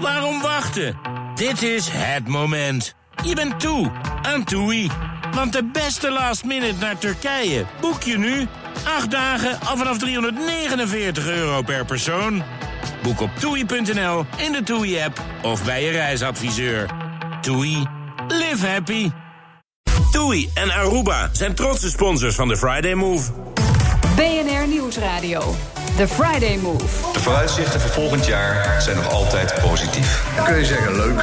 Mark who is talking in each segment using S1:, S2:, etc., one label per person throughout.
S1: Waarom wachten? Dit is het moment. Je bent toe aan TUI. Want de beste last minute naar Turkije boek je nu. Acht dagen af vanaf 349 euro per persoon. Boek op toei.nl, in de TUI-app of bij je reisadviseur. TUI, live happy. TUI en Aruba zijn trotse sponsors van de Friday Move.
S2: BNR Nieuwsradio. The Friday Move.
S3: De vooruitzichten voor volgend jaar zijn nog altijd positief.
S4: Dan kun je zeggen leuk,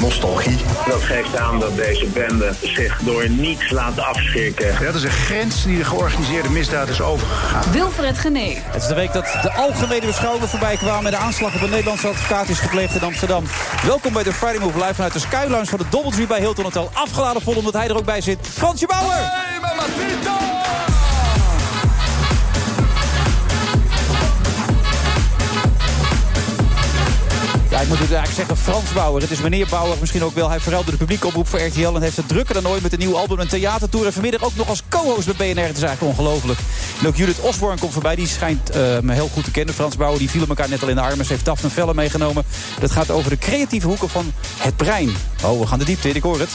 S4: nostalgie.
S5: Dat geeft aan dat deze bende zich door niets laat afschrikken.
S4: Dat is een grens die de georganiseerde misdaad is overgegaan.
S2: Wilfred Genee.
S6: Het is de week dat de algemene beschouwingen voorbij kwamen... met de aanslag op een Nederlandse advocaat is gepleegd in Amsterdam. Welkom bij de Friday Move live vanuit de Skylounge van de Doubletree bij Hilton Hotel. Afgeladen vol omdat hij er ook bij zit. Fransje Bauer! Ja, ik moet het eigenlijk zeggen, Frans Bauer. Het is meneer Bauer misschien ook wel. Hij verruilde de publieke oproep voor RTL en heeft het drukker dan ooit met een nieuw album en theatertour. En vanmiddag ook nog als co-host bij BNR. Het is eigenlijk ongelooflijk. En ook Judith Osborne komt voorbij. Die schijnt eh, me heel goed te kennen. Frans Bauer, die vielen elkaar net al in de armen. Ze heeft Daphne Vellen meegenomen. Dat gaat over de creatieve hoeken van het brein. Oh, we gaan de diepte in, ik hoor het.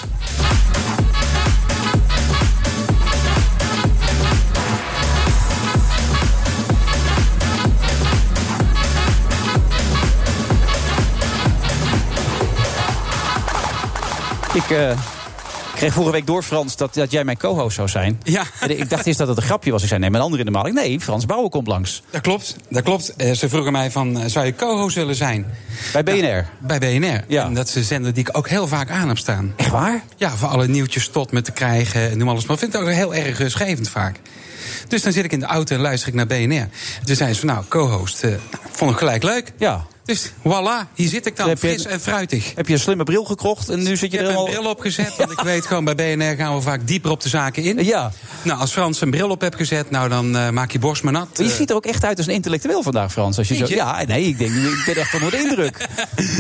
S6: Ik eh, kreeg vorige week door, Frans, dat, dat jij mijn co-host zou zijn.
S7: Ja.
S6: En ik dacht eerst dat het een grapje was. Ik zei, nee, mijn andere in de maling. Nee, Frans Bauer komt langs.
S7: Dat klopt, dat klopt. Eh, ze vroegen mij van, eh, zou je co-host willen zijn?
S6: Bij BNR.
S7: Bij BNR.
S6: Ja.
S7: En dat is een zender die ik ook heel vaak aan heb staan.
S6: Echt waar?
S7: Ja, voor alle nieuwtjes tot me te krijgen en noem alles maar. op. Ik vind het ook heel erg rustgevend vaak. Dus dan zit ik in de auto en luister ik naar BNR. Toen zei ze van, nou, co-host, eh, nou, vond ik gelijk leuk.
S6: Ja.
S7: Dus voilà, hier zit ik dan,
S6: Heb je-
S7: fris en fruitig.
S6: Heb je een slimme bril gekrocht en nu zit
S7: Ik
S6: je er
S7: heb een
S6: helemaal...
S7: bril opgezet, want ik weet gewoon, bij BNR gaan we vaak dieper op de zaken in.
S6: Ja.
S7: Nou, als Frans een bril op hebt gezet, nou, dan eh, maak je borst maar nat.
S6: Je
S7: Eh,
S6: ziet er ook echt uit als een intellectueel vandaag, Frans. Als je zo...
S7: Vind je?
S6: Ja, nee, ik, denk, ik ben echt onder de indruk.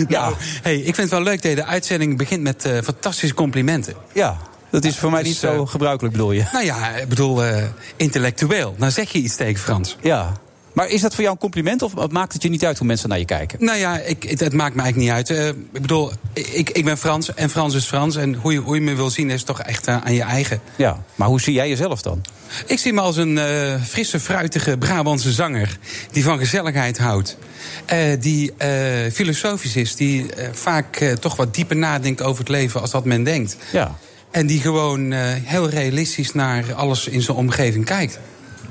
S6: Ja,
S7: Nou, hey, ik vind het wel leuk dat je de uitzending begint met eh, fantastische complimenten.
S6: ja, dat is voor mij
S7: Dus,
S6: niet zo
S7: eh,
S6: gebruikelijk, bedoel je.
S7: Nou ja, ik bedoel, eh, intellectueel. Dan zeg je iets tegen Frans.
S6: Ja. Maar is dat voor jou een compliment of maakt het je niet uit hoe mensen naar je kijken?
S7: Nou ja, ik, het, het maakt me eigenlijk niet uit. Eh, ik bedoel, ik, ik ben Frans en Frans is Frans. En hoe je, hoe je me wil zien is toch echt eh, aan je eigen.
S6: Ja, maar hoe zie jij jezelf dan?
S7: Ik zie me als een eh, frisse, fruitige Brabantse zanger. Die van gezelligheid houdt. Eh, die eh, filosofisch is. Die eh, vaak eh, toch wat dieper nadenkt over het leven als dat men denkt.
S6: Ja.
S7: En die gewoon eh, heel realistisch naar alles in zijn omgeving kijkt.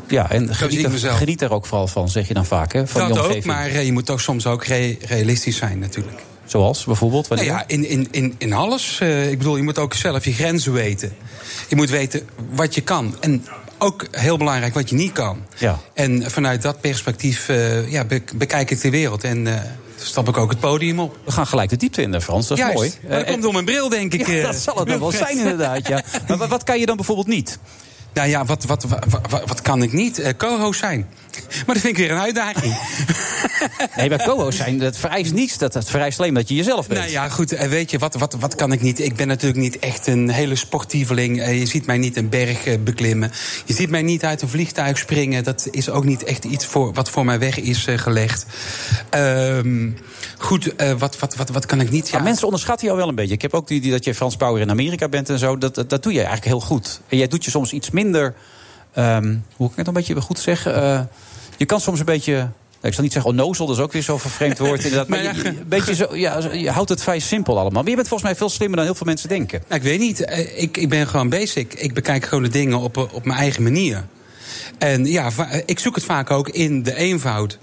S6: Ja, en geniet
S7: zie ik
S6: er,
S7: mezelf.
S6: geniet er ook vooral van, zeg je dan vaak, hè? Van die
S7: dat ook,
S6: omgeving.
S7: maar eh, je moet toch soms ook re- realistisch zijn natuurlijk.
S6: Zoals bijvoorbeeld?
S7: Nou
S6: Wanneer?
S7: ja, in, in, in, in alles. eh, ik bedoel, je moet ook zelf je grenzen weten. Je moet weten wat je kan. En ook heel belangrijk wat je niet kan.
S6: Ja.
S7: En vanuit dat perspectief eh, ja, be- bekijk ik de wereld. En eh, stap ik ook het podium op.
S6: We gaan gelijk de diepte in, hè, Frans. Dat is
S7: Juist.
S6: mooi.
S7: Maar dat
S6: Eh,
S7: komt door mijn bril, denk ik.
S6: Ja,
S7: eh.
S6: dat zal het dan wel zijn, inderdaad. Ja. Maar wa- wat kan je dan bijvoorbeeld niet?
S7: Nou ja, wat, wat, wa- wa- wat, kan ik niet? Eh, Co-host zijn. Maar dat vind ik weer een uitdaging.
S6: Nee, bij co zijn, dat vereist niets. Dat, dat vereist alleen dat je jezelf bent.
S7: Nou ja, goed. En weet je, wat, wat, wat kan ik niet? Ik ben natuurlijk niet echt een hele sportieveling. Eh, Je ziet mij niet een berg eh, beklimmen. Je ziet mij niet uit een vliegtuig springen. Dat is ook niet echt iets voor, wat voor mij weg is eh, gelegd. Ehm, goed, eh, wat, wat, wat, wat kan ik niet?
S6: Maar mensen onderschatten jou wel een beetje. Ik heb ook die, die dat je Frans Bauer in Amerika bent en zo. Dat, dat, dat doe je eigenlijk heel goed. En jij doet je soms iets minder. ehm, hoe kan ik het een beetje goed zeggen? Eh, je kan soms een beetje. nou, ik zal niet zeggen onnozel, dat is ook weer zo'n vervreemd woord. Inderdaad. Maar
S7: Maar ja,
S6: je, je- een beetje zo, ja, zo- je houdt het vrij simpel allemaal. Maar je bent volgens mij veel slimmer dan heel veel mensen denken.
S7: Nou, ik weet niet. Eh, Ik, ik ben gewoon basic. Ik bekijk gewoon de dingen op, eh, op mijn eigen manier. En ja, va- eh, ik zoek het vaak ook in de eenvoud.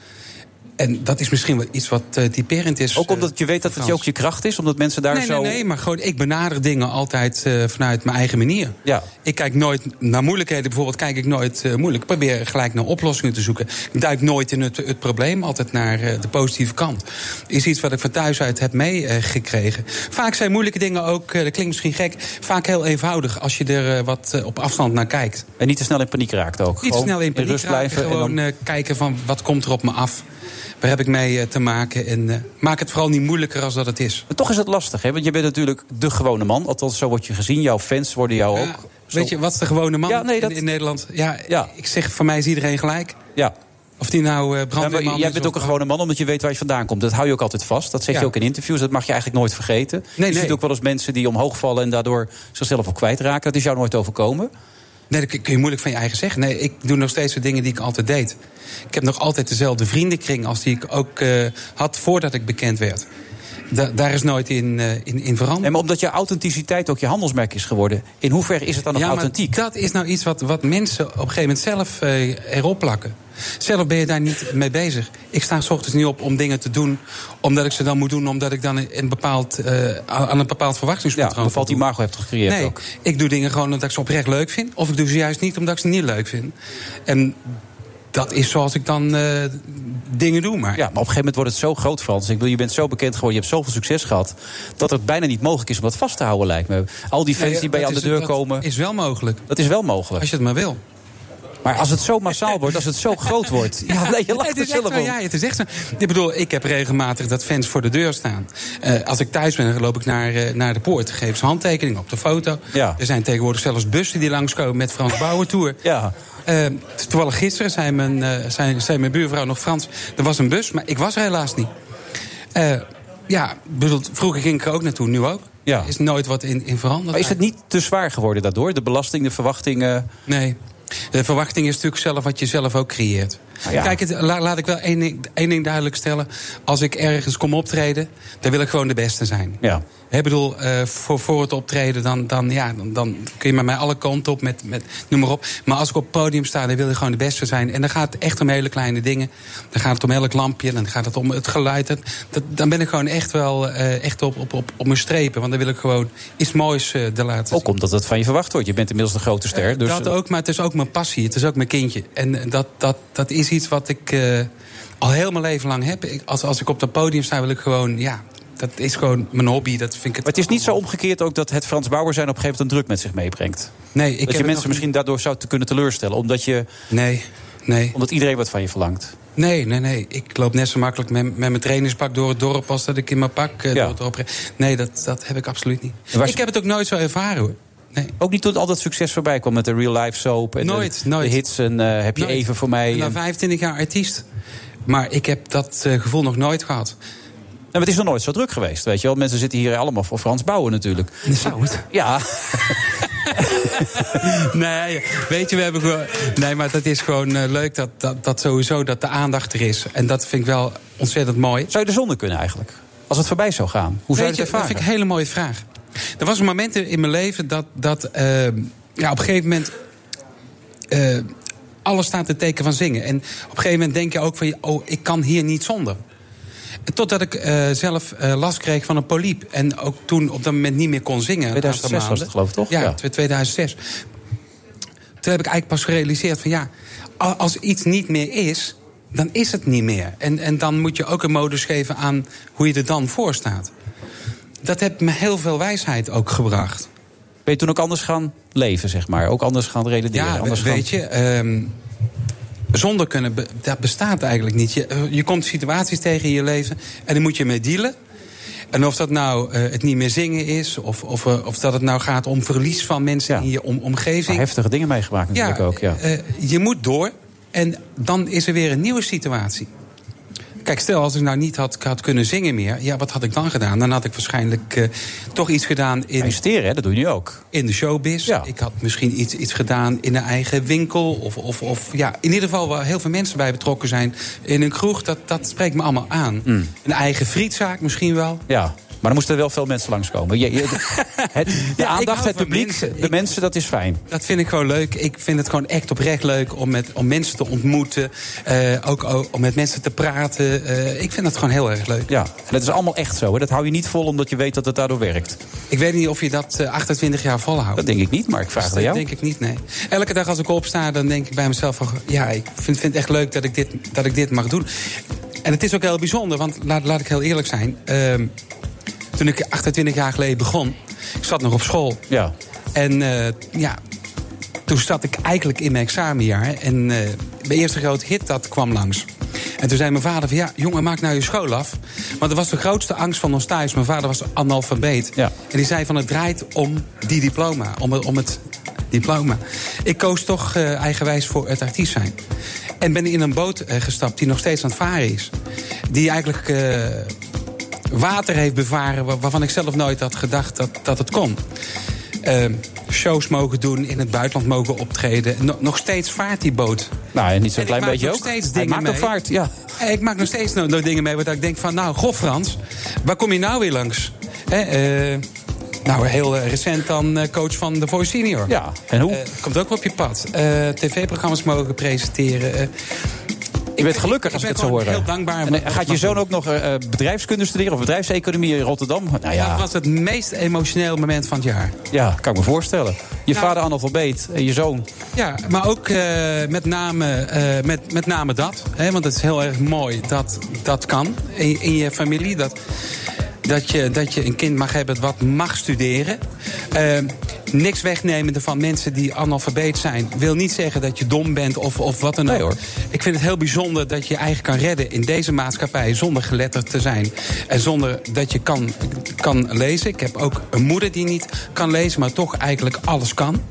S7: En dat is misschien wel iets wat eh, typerend is.
S6: Ook
S7: eh,
S6: omdat je weet dat het
S7: Frans.
S6: ook je kracht is, omdat mensen daar
S7: nee,
S6: zo.
S7: nee, nee, maar gewoon, ik benader dingen altijd eh, vanuit mijn eigen manier.
S6: Ja.
S7: Ik kijk nooit naar moeilijkheden, bijvoorbeeld kijk ik nooit eh, moeilijk. Ik probeer gelijk naar oplossingen te zoeken. Ik duik nooit in het, het probleem, altijd naar eh, de positieve kant. Is iets wat ik van thuis uit heb meegekregen. Vaak zijn moeilijke dingen ook, eh, dat klinkt misschien gek, vaak heel eenvoudig als je er eh, wat eh, op afstand naar kijkt.
S6: En niet te snel in paniek raakt ook.
S7: Niet te snel in paniek
S6: rust
S7: raken,
S6: blijven. en
S7: gewoon
S6: dan-
S7: eh, kijken van wat komt er op me af. Waar heb ik mee eh, te maken? En eh, maak het vooral niet moeilijker als dat het is.
S6: Maar toch is het lastig, hè? Want je bent natuurlijk de gewone man. Althans, zo word je gezien. Jouw fans worden jou
S7: Ja,
S6: ook. zo-
S7: Weet je, wat is de gewone man
S6: Ja, nee, dat-
S7: in, in Nederland? Ja,
S6: Ja.
S7: ik zeg, voor mij is iedereen gelijk.
S6: Ja.
S7: Of die nou eh
S6: Ja, maar
S7: brandweerman
S6: jij
S7: is
S6: bent
S7: of-
S6: ook een gewone man, omdat je weet waar je vandaan komt. Dat hou je ook altijd vast. Dat zeg je
S7: Ja.
S6: ook in interviews. Dat mag je eigenlijk nooit vergeten.
S7: nee.
S6: Je ziet ook wel eens mensen die omhoog vallen en daardoor zichzelf ook kwijtraken. Dat is jou nooit overkomen.
S7: Nee, dat kun je moeilijk van je eigen zeggen. Nee, ik doe nog steeds de dingen die ik altijd deed. Ik heb nog altijd dezelfde vriendenkring als die ik ook eh, had voordat ik bekend werd. Da- daar is nooit in, eh, in, in veranderd.
S6: En maar omdat je authenticiteit ook je handelsmerk is geworden. In hoeverre is het dan nog
S7: ja, maar
S6: authentiek?
S7: dat is nou iets wat, wat mensen op een gegeven moment zelf eh, erop plakken. Zelf ben je daar niet mee bezig. Ik sta s ochtends niet op om dingen te doen, omdat ik ze dan moet doen, omdat ik dan een bepaald, eh, aan een bepaald
S6: Ja,
S7: verwachtingspatroon
S6: bepaald
S7: voldoe.
S6: die imago hebt gecreëerd
S7: Nee,
S6: ook.
S7: ik doe dingen gewoon omdat ik ze oprecht leuk vind. Of ik doe ze juist niet omdat ik ze niet leuk vind. En dat is zoals ik dan eh, dingen doe. Maar
S6: Ja, maar op een gegeven moment wordt het zo groot, Frans. Ik bedoel, je bent zo bekend geworden, je hebt zoveel succes gehad... dat het bijna niet mogelijk is om dat vast te houden, lijkt me. Al die fans
S7: Nee,
S6: die bij je
S7: dat
S6: aan de
S7: is-
S6: deur
S7: dat
S6: komen,
S7: is wel mogelijk.
S6: dat is wel mogelijk.
S7: Als je het maar wil.
S6: Maar als het zo massaal wordt, als het zo groot wordt... Ja, nee, je
S7: Nee,
S6: lacht
S7: het
S6: er
S7: is echt
S6: zelf
S7: zo,
S6: om.
S7: Ja, het is echt zo. Ik bedoel, ik heb regelmatig dat fans voor de deur staan. Eh, als ik thuis ben, dan loop ik naar, eh, naar de poort. Geef ze handtekening op de foto.
S6: Ja.
S7: Er zijn tegenwoordig zelfs bussen die langskomen met Frans Bauer Tour.
S6: Ja.
S7: Eh, toevallig gisteren zei mijn, eh, zei, zei mijn buurvrouw nog Frans. Er was een bus, maar ik was er helaas niet. Eh, ja, bedoel, vroeger ging ik er ook naartoe, nu ook.
S6: Ja.
S7: Er is nooit wat in, in veranderd.
S6: Maar is het niet te zwaar geworden daardoor? De belasting, de verwachtingen...
S7: Nee. De verwachting is natuurlijk zelf wat je zelf ook creëert.
S6: Nou ja.
S7: Kijk, het, la- laat ik wel één ding, één ding duidelijk stellen. Als ik ergens kom optreden, dan wil ik gewoon de beste zijn.
S6: Ja.
S7: Ik bedoel, eh, voor, voor het optreden, dan, dan, ja, dan, dan kun je met mij alle kanten op, met, met, noem maar op. Maar als ik op het podium sta, dan wil ik gewoon de beste zijn. En dan gaat het echt om hele kleine dingen. Dan gaat het om elk lampje, dan gaat het om het geluid. Dat, dat- dan ben ik gewoon echt wel eh, echt op, op, op, op mijn strepen. Want dan wil ik gewoon iets moois eh de laten zien. Eh,
S6: Ook omdat het van je verwacht wordt. Je bent inmiddels de grote ster. Dus
S7: Dat ook, maar het is ook mijn passie. Het is ook mijn kindje. En eh, dat, dat, dat is iets wat ik eh, al heel mijn leven lang heb. Ik, als, als ik op dat podium sta, wil ik gewoon... Ja, dat is gewoon mijn hobby. Dat vind ik het,
S6: Maar het is niet zo omgekeerd ook dat het Frans Bauer zijn op een gegeven moment een druk met zich meebrengt.
S7: Nee, ik heb
S6: dat
S7: het
S6: je mensen
S7: nog
S6: misschien daardoor zou te kunnen teleurstellen. Omdat, je,
S7: Nee, nee.
S6: omdat iedereen wat van je verlangt.
S7: Nee, nee, nee. Ik loop net zo makkelijk met, met mijn trainingspak door het dorp... als dat ik in mijn pak eh,
S6: Ja.
S7: door het dorp rijd. Nee, dat, dat heb ik absoluut niet.
S6: En waar-
S7: Ik heb het ook nooit zo ervaren, hoor. Nee.
S6: Ook niet tot al dat succes voorbij kwam met de real life soap. En de-
S7: Nooit,
S6: de,
S7: nooit.
S6: hits en eh, heb je
S7: Nooit.
S6: even voor mij.
S7: Ik ben
S6: en-
S7: al 25 jaar artiest. Maar ik heb dat eh, gevoel nog nooit gehad.
S6: Nou, maar het is nog nooit zo druk geweest, weet je wel. Mensen zitten hier allemaal voor Frans Bauer natuurlijk.
S7: Zou het?
S6: Ja,
S7: Nee, weet je, we hebben gewoon. Nee, maar dat is gewoon eh, leuk dat, dat, dat sowieso dat de aandacht er is. En dat vind ik wel ontzettend mooi.
S6: zou je er zonder kunnen eigenlijk? Als het voorbij zou gaan, hoe zou je
S7: Weet
S6: het
S7: je, dat
S6: ervaren?
S7: vind ik een hele mooie vraag. Er was een moment in mijn leven dat, dat eh, ja, op een gegeven moment. eh, alles staat te teken van zingen. En op een gegeven moment denk je ook van, oh, ik kan hier niet zonder. Totdat ik eh, zelf eh, last kreeg van een poliep. En ook toen op dat moment niet meer kon zingen. een
S6: 2006
S7: aantal
S6: was
S7: maanden.
S6: het, geloof ik, toch? Ja.
S7: Ja, tw- 2006. Toen heb ik eigenlijk pas gerealiseerd van ja, a- als iets niet meer is, dan is het niet meer. En, en dan moet je ook een modus geven aan hoe je er dan voor staat. Dat heeft me heel veel wijsheid ook gebracht.
S6: Ben je toen ook anders gaan leven, zeg maar? Ook anders gaan redeneren?
S7: Ja,
S6: anders
S7: we- weet
S6: gaan...
S7: je. ehm, zonder kunnen, be- dat bestaat eigenlijk niet. Je, eh, je komt situaties tegen in je leven en daar moet je mee dealen. En of dat nou eh, het niet meer zingen is, of, of, eh, of dat het nou gaat om verlies van mensen
S6: Ja.
S7: in je om-
S6: Maar
S7: omgeving.
S6: heftige dingen meegemaakt natuurlijk ook, ja.
S7: eh, je moet door en dan is er weer een nieuwe situatie. Kijk, stel als ik nou niet had, had kunnen zingen meer, ja, wat had ik dan gedaan? Dan had ik waarschijnlijk eh, toch iets gedaan in,
S6: Investeren, hè, dat doe je nu ook.
S7: in de showbiz.
S6: Ja.
S7: Ik had misschien iets, iets gedaan in een eigen winkel. Of, of, of ja, in ieder geval waar heel veel mensen bij betrokken zijn in een kroeg. Dat, dat spreekt me allemaal aan. Een eigen frietzaak misschien wel.
S6: Hmm. Ja, maar dan moesten er wel veel mensen langskomen. Je, je, het, de
S7: Ja, ik
S6: aandacht,
S7: hou
S6: het
S7: van
S6: publiek,
S7: mensen.
S6: de
S7: Ik-
S6: mensen, dat is fijn.
S7: Dat vind ik gewoon leuk. Ik vind het gewoon echt oprecht leuk om, met, om mensen te ontmoeten. eh, ook o- om met mensen te praten. Eh, ik vind dat gewoon heel erg leuk.
S6: Ja, en dat is allemaal echt zo. Hè. Dat hou je niet vol omdat je weet dat het daardoor werkt.
S7: Ik weet niet of je dat eh, 28 jaar volhoudt.
S6: Dat denk ik niet, maar ik vraag het aan
S7: dat
S6: jou.
S7: Dus, eh, denk ik niet, nee. Elke dag als ik opsta, dan denk ik bij mezelf... Van, ja, ik vind, vind het echt leuk dat ik, dit, dat ik dit mag doen. En het is ook heel bijzonder, want laat, laat ik heel eerlijk zijn... ehm, toen ik 28 jaar geleden begon, ik zat nog op school.
S6: Ja.
S7: En eh, ja, toen zat ik eigenlijk in mijn examenjaar. En eh, mijn eerste grote hit dat kwam langs. En toen zei mijn vader van ja, jongen, maak nou je school af. Want dat was de grootste angst van ons thuis. Mijn vader was analfabeet.
S6: Ja.
S7: En die zei van het draait om die diploma, om het, om het diploma. Ik koos toch eh, eigenwijs voor het artiest zijn. En En ben in een boot eh, gestapt die nog steeds aan het varen is. Die eigenlijk eh, water heeft bevaren wa- waarvan ik zelf nooit had gedacht dat, dat het kon. Eh, shows mogen doen, in het buitenland mogen optreden. No- nog steeds vaart die boot.
S6: Nou, en niet zo'n
S7: En ik
S6: klein
S7: maak
S6: beetje
S7: nog
S6: ook.
S7: steeds
S6: Hij
S7: dingen
S6: maakt ook
S7: mee.
S6: vaart, ja.
S7: En Ik maak nog steeds nog, nog dingen mee waar ik denk van... nou, goh Frans, waar kom je nou weer langs? Hè, eh, nou, heel eh, recent dan eh, coach van The Voice Senior.
S6: Ja, en hoe?
S7: Eh, komt ook wel op je pad. Eh, TV-programma's mogen presenteren. eh.
S6: Je bent gelukkig
S7: ik
S6: als ik
S7: ben
S6: het zo
S7: gewoon
S6: hoor.
S7: heel dankbaar
S6: En
S7: wat-
S6: eh,
S7: wat
S6: gaat je
S7: mag
S6: zoon
S7: doen.
S6: ook nog eh, eh, bedrijfskunde studeren of bedrijfseconomie in Rotterdam? Nou ja,
S7: Dat was het meest emotioneel moment van het jaar.
S6: ja kan ik me voorstellen. Je
S7: Nou-
S6: vader analfabeet en je zoon.
S7: Ja, maar ook eh, met, name, eh, met, met name dat. Hè, want het is heel erg mooi dat dat kan in, in je familie. Dat, dat, je, dat je een kind mag hebben wat mag studeren. Eh, niks wegnemende van mensen die analfabeet zijn. Wil niet zeggen dat je dom bent of, of wat dan ook.
S6: Nee, hoor.
S7: Ik vind het heel bijzonder dat je je eigen kan redden in deze maatschappij zonder geletterd te zijn. En zonder dat je kan, kan lezen. Ik heb ook een moeder die niet kan lezen, maar toch eigenlijk alles kan.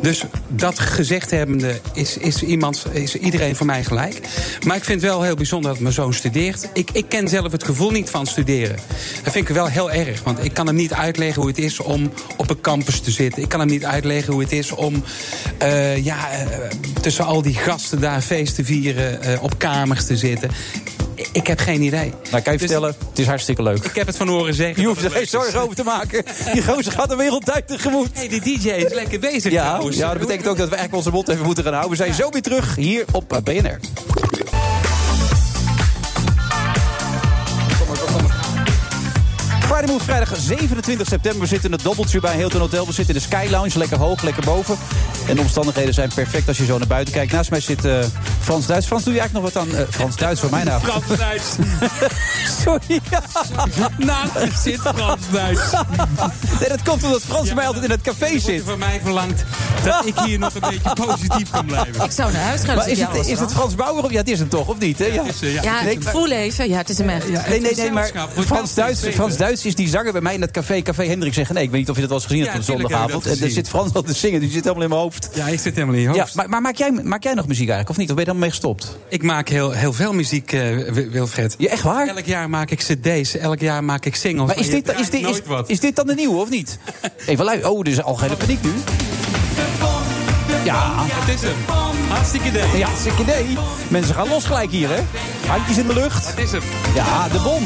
S7: Dus dat gezegd hebbende is, is, iemand, is iedereen voor mij gelijk. Maar ik vind het wel heel bijzonder dat mijn zoon studeert. Ik, ik ken zelf het gevoel niet van studeren. Dat vind ik wel heel erg, want ik kan hem niet uitleggen hoe het is om op een campus te zitten. Ik kan hem niet uitleggen hoe het is om eh, ja, eh, tussen al die gasten daar feest te vieren, eh, op kamers te zitten. Ik- Ik heb geen idee.
S6: Nou, kan je
S7: Dus
S6: vertellen, het is hartstikke leuk.
S7: Ik heb het van horen zeggen.
S6: Je hoeft er
S7: dat het
S6: geen
S7: leuk is.
S6: zorgen over te maken. Die gozer gaat de wereld uit tegemoet.
S7: Dus- Hey, die DJ is lekker bezig.
S6: Ja,
S7: trouwens.
S6: ja, dat betekent ook dat we eigenlijk onze mond even moeten gaan houden. We zijn zo weer terug hier op eh, BNR. Friday Move, vrijdag 27 september. We zitten in het dobbeltje bij Hilton Hotel. We zitten in de Sky Lounge, lekker hoog, lekker boven. En de omstandigheden zijn perfect als je zo naar buiten kijkt. Naast mij zit eh, Frans Duits. Frans, doe je eigenlijk nog wat aan eh, Frans Duits voor mijn naam?
S7: Frans Duits.
S6: Sorry.
S7: Naast me zit Frans Duits.
S6: Nee, dat komt omdat Frans mij altijd in het café
S7: Er
S6: zit.
S7: wordt van mij verlangt dat ik hier nog een beetje positief kan blijven.
S8: Ik zou naar huis gaan.
S6: Maar
S8: als ik
S6: is
S8: jou
S6: het,
S8: was,
S6: is het
S8: Frans.
S6: Frans Bauer? of- Ja, het is hem toch, of niet? Hè? Ja.
S7: Dus, eh, ja.
S8: Ja,
S6: Nee,
S8: ik voel even. Ja, het is hem echt.
S6: Nee, nee,
S7: Het
S6: nee, maar
S7: gezelschap wordt
S6: Frans
S7: wel steeds
S6: Duits,
S7: beter.
S6: Frans Duits is die zanger bij mij in dat café, Café Hendrik zeggen. Nee, ik weet niet of je dat wel eens gezien hebt
S7: Ja,
S6: op de
S7: tuurlijk heb ik dat
S6: zondagavond. En daar
S7: gezien.
S6: zit Frans al te zingen, die zit helemaal in mijn hoofd.
S7: Ja, ik zit helemaal in je hoofd.
S6: Ja, maar, maar maak, jij, maak jij nog muziek eigenlijk, of niet? Of ben je dan mee gestopt?
S7: Ik maak heel, heel veel muziek, eh, Wi- Wilfred.
S6: Ja, echt waar?
S7: Elk jaar maak ik cd's, elk jaar maak ik singles.
S6: Maar is
S7: je
S6: dit, is,
S7: draait
S6: dit, is,
S7: nooit wat.
S6: is dit dan de nieuwe, of niet? Even luisteren. Oh, er is al geen paniek nu. Ja,
S7: Het is hem. Hartstikke idee.
S6: ja, hartstikke idee. Mensen gaan los gelijk hier, hè? Handjes in de lucht.
S7: Het is hem.
S6: Ja, de bom.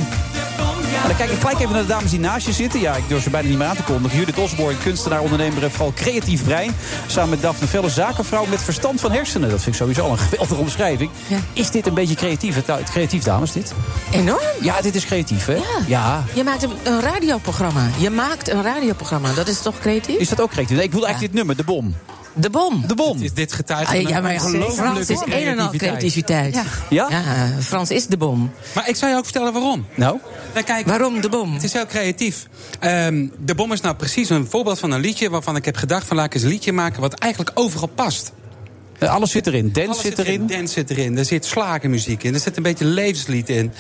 S6: En dan kijk ik gelijk even naar de dames die naast je zitten. Ja, ik durf ze bijna niet meer aan te kondigen. Judith Osborn, kunstenaar, ondernemer en vooral creatief brein. Samen met Daphne Velle, zakenvrouw met verstand van hersenen. Dat vind ik sowieso al een geweldige omschrijving.
S8: Ja.
S6: Is dit een beetje creatief? Het, het creatief, dames, dit?
S8: Enorm.
S6: Ja, dit is creatief, hè?
S8: Ja. Je maakt een, een radioprogramma. Je maakt een radioprogramma. Dat is toch creatief?
S6: Is dat ook creatief? Nee, ik bedoel
S8: Ja.
S6: eigenlijk dit nummer, de bom.
S8: De bom.
S6: De bom.
S7: Is dit getuige
S8: Ah,
S7: van
S8: ja,
S7: een
S8: maar Frans
S7: ongelooflijke
S8: is een en al
S7: creativiteit.
S8: creativiteit.
S6: Ja?
S8: Frans is de bom.
S7: Maar ik zou je ook vertellen waarom.
S6: Nou?
S7: Nou, kijk,
S8: Waarom de bom?
S7: Het is heel creatief. Ehm, de bom is nou precies een voorbeeld van een liedje... waarvan ik heb gedacht van laat ik eens een liedje maken... wat eigenlijk overal past.
S6: Eh, Alles zit erin. Dance
S7: Alles
S6: zit erin.
S7: Dance zit erin. Er zit slagermuziek in. Er zit een beetje levenslied in.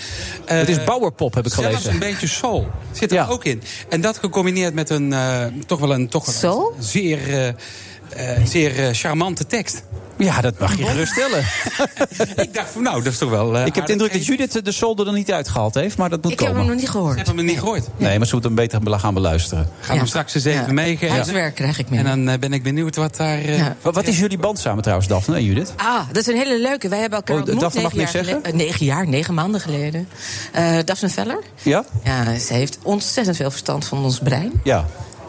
S7: Eh,
S6: het is bouwerpop, heb ik
S7: Zelfs
S6: gelezen.
S7: een beetje soul zit er
S6: Ja.
S7: ook in. En dat gecombineerd met een eh, toch wel een toch wel
S8: Soul?
S7: een zeer, eh, eh, zeer eh, charmante tekst.
S6: Ja, dat mag je geruststellen.
S7: ik dacht van nou, dat is toch wel. eh,
S6: ik heb de indruk dat
S7: aardig.
S6: Judith de solder er niet uitgehaald heeft, maar dat moet
S8: Ik heb
S6: komen.
S8: hem nog niet gehoord.
S7: Ik heb hem niet gehoord. Ik
S6: Nee, maar ze moeten hem beter gaan beluisteren.
S7: ga hem straks eens even
S8: Ja.
S7: meegeven.
S8: Huiswerk krijg ik mee.
S7: En dan eh, ben ik benieuwd wat daar. eh,
S8: Ja.
S6: Wat, wat is jullie band samen trouwens, Daphne en Judith?
S8: Ah, dat is een hele leuke. Wij hebben elkaar
S6: Oh,
S8: ontmoet
S6: Daphne mag
S8: negen
S6: niks
S8: jaar
S6: zeggen?
S8: geleden. Eh, negen jaar, negen maanden geleden. Eh Daphne Veller.
S6: Ja?
S8: Ja, ze heeft ontzettend veel verstand van ons brein.
S6: Ja.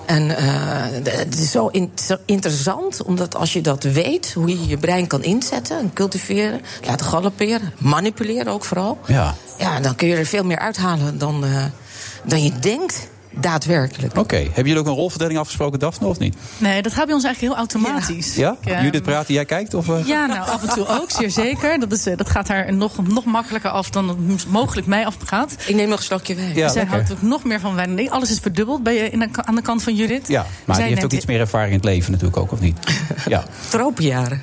S8: En eh, d- het is zo, in- zo interessant, omdat als je dat weet, hoe je je brein kan inzetten en cultiveren, laten galopperen, manipuleren ook vooral.
S6: Ja.
S8: Ja, dan kun je er veel meer uithalen dan, eh, dan je denkt daadwerkelijk.
S6: Oké. Hebben jullie ook een rolverdeling afgesproken, Daphne, of niet?
S9: Nee, dat gaat bij ons eigenlijk heel automatisch.
S6: Ja?
S9: Ik, ehm,
S6: Judith praat en jij kijkt? Of, eh?
S9: Ja, nou, af en toe ook, zeer zeker. Dat, is, eh, dat gaat haar nog, nog makkelijker af dan het m- mogelijk mij afgaat.
S8: Ik neem nog een slokje wijn.
S6: Ja,
S9: Zij
S6: lekker.
S9: houdt ook nog meer van wijn dan ik. Alles is verdubbeld bij, je- in de ka- aan de kant van Judith.
S6: Ja, maar
S9: Zij
S6: die heeft
S9: neemt
S6: ook iets meer ervaring in het leven natuurlijk ook, of niet? Ja.
S8: Tropenjaren.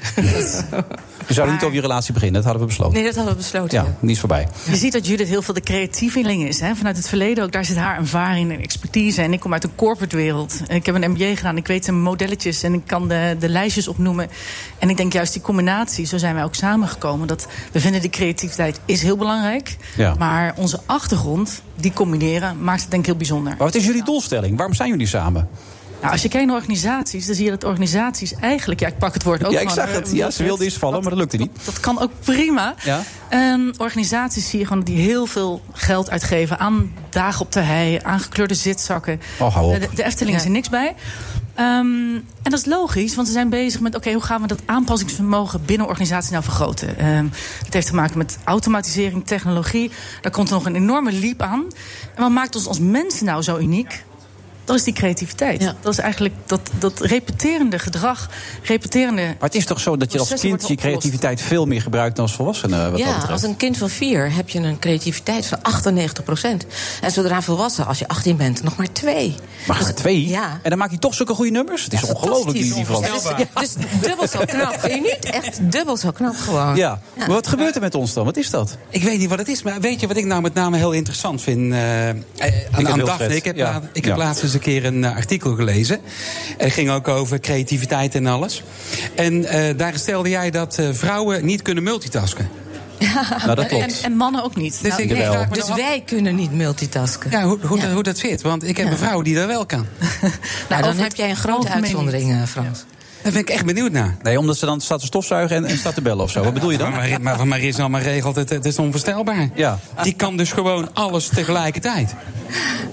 S6: We zouden niet over je relatie beginnen, dat hadden we besloten.
S8: nee, dat hadden we besloten.
S6: Ja,
S8: ja.
S6: niet is voorbij.
S9: Je ziet dat Judith heel veel de creatieveling is. Hè? Vanuit het verleden ook, daar zit haar ervaring en expertise. En ik kom uit een corporate wereld. Ik heb een MBA gedaan. Ik weet de modelletjes en ik kan de, de lijstjes opnoemen. En ik denk juist die combinatie, zo zijn wij ook samengekomen. Dat we vinden de creativiteit is heel belangrijk.
S6: Ja.
S9: Maar onze achtergrond, die combineren, maakt het denk ik heel bijzonder.
S6: Maar wat is jullie doelstelling? Waarom zijn jullie samen?
S9: Nou, als je kijkt naar organisaties, dan zie je dat organisaties eigenlijk... Ja, ik pak het woord ook
S6: ja, ik
S9: gewoon,
S6: zag
S9: eh,
S6: het. Ja, ze wilde iets vallen, maar dat lukte niet.
S9: dat kan ook prima.
S6: Ja.
S9: Ehm, organisaties zie je gewoon die heel veel geld uitgeven aan dagen op de hei, aan gekleurde zitzakken.
S6: Oh, hou op.
S9: De, de Efteling is er
S8: Ja.
S9: niks bij. Ehm, en dat is logisch, want ze zijn bezig met: oké, hoe gaan we dat aanpassingsvermogen binnen organisaties nou vergroten? Ehm, het heeft te maken met automatisering, technologie. Daar komt nog een enorme leap aan. En wat maakt ons als mensen nou zo uniek? Dat is die creativiteit.
S8: Ja.
S9: Dat is eigenlijk dat, dat repeterende gedrag, repeterende
S6: Maar het is toch zo dat je als
S9: Processen
S6: kind je
S9: worden opgelost.
S6: creativiteit veel meer gebruikt dan als volwassene? Wat dat
S8: Ja,
S6: betreft.
S8: als een kind van vier heb je een creativiteit van 98 En zodra volwassen, als je 18 bent, nog maar twee.
S6: Maar
S8: Dus-
S6: maar twee?
S8: Ja.
S6: En dan maakt hij toch zulke goede nummers? Het is ongelooflijk, die, die Frans.
S8: Dus, dus dubbel zo knap. Vind je niet? Echt dubbel zo knap gewoon.
S6: Ja, maar Ah. wat gebeurt er met ons dan? Wat is dat?
S7: Ik weet niet wat het is, maar weet je wat ik nou met name heel interessant vind? eh, eh, aan, aan
S6: Wilfred,
S7: Daphne. Ik heb,
S6: ja.
S7: laat- ik
S6: Ja.
S7: heb laatst eens een keer een eh, artikel gelezen. Het ging ook over creativiteit en alles. En eh, daar stelde jij dat eh, vrouwen niet kunnen multitasken.
S6: Nou, dat
S9: En,
S6: klopt.
S9: en mannen ook niet.
S7: Dus
S9: Nou,
S7: ik
S6: jawel.
S7: vraag me
S8: Dus
S7: dan af-
S8: wij kunnen niet multitasken.
S7: ja, hoe, hoe, hoe dat zit, want ik heb een vrouw die dat wel kan.
S8: Nou, dan
S9: over
S8: heb
S9: het
S8: jij een grote
S9: algemeen
S8: uitzondering,
S9: niet.
S8: eh, Frans.
S7: Daar ben ik echt benieuwd naar.
S6: Nee, omdat ze dan staat te stofzuigen en, en staat te bellen of zo. Wat bedoel je dan?
S7: Maar, maar van Maris allemaal regelt, het, het is onvoorstelbaar.
S6: Ja.
S7: Die kan dus gewoon alles tegelijkertijd.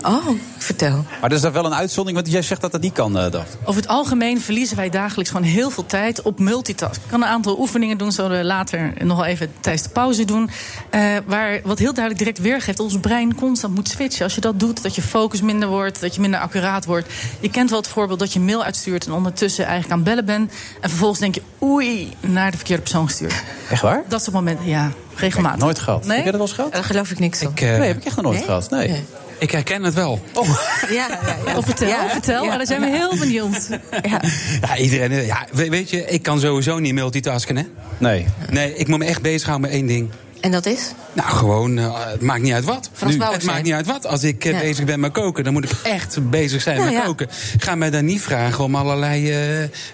S8: Oh, vertel.
S6: Maar dat is dan wel een uitzondering, want jij zegt dat dat niet kan, eh Daphne.
S9: Over het algemeen verliezen wij dagelijks gewoon heel veel tijd op multitasken. Ik kan een aantal oefeningen doen, zullen we later nogal even tijdens de pauze doen. Eh, waar, wat heel duidelijk direct weergeeft, dat ons brein constant moet switchen. Als je dat doet, dat je focus minder wordt, dat je minder accuraat wordt. Je kent wel het voorbeeld dat je een mail uitstuurt en ondertussen eigenlijk aan bellen bent. En vervolgens denk je, oei, naar de verkeerde persoon gestuurd.
S6: Echt waar?
S9: Dat soort momenten, ja, regelmatig.
S6: Nooit gehad.
S9: Nee?
S6: Heb jij dat wel eens gehad?
S8: Daar geloof ik niks van.
S7: Ik, eh,
S6: Nee, heb ik echt nog nooit
S8: Nee?
S6: gehad. Nee.
S8: Nee.
S7: ik herken het wel.
S8: Ja, ja, ja.
S9: Of vertel,
S8: Ja,
S9: vertel,
S8: ja,
S9: maar daar zijn we
S8: ja.
S9: heel benieuwd.
S7: Ja, iedereen. eh, Ja, we- weet je, ik kan sowieso niet multitasken, hè?
S6: Nee.
S7: Nee, ik moet me echt bezighouden met één ding.
S8: En dat is?
S7: Nou, gewoon, eh, het maakt niet uit wat.
S8: Frans
S7: Nu.
S8: Bauer
S7: het
S8: zei.
S7: maakt niet uit wat. Als ik eh,
S8: Ja.
S7: bezig ben met koken, dan moet ik echt bezig zijn
S8: Nou
S7: met
S8: ja.
S7: koken. Ga mij dan niet vragen om allerlei eh,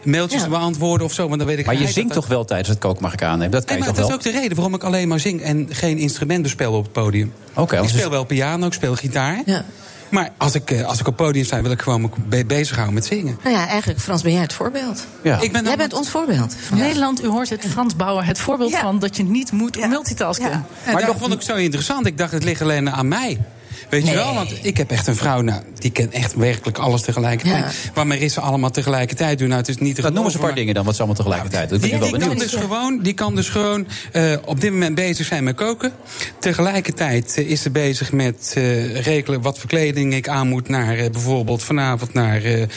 S7: mailtjes
S8: Ja.
S7: te beantwoorden of zo, want dan weet ik
S6: Maar je
S7: geheid
S6: zingt
S7: dat-
S6: toch wel tijdens het koken, mag ik aannemen? Dat kan
S7: Nee,
S6: je
S7: maar dat
S6: toch wel?
S7: is ook de reden waarom ik alleen maar zing en geen instrument bespeel op het podium.
S6: Oké,
S7: ik
S6: anders
S7: speel
S6: is-
S7: wel piano, ik speel gitaar.
S8: Ja.
S7: Maar als ik, eh, als ik op het podium sta, wil ik gewoon me be- bezighouden met zingen.
S8: Nou ja, eigenlijk, Frans, ben jij het voorbeeld.
S6: Ja.
S7: Ik ben
S8: Jij
S7: dan-
S8: bent ons voorbeeld.
S9: Nederland, u hoort het, Frans Bauer, het voorbeeld
S8: Ja.
S9: van dat je niet moet multitasken.
S7: En maar dat vond ik zo interessant. Ik dacht, het ligt alleen aan mij. Weet je wel, want ik heb echt een vrouw, nou, die kent echt werkelijk alles tegelijkertijd.
S8: Ja.
S7: Waar Marissa allemaal tegelijkertijd doet, nou, het is niet te
S6: Nou, noem eens
S7: geloven,
S6: een paar
S7: maar-
S6: dingen dan, wat ze allemaal tegelijkertijd. Ik ben ik wel
S7: Die, die, kan
S6: benieuwd.
S7: dus gewoon, die kan dus gewoon eh, op dit moment bezig zijn met koken. Tegelijkertijd eh, is ze bezig met eh, regelen wat voor kleding ik aan moet naar eh, bijvoorbeeld vanavond naar eh, eh,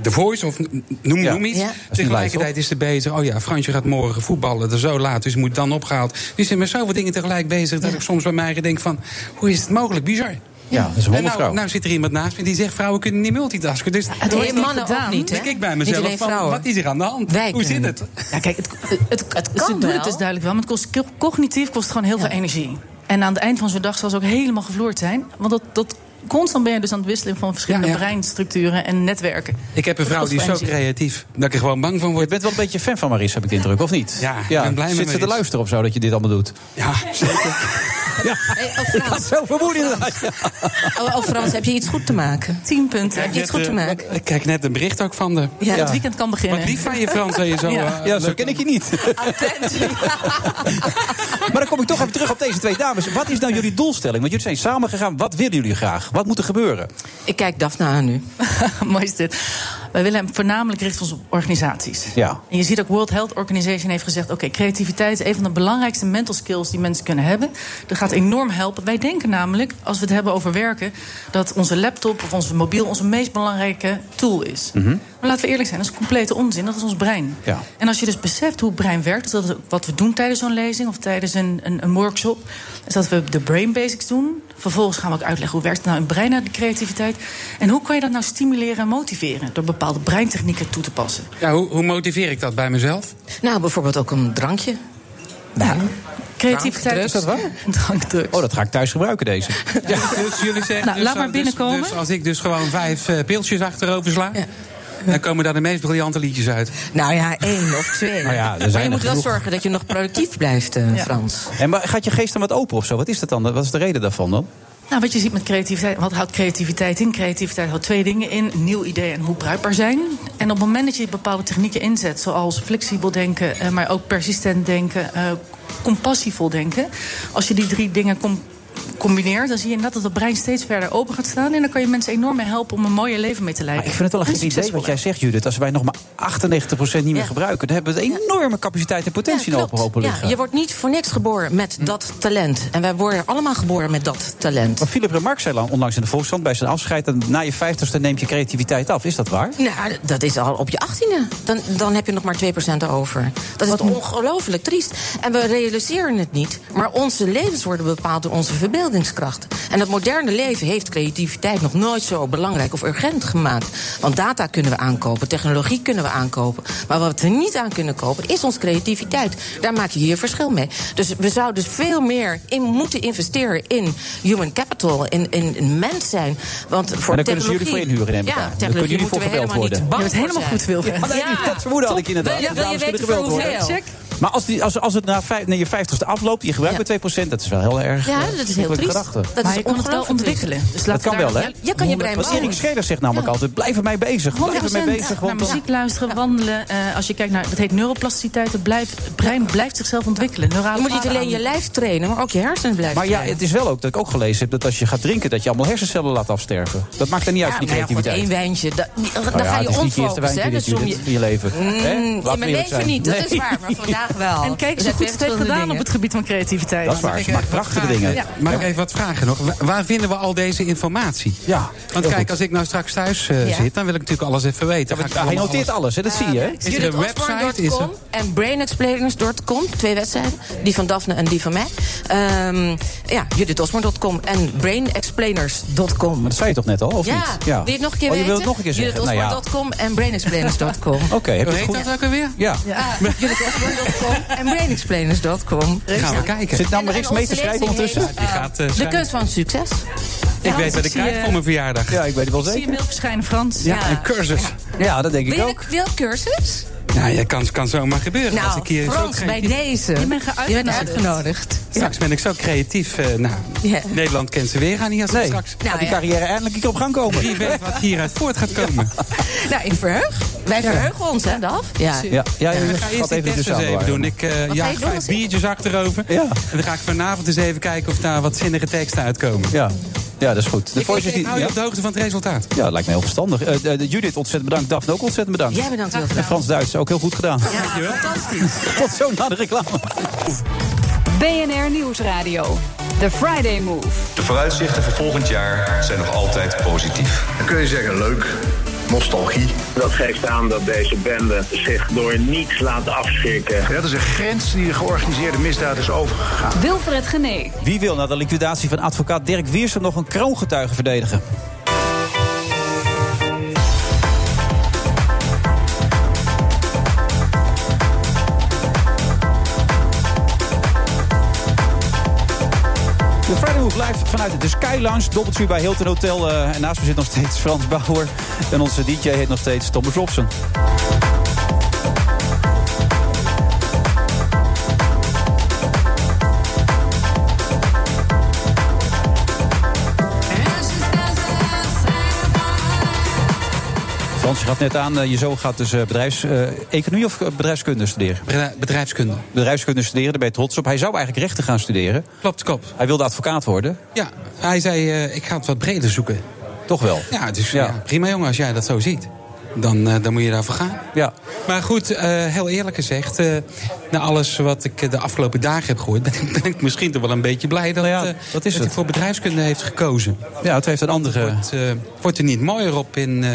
S7: The Voice of n- noem,
S6: Ja.
S7: noem iets.
S8: Ja. Dat is
S6: niet
S7: Tegelijkertijd is ze bezig, oh ja, Fransje gaat morgen voetballen, dat is zo laat, dus moet dan opgehaald. Dus ze is met zoveel dingen tegelijk bezig dat ik soms bij mij denk van, hoe is het mogelijk? Bizar.
S6: Ja, dat is een
S7: En nou,
S6: wondervrouw.
S7: nou zit er iemand naast me die zegt, vrouwen kunnen niet multitasken. Dus
S8: Het
S7: dan
S8: heeft mannen
S9: gedaan.
S8: ook niet, hè?
S7: denk ik bij
S8: Niet
S7: mezelf,
S8: alleen
S7: van,
S8: vrouwen.
S7: wat is er aan de hand?
S8: Wij
S7: Hoe zit
S8: kunnen
S7: het?
S9: Ja, kijk, het, het, het
S8: kan
S9: ze doen
S8: wel.
S9: het dus duidelijk wel, maar het kost, co- cognitief kost het gewoon heel veel energie. En aan het eind van zo'n dag zal ze ook helemaal gevloerd zijn. Want dat, dat, constant ben je dus aan het wisselen van verschillende
S7: Ja, ja.
S9: breinstructuren en netwerken.
S7: Ik heb een
S9: Dat
S7: vrouw
S9: kost
S7: die is zo
S9: wel energie.
S7: creatief dat ik er gewoon bang van
S6: Je
S7: word.
S6: bent wel een beetje fan van Maris, heb ik de indruk, of niet?
S7: Ja, ik ben blij met
S6: Zit ze te
S7: Maris.
S6: luisteren of zo, dat je dit allemaal doet?
S7: Ja, zeker.
S8: Hey, oh, Frans,
S6: Zo vermoedend.
S8: oh, oh, Frans, heb je iets goed te maken?
S9: Tien punten.
S8: Heb je iets goed te maken?
S7: eh, Ik krijg net een bericht ook van de.
S8: Ja,
S9: Het weekend kan
S7: Wat
S9: beginnen.
S7: lief van je Frans dat je zo.
S9: Ja.
S7: eh,
S6: Ja, zo ken ik je niet. maar dan kom ik toch even terug op deze twee dames. Wat is nou jullie doelstelling? Want jullie zijn samen gegaan. Wat willen jullie graag? Wat moet er gebeuren?
S8: Ik kijk Daphne aan nu.
S9: Mooi is dit. Wij willen hem voornamelijk richten ons op organisaties.
S6: Ja.
S9: En je ziet ook World Health Organization heeft gezegd... oké, creativiteit is een van de belangrijkste mental skills die mensen kunnen hebben. Dat gaat enorm helpen. Wij denken namelijk, als we het hebben over werken... dat onze laptop of onze mobiel onze meest belangrijke tool is. Maar laten we eerlijk zijn, dat is complete onzin. Dat is ons brein.
S6: Mhm. Ja.
S9: En als je dus beseft hoe het brein werkt... dus dat is ook wat we doen tijdens zo'n lezing of tijdens een, een, een workshop... is dat we de brain basics doen. Vervolgens gaan we ook uitleggen hoe werkt het nou in het brein naar de creativiteit... en hoe kan je dat nou stimuleren en motiveren... door bepaalde breintechnieken toe te passen.
S7: ja, hoe, hoe motiveer ik dat bij mezelf?
S8: Nou, bijvoorbeeld ook een drankje. Ja.
S9: Creativiteit
S8: Drankdrugs.
S9: is drankdrugs.
S6: Oh, dat ga ik thuis gebruiken, deze.
S7: Dus jullie zeggen
S9: Nou,
S7: dus
S9: laat
S7: zo-
S9: maar binnenkomen.
S7: Dus, dus als ik dus gewoon vijf eh, pilsjes achterover sla... dan komen daar de meest briljante liedjes uit.
S8: Nou ja, één of twee.
S6: Nou ja, er zijn
S8: maar je
S6: er
S8: moet wel
S6: genoeg.
S8: zorgen dat je nog productief blijft, eh,
S9: Ja.
S8: Frans.
S6: En maar gaat je geest dan wat open of zo? Wat is dat dan? Wat is de reden daarvan dan?
S9: Nou, wat je ziet met creativiteit, wat houdt creativiteit in? Creativiteit houdt twee dingen in: een nieuw idee en hoe bruikbaar zijn. En op het moment dat je bepaalde technieken inzet, zoals flexibel denken, eh, maar ook persistent denken, eh, compassievol denken, als je die drie dingen com- combineert, dan zie je inderdaad dat het brein steeds verder open gaat staan. En dan kan je mensen enorm mee helpen om een mooier leven mee te leiden.
S6: Maar ik vind het wel een
S9: En
S6: gek idee wat
S9: succesvoller.
S6: jij zegt, Judith. Als wij nog maar 98% niet meer
S8: Ja.
S6: gebruiken, dan hebben we een enorme capaciteit en potentie
S8: Ja,
S6: nog
S8: klopt.
S6: open
S8: ja,
S6: liggen.
S8: je wordt niet voor niks geboren met dat talent. En wij worden allemaal geboren met dat talent.
S6: Maar Philip Remarque zei lang- onlangs in de Volkskrant bij zijn afscheid... dat na je 50ste neemt je creativiteit af. Is dat waar?
S8: Nou, dat is al op je achttiende. Dan, dan heb je nog maar 2% over. Dat is ongelooflijk triest. En we realiseren het niet. Maar onze levens worden bepaald door onze verbeeldingskracht. En dat moderne leven heeft creativiteit nog nooit zo belangrijk of urgent gemaakt. Want data kunnen we aankopen, technologie kunnen we aankopen. Maar wat we niet aan kunnen kopen, is onze creativiteit. Daar maak je hier verschil mee. Dus we zouden veel meer in moeten investeren in human capital, in, in, in mens zijn. Want voor
S6: En daar kunnen ze jullie
S8: technologie-
S6: voor inhuren, neem ik aan.
S8: Ja,
S6: Daar kunnen
S8: technologie
S6: jullie voor
S8: moeten we
S6: gebeld
S8: helemaal
S6: worden.
S8: niet
S9: Je
S8: bang
S9: bent
S8: voor
S9: helemaal
S8: zijn.
S9: goed, Wilfred.
S6: Ah, nee,
S8: Ja.
S6: Dat vermoeden had ik
S8: Top.
S6: inderdaad.
S8: Wil je- wil je
S6: Dames kunnen
S8: weten
S6: gebeld
S8: voor
S6: worden.
S8: hoeveel?
S9: Check.
S6: Maar als, die, als, als het na, vijf, nee, je 50ste afloopt, je gebruikt maar 2%, dat is wel heel erg.
S8: Ja,
S6: eh,
S8: dat is heel
S6: verschrikkelijke
S8: triest.
S6: gedachte.
S8: Dat
S9: Maar
S8: is
S9: je kan het wel
S8: ongelooflijk
S9: ontwikkelen. Dus
S6: Dat kan wel, hè?
S8: triest. Ja, je kan je brein
S6: Want Erik
S8: bouwen.
S6: Scheder zegt namelijk altijd, blijf ermee bezig. Blijf
S9: 100%
S6: ermee bezig,
S9: naar
S6: want dan-
S9: muziek luisteren, wandelen. eh, als je kijkt naar, dat heet neuroplasticiteit. Het, blijft, het brein blijft zichzelf ontwikkelen. Neurale
S8: Je moet niet
S9: paden
S8: alleen je
S9: aan-
S8: lijf trainen, maar ook je hersenen blijven
S6: Maar ja,
S8: trainen.
S6: het is wel ook dat ik ook gelezen heb dat als je gaat drinken, dat je allemaal hersencellen laat afsterven. Dat maakt er niet uit
S8: Ja,
S6: voor die
S8: nou ja, goed,
S6: creativiteit.
S8: één wijntje. Da, die- dan
S6: Nou ja,
S8: ga
S6: het
S8: je
S6: is niet je eerste
S8: onfocus,
S6: wijntje
S8: hè?
S6: dit,
S8: Dus om je...
S6: Judith, in je leven. Hè?
S8: Mm,
S6: Laten we
S8: in mijn
S6: eerlijk
S8: leven
S6: zijn.
S8: niet, dat
S6: Nee.
S8: is waar, maar vandaag wel.
S9: En kijk
S8: Er
S9: eens goed wat
S8: zijn twee
S9: heeft
S8: verschillende
S9: gedaan
S8: dingen.
S9: op het gebied van creativiteit.
S6: Dat is waar, ze
S8: eh,
S6: maakt prachtige dingen.
S9: Ja.
S7: Mag ik even wat vragen nog? Wa- Waar vinden we al deze informatie?
S6: Ja, heel
S7: Want kijk,
S6: goed.
S7: als ik nou straks thuis eh,
S8: Ja. Eh,
S7: zit, dan wil ik natuurlijk alles even weten. Ga ik
S6: Hij
S7: allemaal
S6: noteert
S7: alles-
S6: alles, hè? dat zie je. hè?
S7: Is er een website? Is er...
S8: Brainexplainers.com
S6: eh,
S8: en brainexplainers.com. Twee wedstrijden. Die van Daphne en die van mij. Ehm ja, judithosmar.com en brainexplainers.com.
S6: Maar dat zei je toch net al, of
S8: Ja,
S6: niet?
S8: wil je het nog een keer
S6: oh, je
S8: weten?
S6: wil het nog een keer zeggen. Nou ja. Oké,
S8: judithosmar.com en brainexplainers.com.
S6: heb
S7: Hoe
S6: je het
S7: heet
S6: goed?
S7: dat ook alweer?
S6: Ja.
S8: Ah, judithosmar.com en brainexplainers.com.
S7: Gaan we kijken.
S6: Zit nou maar
S8: En-
S6: eens
S8: en
S6: mee
S8: onze
S6: te schrijven
S8: lezing
S6: ondertussen?
S8: heet,
S7: Die
S8: eh,
S7: gaat, eh,
S8: de
S7: schrijven.
S8: kunst van succes.
S7: Ik weet wat ik
S9: Ik zie,
S7: krijg
S9: eh,
S7: voor mijn verjaardag.
S6: Ja, ik weet het wel
S9: Zie je
S6: zeker.
S9: mail verschijnen, Frans?
S7: Ja, een cursus.
S6: Ja, dat denk ik
S8: Wil je
S6: ook.
S8: wil je een cursus?
S7: Nou, ja, kan, kan zomaar gebeuren. als
S8: Nou,
S7: ik hier zo
S8: Frans,
S7: geen-
S8: bij deze.
S9: Je bent geuit-
S8: Je bent uitgenodigd.
S7: Straks ben ik zo creatief. eh, nou,
S8: Ja.
S7: Nederland kent ze weer aan hier als we
S6: Nee,
S7: straks.
S6: gaat die
S8: Nou ja.
S6: carrière eindelijk een keer op gang komen.
S7: Wie weet wat hieruit voort gaat komen.
S8: Nou, ik verheug. Wij verheugen ons, hè, Daf? Ja.
S6: Ja, ja, ja,
S7: Ik
S6: dat
S7: ga eerst
S6: gaat
S7: die
S6: even
S7: test eens
S6: tussen
S7: even doen.
S6: aan.
S7: Ik eh
S8: ga je
S7: jaag
S8: doen
S7: vijf
S8: als-
S7: biertjes achterover.
S6: Ja.
S7: En dan ga ik vanavond eens even kijken of daar wat zinnige teksten uitkomen.
S6: Ja. ja, dat is goed. De
S7: Ik, ik,
S6: voices
S7: ik
S6: die...
S7: hou je
S6: Ja?
S7: op de hoogte van het resultaat.
S6: Ja, dat lijkt me heel verstandig. Eh, eh, Judith, ontzettend bedankt. Daphne ook ontzettend bedankt.
S8: Jij bedankt, Wilfred.
S6: En Frans Duits, ook heel goed gedaan.
S8: Ja, fantastisch.
S6: Tot zo na de reclame.
S2: BNR Nieuwsradio. The Friday Move.
S3: De vooruitzichten voor volgend jaar zijn nog altijd positief.
S4: Dan kun je zeggen, leuk, nostalgie.
S5: Dat geeft aan dat deze bende zich door niets laat afschrikken.
S4: Ja, dat is een grens die de georganiseerde misdaad is overgegaan.
S2: Wilfred Genee.
S6: Wie wil na de liquidatie van advocaat Dirk Wiersum nog een kroongetuige verdedigen? De Friday Move live vanuit de Sky Lounge, dobbeltje bij Hilton Hotel. eh, en naast me zit nog steeds Frans Bauer. En onze DJ heet nog steeds Thomas Robson. Frans, je gaat net aan, eh, je zoon gaat dus eh, bedrijfs, eh, economie of eh, bedrijfskunde studeren?
S7: Bedra- Bedrijfskunde.
S6: bedrijfskunde studeren, daar ben je trots op. Hij zou eigenlijk rechten gaan studeren.
S7: Klopt, klopt.
S6: Hij wilde advocaat worden,
S7: Ja, hij zei, eh, ik ga het wat breder zoeken.
S6: toch wel?
S7: Ja, dus
S6: Ja.
S7: ja. prima jongen, als jij dat zo ziet. Dan, eh, dan moet je daarvoor gaan.
S6: Ja.
S7: Maar goed, eh, heel eerlijk gezegd, eh, na alles wat ik eh, de afgelopen dagen heb gehoord, ben ik, ben ik misschien toch wel een beetje blij dat,
S6: Nou ja,
S7: eh,
S6: dat is het.
S7: hij voor bedrijfskunde heeft gekozen.
S6: Ja, het heeft een andere...
S7: Het eh, wordt er niet mooier op in eh,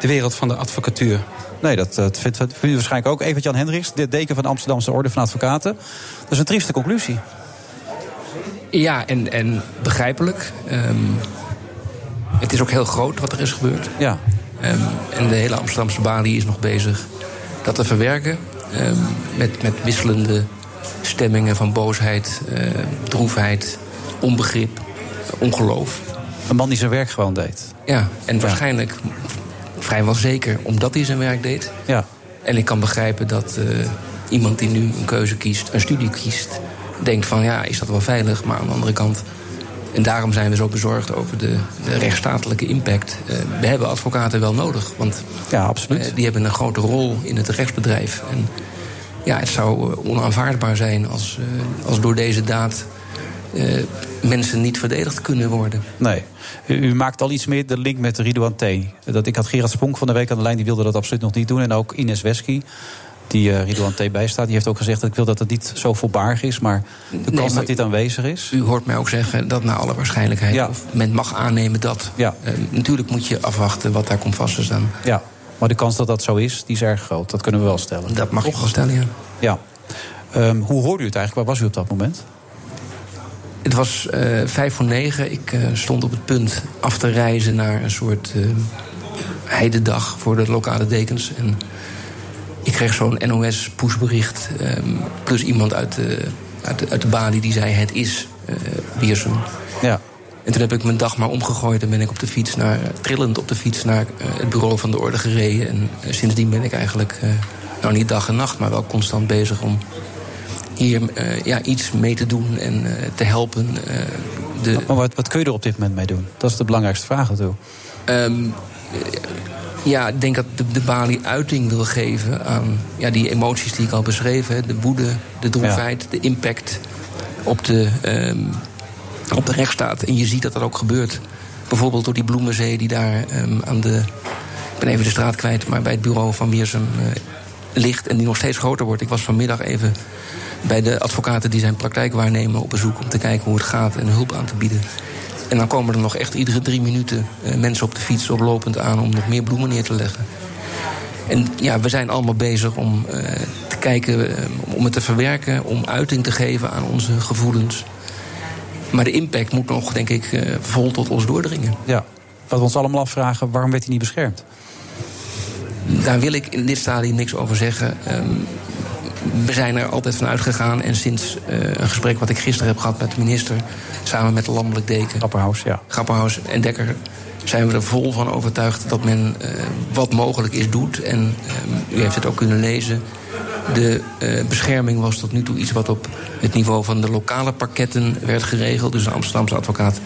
S7: de wereld van de advocatuur.
S6: Nee, dat, dat vindt vindt u waarschijnlijk ook. Evert-Jan Hendricks, de deken van de Amsterdamse Orde van Advocaten. Dat is een trieste conclusie.
S10: Ja, en, en begrijpelijk. Ehm, het is ook heel groot wat er is gebeurd.
S6: Ja.
S10: Ehm, en de hele Amsterdamse balie is nog bezig dat te verwerken. ehm, met, met wisselende stemmingen van boosheid, eh, droefheid, onbegrip, ongeloof.
S6: Een man die zijn werk gewoon deed.
S10: Ja, en waarschijnlijk vrijwel zeker omdat hij zijn werk deed.
S6: Ja.
S10: En ik kan begrijpen dat eh, iemand die nu een keuze kiest, een studie kiest, denkt van ja, is dat wel veilig? Maar aan de andere kant. En daarom zijn we zo bezorgd over de, de rechtsstatelijke impact. Eh, we hebben advocaten wel nodig, want eh,
S6: ja, absoluut.
S10: die hebben een grote rol in het rechtsbedrijf. En ja, het zou eh, onaanvaardbaar zijn als, eh, als door deze daad eh, mensen niet verdedigd kunnen worden.
S6: Nee. U, u maakt al iets meer de link met Ridouan T. Dat, ik had Gerard Spronk van de week aan de lijn, die wilde dat absoluut nog niet doen. En ook Ines Wesky, die eh Ridouan T bijstaat, die heeft ook gezegd... dat ik wil dat het niet zo volbaar is, maar de kans
S10: maar
S6: dat dit aanwezig is...
S10: U hoort mij ook zeggen dat naar alle waarschijnlijkheid. Of men mag aannemen dat. Eh, natuurlijk moet je afwachten wat daar komt vast te staan.
S6: Ja, maar de kans dat dat zo is, die is erg groot. Dat kunnen we wel stellen.
S10: Dat mag ik wel stellen, ja.
S6: Ja. Ehm, hoe hoorde u het eigenlijk? Waar was u op dat moment?
S10: Het was eh, vijf voor negen. Ik eh, stond op het punt af te reizen naar een soort eh heidendag voor de lokale dekens. En ik kreeg zo'n NOS-pushbericht. ehm, plus iemand uit de, uit, de, uit de balie die zei: Het is eh Biersum.
S6: Ja.
S10: En toen heb ik mijn dag maar omgegooid en ben ik op de fiets naar, trillend op de fiets naar eh, het bureau van de orde gereden. En eh, sindsdien ben ik eigenlijk, eh, nou niet dag en nacht, maar wel constant bezig om hier eh, ja, iets mee te doen en eh, te helpen. eh, de,
S6: Maar wat, wat kun je er op dit moment mee doen? Dat is de belangrijkste vraag natuurlijk.
S10: Ehm, eh, ja, ik denk dat de, de balie uiting wil geven aan ja, die emoties die ik al beschreven heb. De woede, de droefheid, de impact op de, ehm, op de rechtsstaat. En je ziet dat dat ook gebeurt. Bijvoorbeeld door die bloemenzee die daar ehm, aan de... Ik ben even de straat kwijt, maar bij het bureau van Wiersum eh, ligt... en die nog steeds groter wordt. Ik was vanmiddag even bij de advocaten die zijn praktijk waarnemen op bezoek... om te kijken hoe het gaat en hulp aan te bieden. En dan komen er nog echt iedere drie minuten eh, mensen op de fiets oplopend aan om nog meer bloemen neer te leggen. En ja, we zijn allemaal bezig om eh, te kijken, eh, om het te verwerken, om uiting te geven aan onze gevoelens. Maar de impact moet nog, denk ik, eh, vol tot ons doordringen.
S6: Ja. Wat we ons allemaal afvragen, waarom werd hij niet beschermd?
S10: Daar wil ik in dit stadium niks over zeggen. Ehm, we zijn er altijd van uitgegaan. En sinds eh, een gesprek wat ik gisteren heb gehad met de minister... samen met de landelijk deken...
S6: Grapperhaus, ja.
S10: Grapperhaus en Dekker zijn we er vol van overtuigd... dat men eh, wat mogelijk is doet. En ehm, u heeft het ook kunnen lezen. De eh, bescherming was tot nu toe iets wat op het niveau van de lokale pakketten werd geregeld. Dus een Amsterdamse advocaat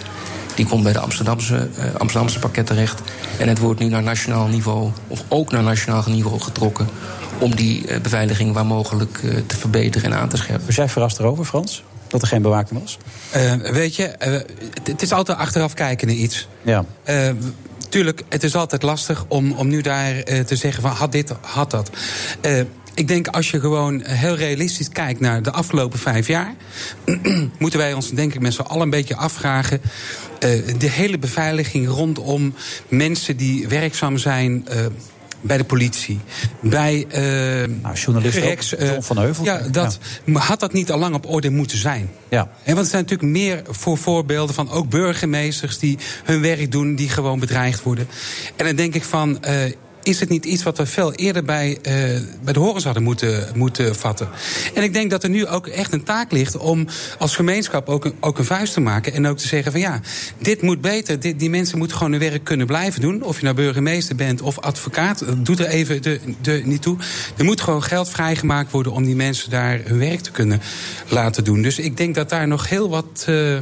S10: die komt bij de Amsterdamse, eh, Amsterdamse pakket terecht. En het wordt nu naar nationaal niveau, of ook naar nationaal niveau getrokken... om die eh, beveiliging waar mogelijk eh, te verbeteren en aan te scherpen.
S6: Was jij verrast erover, Frans? Dat er geen bewaking was?
S7: Eh, weet je, eh, het- het is altijd achteraf kijken naar iets.
S6: Ja.
S7: Eh, tuurlijk, het is altijd lastig om, om nu daar eh, te zeggen van had dit, had dat. Eh, ik denk als je gewoon heel realistisch kijkt naar de afgelopen vijf jaar, moeten wij ons denk ik met z'n allen een beetje afvragen. eh, de hele beveiliging rondom mensen die werkzaam zijn. eh, bij de politie, bij eh
S6: Nou, journalist ook,
S7: gerecks, eh,
S6: John van Heuvel.
S7: Ja, dat, maar had dat niet al lang op orde moeten zijn?
S6: Ja.
S7: En want er zijn natuurlijk meer voor voorbeelden van ook burgemeesters die hun werk doen, die gewoon bedreigd worden. En dan denk ik van. eh, is het niet iets wat we veel eerder bij, eh, bij de horens hadden moeten, moeten vatten? En ik denk dat er nu ook echt een taak ligt om als gemeenschap ook een, ook een vuist te maken. En ook te zeggen van ja, dit moet beter. Dit, die mensen moeten gewoon hun werk kunnen blijven doen. Of je nou burgemeester bent of advocaat, dat doet er even de, de, niet toe. Er moet gewoon geld vrijgemaakt worden om die mensen daar hun werk te kunnen laten doen. Dus ik denk dat daar nog heel wat. eh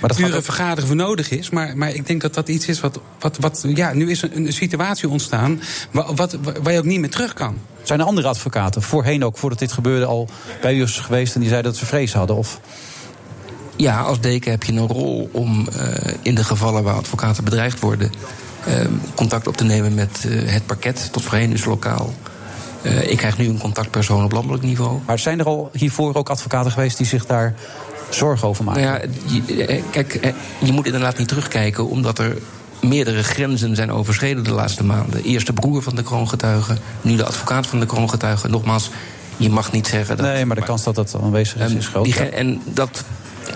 S6: dat gaat
S7: dure
S6: ook-
S7: vergaderen voor nodig is. Maar, maar ik denk dat dat iets is wat. wat, wat ja, nu is een, een situatie ontstaan wa- wat, wa- waar je ook niet meer terug kan.
S6: Zijn er andere advocaten, voorheen ook, voordat dit gebeurde, al bij u geweest en die zeiden dat ze vrees hadden? Of
S10: Ja, als deken heb je een rol om eh, in de gevallen waar advocaten bedreigd worden... eh, contact op te nemen met eh, het pakket, tot voorheen dus lokaal. Eh, ik krijg nu een contactpersoon op landelijk niveau.
S6: Maar zijn er al hiervoor ook advocaten geweest die zich daar zorgen over maken?
S10: Nou ja, je- eh, kijk, eh, je moet inderdaad niet terugkijken, omdat er meerdere grenzen zijn overschreden de laatste maanden. Eerst de broer van de kroongetuige, nu de advocaat van de kroongetuige. Nogmaals, je mag niet zeggen dat. Ehm,
S6: nee, maar de kans dat dat aanwezig is, is groot.
S10: Die gren- en dat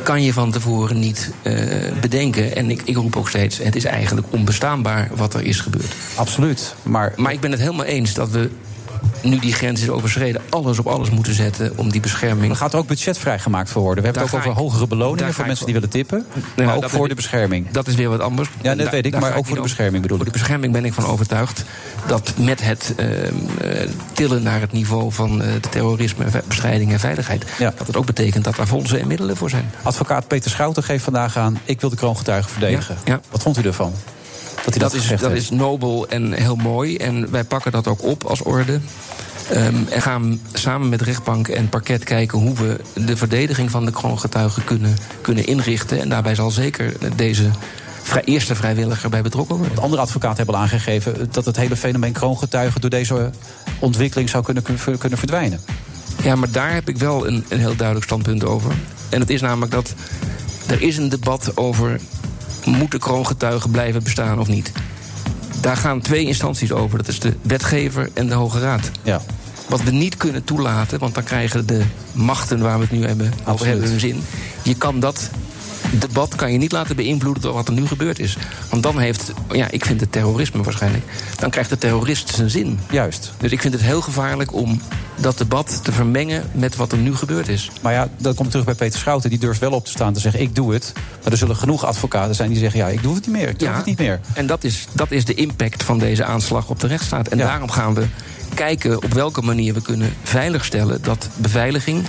S10: kan je van tevoren niet eh, bedenken. En ik, ik roep ook steeds, het is eigenlijk onbestaanbaar wat er is gebeurd.
S6: Absoluut. Maar,
S10: maar ik ben het helemaal eens dat we nu die grens is overschreden, alles op alles moeten zetten om die bescherming.
S6: Dan gaat er ook budget vrijgemaakt voor worden. We hebben
S10: Daar
S6: het ook
S10: ga
S6: over
S10: ik-
S6: hogere
S10: daar
S6: beloningen
S10: ga
S6: voor
S10: ik
S6: mensen
S10: wel.
S6: die willen tippen.
S10: Nou,
S6: maar ook
S10: dat
S6: voor
S10: heb
S6: de
S10: ik-
S6: bescherming.
S10: Dat is weer wat anders.
S6: Ja, dat
S10: Daar-
S6: weet ik,
S10: daar
S6: maar
S10: ga
S6: ook voor de
S10: niet over.
S6: bescherming bedoel
S10: Voor de bescherming ben ik van overtuigd dat met het ehm, eh, tillen naar het niveau van eh, de terrorisme, ve- bestrijding en veiligheid, dat het ook betekent dat daar fondsen en middelen voor zijn.
S6: Advocaat Peter Schouten geeft vandaag aan... ik wil de kroongetuigen verdedigen. Wat vond u ervan? Dat hij dat,
S10: is,
S6: gezegd
S10: dat
S6: heeft?
S10: is nobel en heel mooi. En wij pakken dat ook op als orde. Ehm, en gaan samen met rechtbank en parket kijken hoe we de verdediging van de kroongetuigen kunnen, kunnen inrichten. En daarbij zal zeker deze vrij, eerste vrijwilliger bij betrokken worden.
S6: Andere advocaten hebben al aangegeven dat het hele fenomeen kroongetuigen door deze ontwikkeling zou kunnen, kunnen verdwijnen.
S10: Ja, maar daar heb ik wel een, een heel duidelijk standpunt over. En dat is namelijk dat er is een debat over... moeten kroongetuigen blijven bestaan of niet? Daar gaan twee instanties over. Dat is de wetgever en de Hoge Raad.
S6: Ja.
S10: Wat we niet kunnen toelaten, want dan krijgen de machten waar we het nu hebben... over hebben hun zin. Je kan dat debat kan je niet laten beïnvloeden door wat er nu gebeurd is. Want dan heeft, ja, ik vind het terrorisme waarschijnlijk... dan krijgt de terrorist zijn zin.
S6: Juist.
S10: Dus ik vind het heel gevaarlijk om dat debat te vermengen met wat er nu gebeurd is.
S6: Maar ja, dat komt terug bij Peter Schouten. Die durft wel op te staan te zeggen, ik doe het. Maar er zullen genoeg advocaten zijn die zeggen... ja, ik doe het niet meer, ik doe
S10: Ja.
S6: het niet meer.
S10: En dat is, dat is de impact van deze aanslag op de rechtsstaat. En daarom gaan we kijken op welke manier we kunnen veiligstellen dat beveiliging.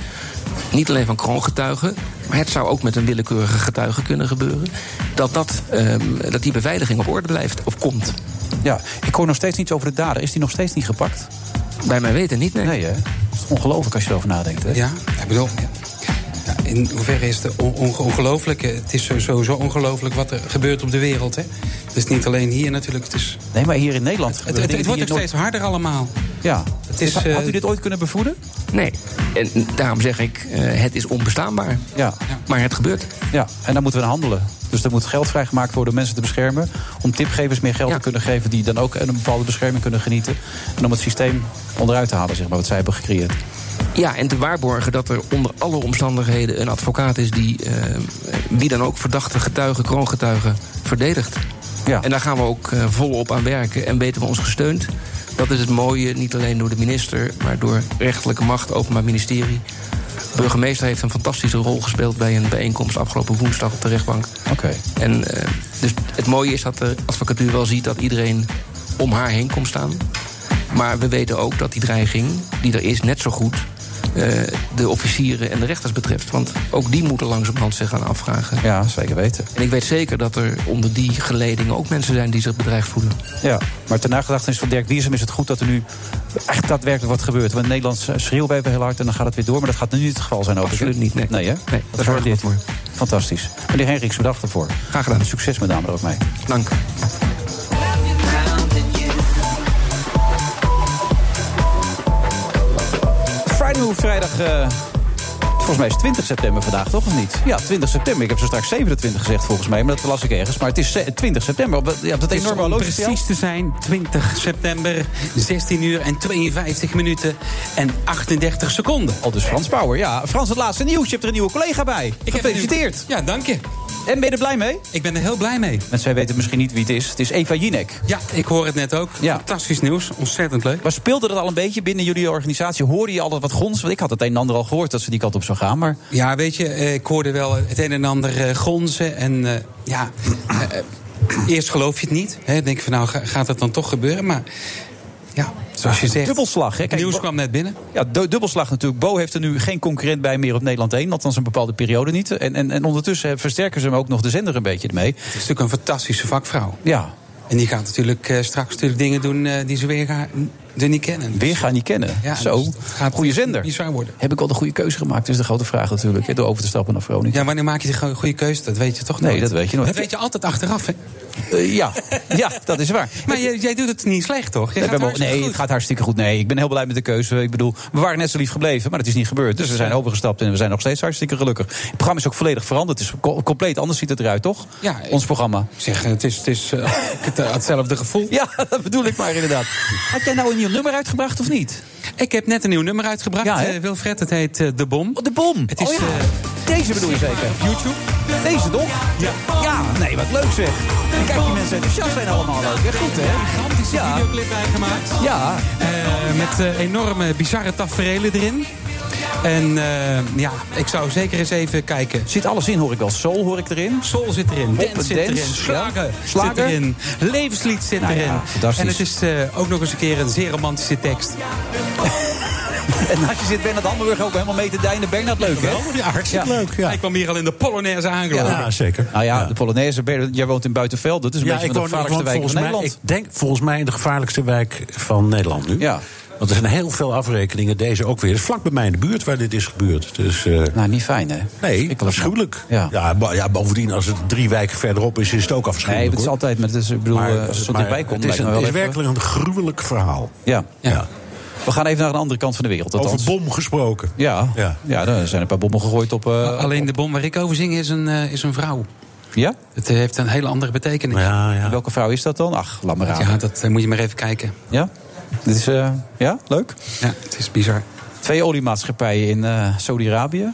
S10: Niet alleen van kroongetuigen, maar het zou ook met een willekeurige getuige kunnen gebeuren. Dat, dat, ehm, dat die beveiliging op orde blijft of komt.
S6: Ja, ik hoor nog steeds niets over de dader. Is die nog steeds niet gepakt?
S10: Bij mij weten niet, nee.
S6: Nee, hè? Dat is ongelooflijk als je erover nadenkt, hè?
S7: Ja, ik bedoel. ja. Ja, In hoeverre is het on- onge- ongelooflijk? Eh, Het is sowieso ongelooflijk wat er gebeurt op de wereld. Hè? Het is niet alleen hier natuurlijk. Het is...
S6: Nee, maar hier in Nederland.
S7: Het, het, het wordt ook steeds harder allemaal.
S6: Ja.
S7: Het is, eh,
S6: Had u dit ooit kunnen bevoeden?
S10: Nee. En daarom zeg ik, eh, het is onbestaanbaar.
S6: Ja.
S10: Maar het gebeurt.
S6: Ja, en daar moeten we aan handelen. Dus er moet geld vrijgemaakt worden om mensen te beschermen. Om tipgevers meer geld te kunnen geven die dan ook een bepaalde bescherming kunnen genieten. En om het systeem onderuit te halen, zeg maar, wat zij hebben gecreëerd.
S10: Ja, en te waarborgen dat er onder alle omstandigheden een advocaat is die eh, wie dan ook verdachte getuigen, kroongetuigen verdedigt.
S6: Ja.
S10: En daar gaan we ook eh, volop aan werken en weten we ons gesteund. Dat is het mooie, niet alleen door de minister, maar door rechterlijke macht, Openbaar Ministerie. De burgemeester heeft een fantastische rol gespeeld bij een bijeenkomst afgelopen woensdag op de rechtbank.
S6: Oké.
S10: En eh, dus het mooie is dat de advocatuur wel ziet dat iedereen om haar heen komt staan. Maar we weten ook dat die dreiging die er is, net zo goed eh, de officieren en de rechters betreft. Want ook die moeten langzamerhand zich gaan afvragen.
S6: Ja, zeker weten.
S10: En ik weet zeker dat er onder die geledingen ook mensen zijn die zich bedreigd voelen.
S6: Ja, maar ten nagedachtenis van Dirk Wiersum is het goed dat er nu echt daadwerkelijk wat gebeurt. Want in Nederland schreeuwen wij heel hard en dan gaat het weer door. Maar dat gaat nu niet het geval zijn, overigens.
S10: Absoluut niet, nee.
S6: Nee, hè?
S10: Nee,
S6: dat
S10: daar zorgen we voor.
S6: Fantastisch. Meneer Henriks, bedankt ervoor.
S10: Graag gedaan.
S6: Succes met name er ook mee.
S10: Dank.
S6: Friday Move vrijdag. eh, Volgens mij is het 20 september vandaag, toch of niet? Ja, 20 september. Ik heb zo straks 27 gezegd volgens mij, maar dat las ik ergens. Maar het is ze- 20 september. Op dat- Ja, op dat
S7: Het is
S6: enorme
S7: om
S6: horloge.
S7: precies te zijn, 20 september, 16 uur en 52 minuten en 38 seconden.
S6: Al dus Frans Bauer. Ja, Frans, het laatste nieuws. Je hebt er een nieuwe collega bij. Gefeliciteerd.
S7: Ja, dank je.
S6: En ben je er blij mee?
S7: Ik ben er heel blij mee.
S6: Mensen weten misschien niet wie het is. Het is Eva Jinek.
S7: Ja, ik hoor het net ook.
S6: Ja.
S7: Fantastisch nieuws. Ontzettend leuk.
S6: Maar speelde dat al een beetje binnen jullie organisatie? Hoorde je altijd wat gons? Want ik had het een en ander al gehoord dat ze die kant op zou gaan. Maar
S7: Ja, weet je, eh, ik hoorde wel het een en ander eh, gonzen. En eh, ja, eh, eh, eerst geloof je het niet. Hè, denk je van nou, ga- gaat dat dan toch gebeuren? Maar ja, zoals je zegt,
S6: dubbelslag, hè?
S7: het
S6: Kijk,
S7: nieuws kwam net binnen.
S6: Ja, du- dubbelslag natuurlijk. Bo heeft er nu geen concurrent bij meer op Nederland 1. Althans een bepaalde periode niet. En, en, en ondertussen eh, versterken ze hem ook nog de zender een beetje ermee.
S7: Het is natuurlijk een fantastische vakvrouw.
S6: Ja,
S7: En die gaat natuurlijk eh, straks natuurlijk dingen doen eh, die ze weer ga- er niet kennen.
S6: weer gaan niet kennen.
S7: Ja,
S6: Zo,
S7: dus dat gaat
S6: goede zender.
S7: bizar worden.
S6: Heb ik al de goede keuze gemaakt? Dat is de grote vraag natuurlijk. hè, Door over te stappen naar Veronica.
S7: Ja, wanneer maak je de go- goede keuze? Dat weet je toch
S6: Nee,
S7: nooit?
S6: dat weet je nooit.
S7: Dat weet je altijd achteraf, hè?
S6: Eh, ja. ja, dat is waar.
S7: Maar jij, jij doet het niet slecht, toch? Jij
S6: Nee,
S7: gaat
S6: we mogen-
S7: hartstikke
S6: nee,
S7: goed.
S6: het gaat hartstikke goed. Nee, ik ben heel blij met de keuze. Ik bedoel, we waren net zo lief gebleven, maar het is niet gebeurd. Dus we zijn overgestapt en we zijn nog steeds hartstikke gelukkig. Het programma is ook volledig veranderd. Het is co- compleet anders ziet het eruit, toch?
S7: Ja, ik-
S6: Ons programma.
S7: Ik Zeg, het is, het is eh, het, eh, hetzelfde gevoel.
S6: Ja, dat bedoel ik maar inderdaad. Had jij nou een nieuw nummer uitgebracht of niet?
S7: Ik heb net een nieuw nummer uitgebracht,
S6: Ja, hè?
S7: eh, Wilfred. Het heet eh, De Bom.
S6: Oh, de bom.
S7: Het is,
S6: Oh ja.
S7: eh,
S6: Deze bedoel je zeker.
S7: YouTube.
S6: Deze toch? Ja. Ja, nee, wat leuk zeg. En kijk, die mensen enthousiast zijn allemaal ook. Echt goed, hè?
S7: Gigantische
S6: Ja.
S7: videoclip bijgemaakt.
S6: Ja.
S7: Eh, met eh, enorme bizarre tafereelen erin. En eh, ja, ik zou zeker eens even kijken.
S6: Zit alles in, hoor ik wel. Soul hoor ik erin.
S7: Soul zit erin,
S6: Hop,
S7: dance zit
S6: dance,
S7: erin,
S6: ja.
S7: slagen zit
S6: Slager.
S7: erin, levenslied zit
S6: Nou ja,
S7: erin.
S6: fantastisch.
S7: en het is eh, ook nog eens een keer een zeer romantische tekst.
S6: En als je zit Bernard Hamburg ook helemaal mee te deinen. Bernard, leuk, hè?
S11: Ja, hartstikke leuk. Ja.
S7: Hij kwam hier al in de Polonaise aangelopen.
S11: Ja, zeker.
S6: Nou ja, de Polonaise, Bernard, jij woont in Buitenveld. Dat is een
S11: Ja,
S6: beetje
S11: ik
S6: van
S11: woon,
S6: de
S11: ik
S6: gevaarlijkste
S11: woon
S6: wijk van
S11: volgens mij,
S6: Nederland.
S11: ik denk volgens mij in de gevaarlijkste wijk van Nederland nu.
S6: Ja.
S11: Want er zijn heel veel afrekeningen, deze ook weer. Het is vlak bij mij in de buurt waar dit is gebeurd. Dus, eh,
S6: Nou, niet fijn, hè?
S11: nee,
S6: Verschrikkelijk, man.
S11: afschuwelijk.
S6: Ja.
S11: Ja, bo- ja, bovendien, als het drie wijken verderop is, is het ook
S6: Nee,
S11: afschuwelijk.
S6: het is
S11: hoor.
S6: altijd, maar het is, ik bedoel,
S11: Maar-
S6: eh, als het zo
S11: maar
S6: dichtbij komt,
S11: het is,
S6: lijkt me
S11: een,
S6: wel
S11: het is
S6: even-
S11: werkelijk een gruwelijk verhaal.
S6: Ja.
S11: Ja.
S6: We gaan even naar een andere kant van de wereld.
S11: Over
S6: Althans.
S11: bom gesproken.
S6: Ja. Ja.
S11: Ja.
S6: er zijn een paar bommen gegooid op. eh,
S7: Alleen de bom waar ik over zing is een, eh, is een vrouw.
S6: Ja?
S7: Het heeft een hele andere betekenis. Ja,
S11: Ja, ja.
S6: Welke vrouw is dat dan? Ach, laat maar raden. Ja?
S7: dat eh, moet je maar even kijken.
S6: Dit is, eh, ja, leuk.
S7: Ja, het is bizar.
S6: Twee oliemaatschappijen in eh, Saudi-Arabië.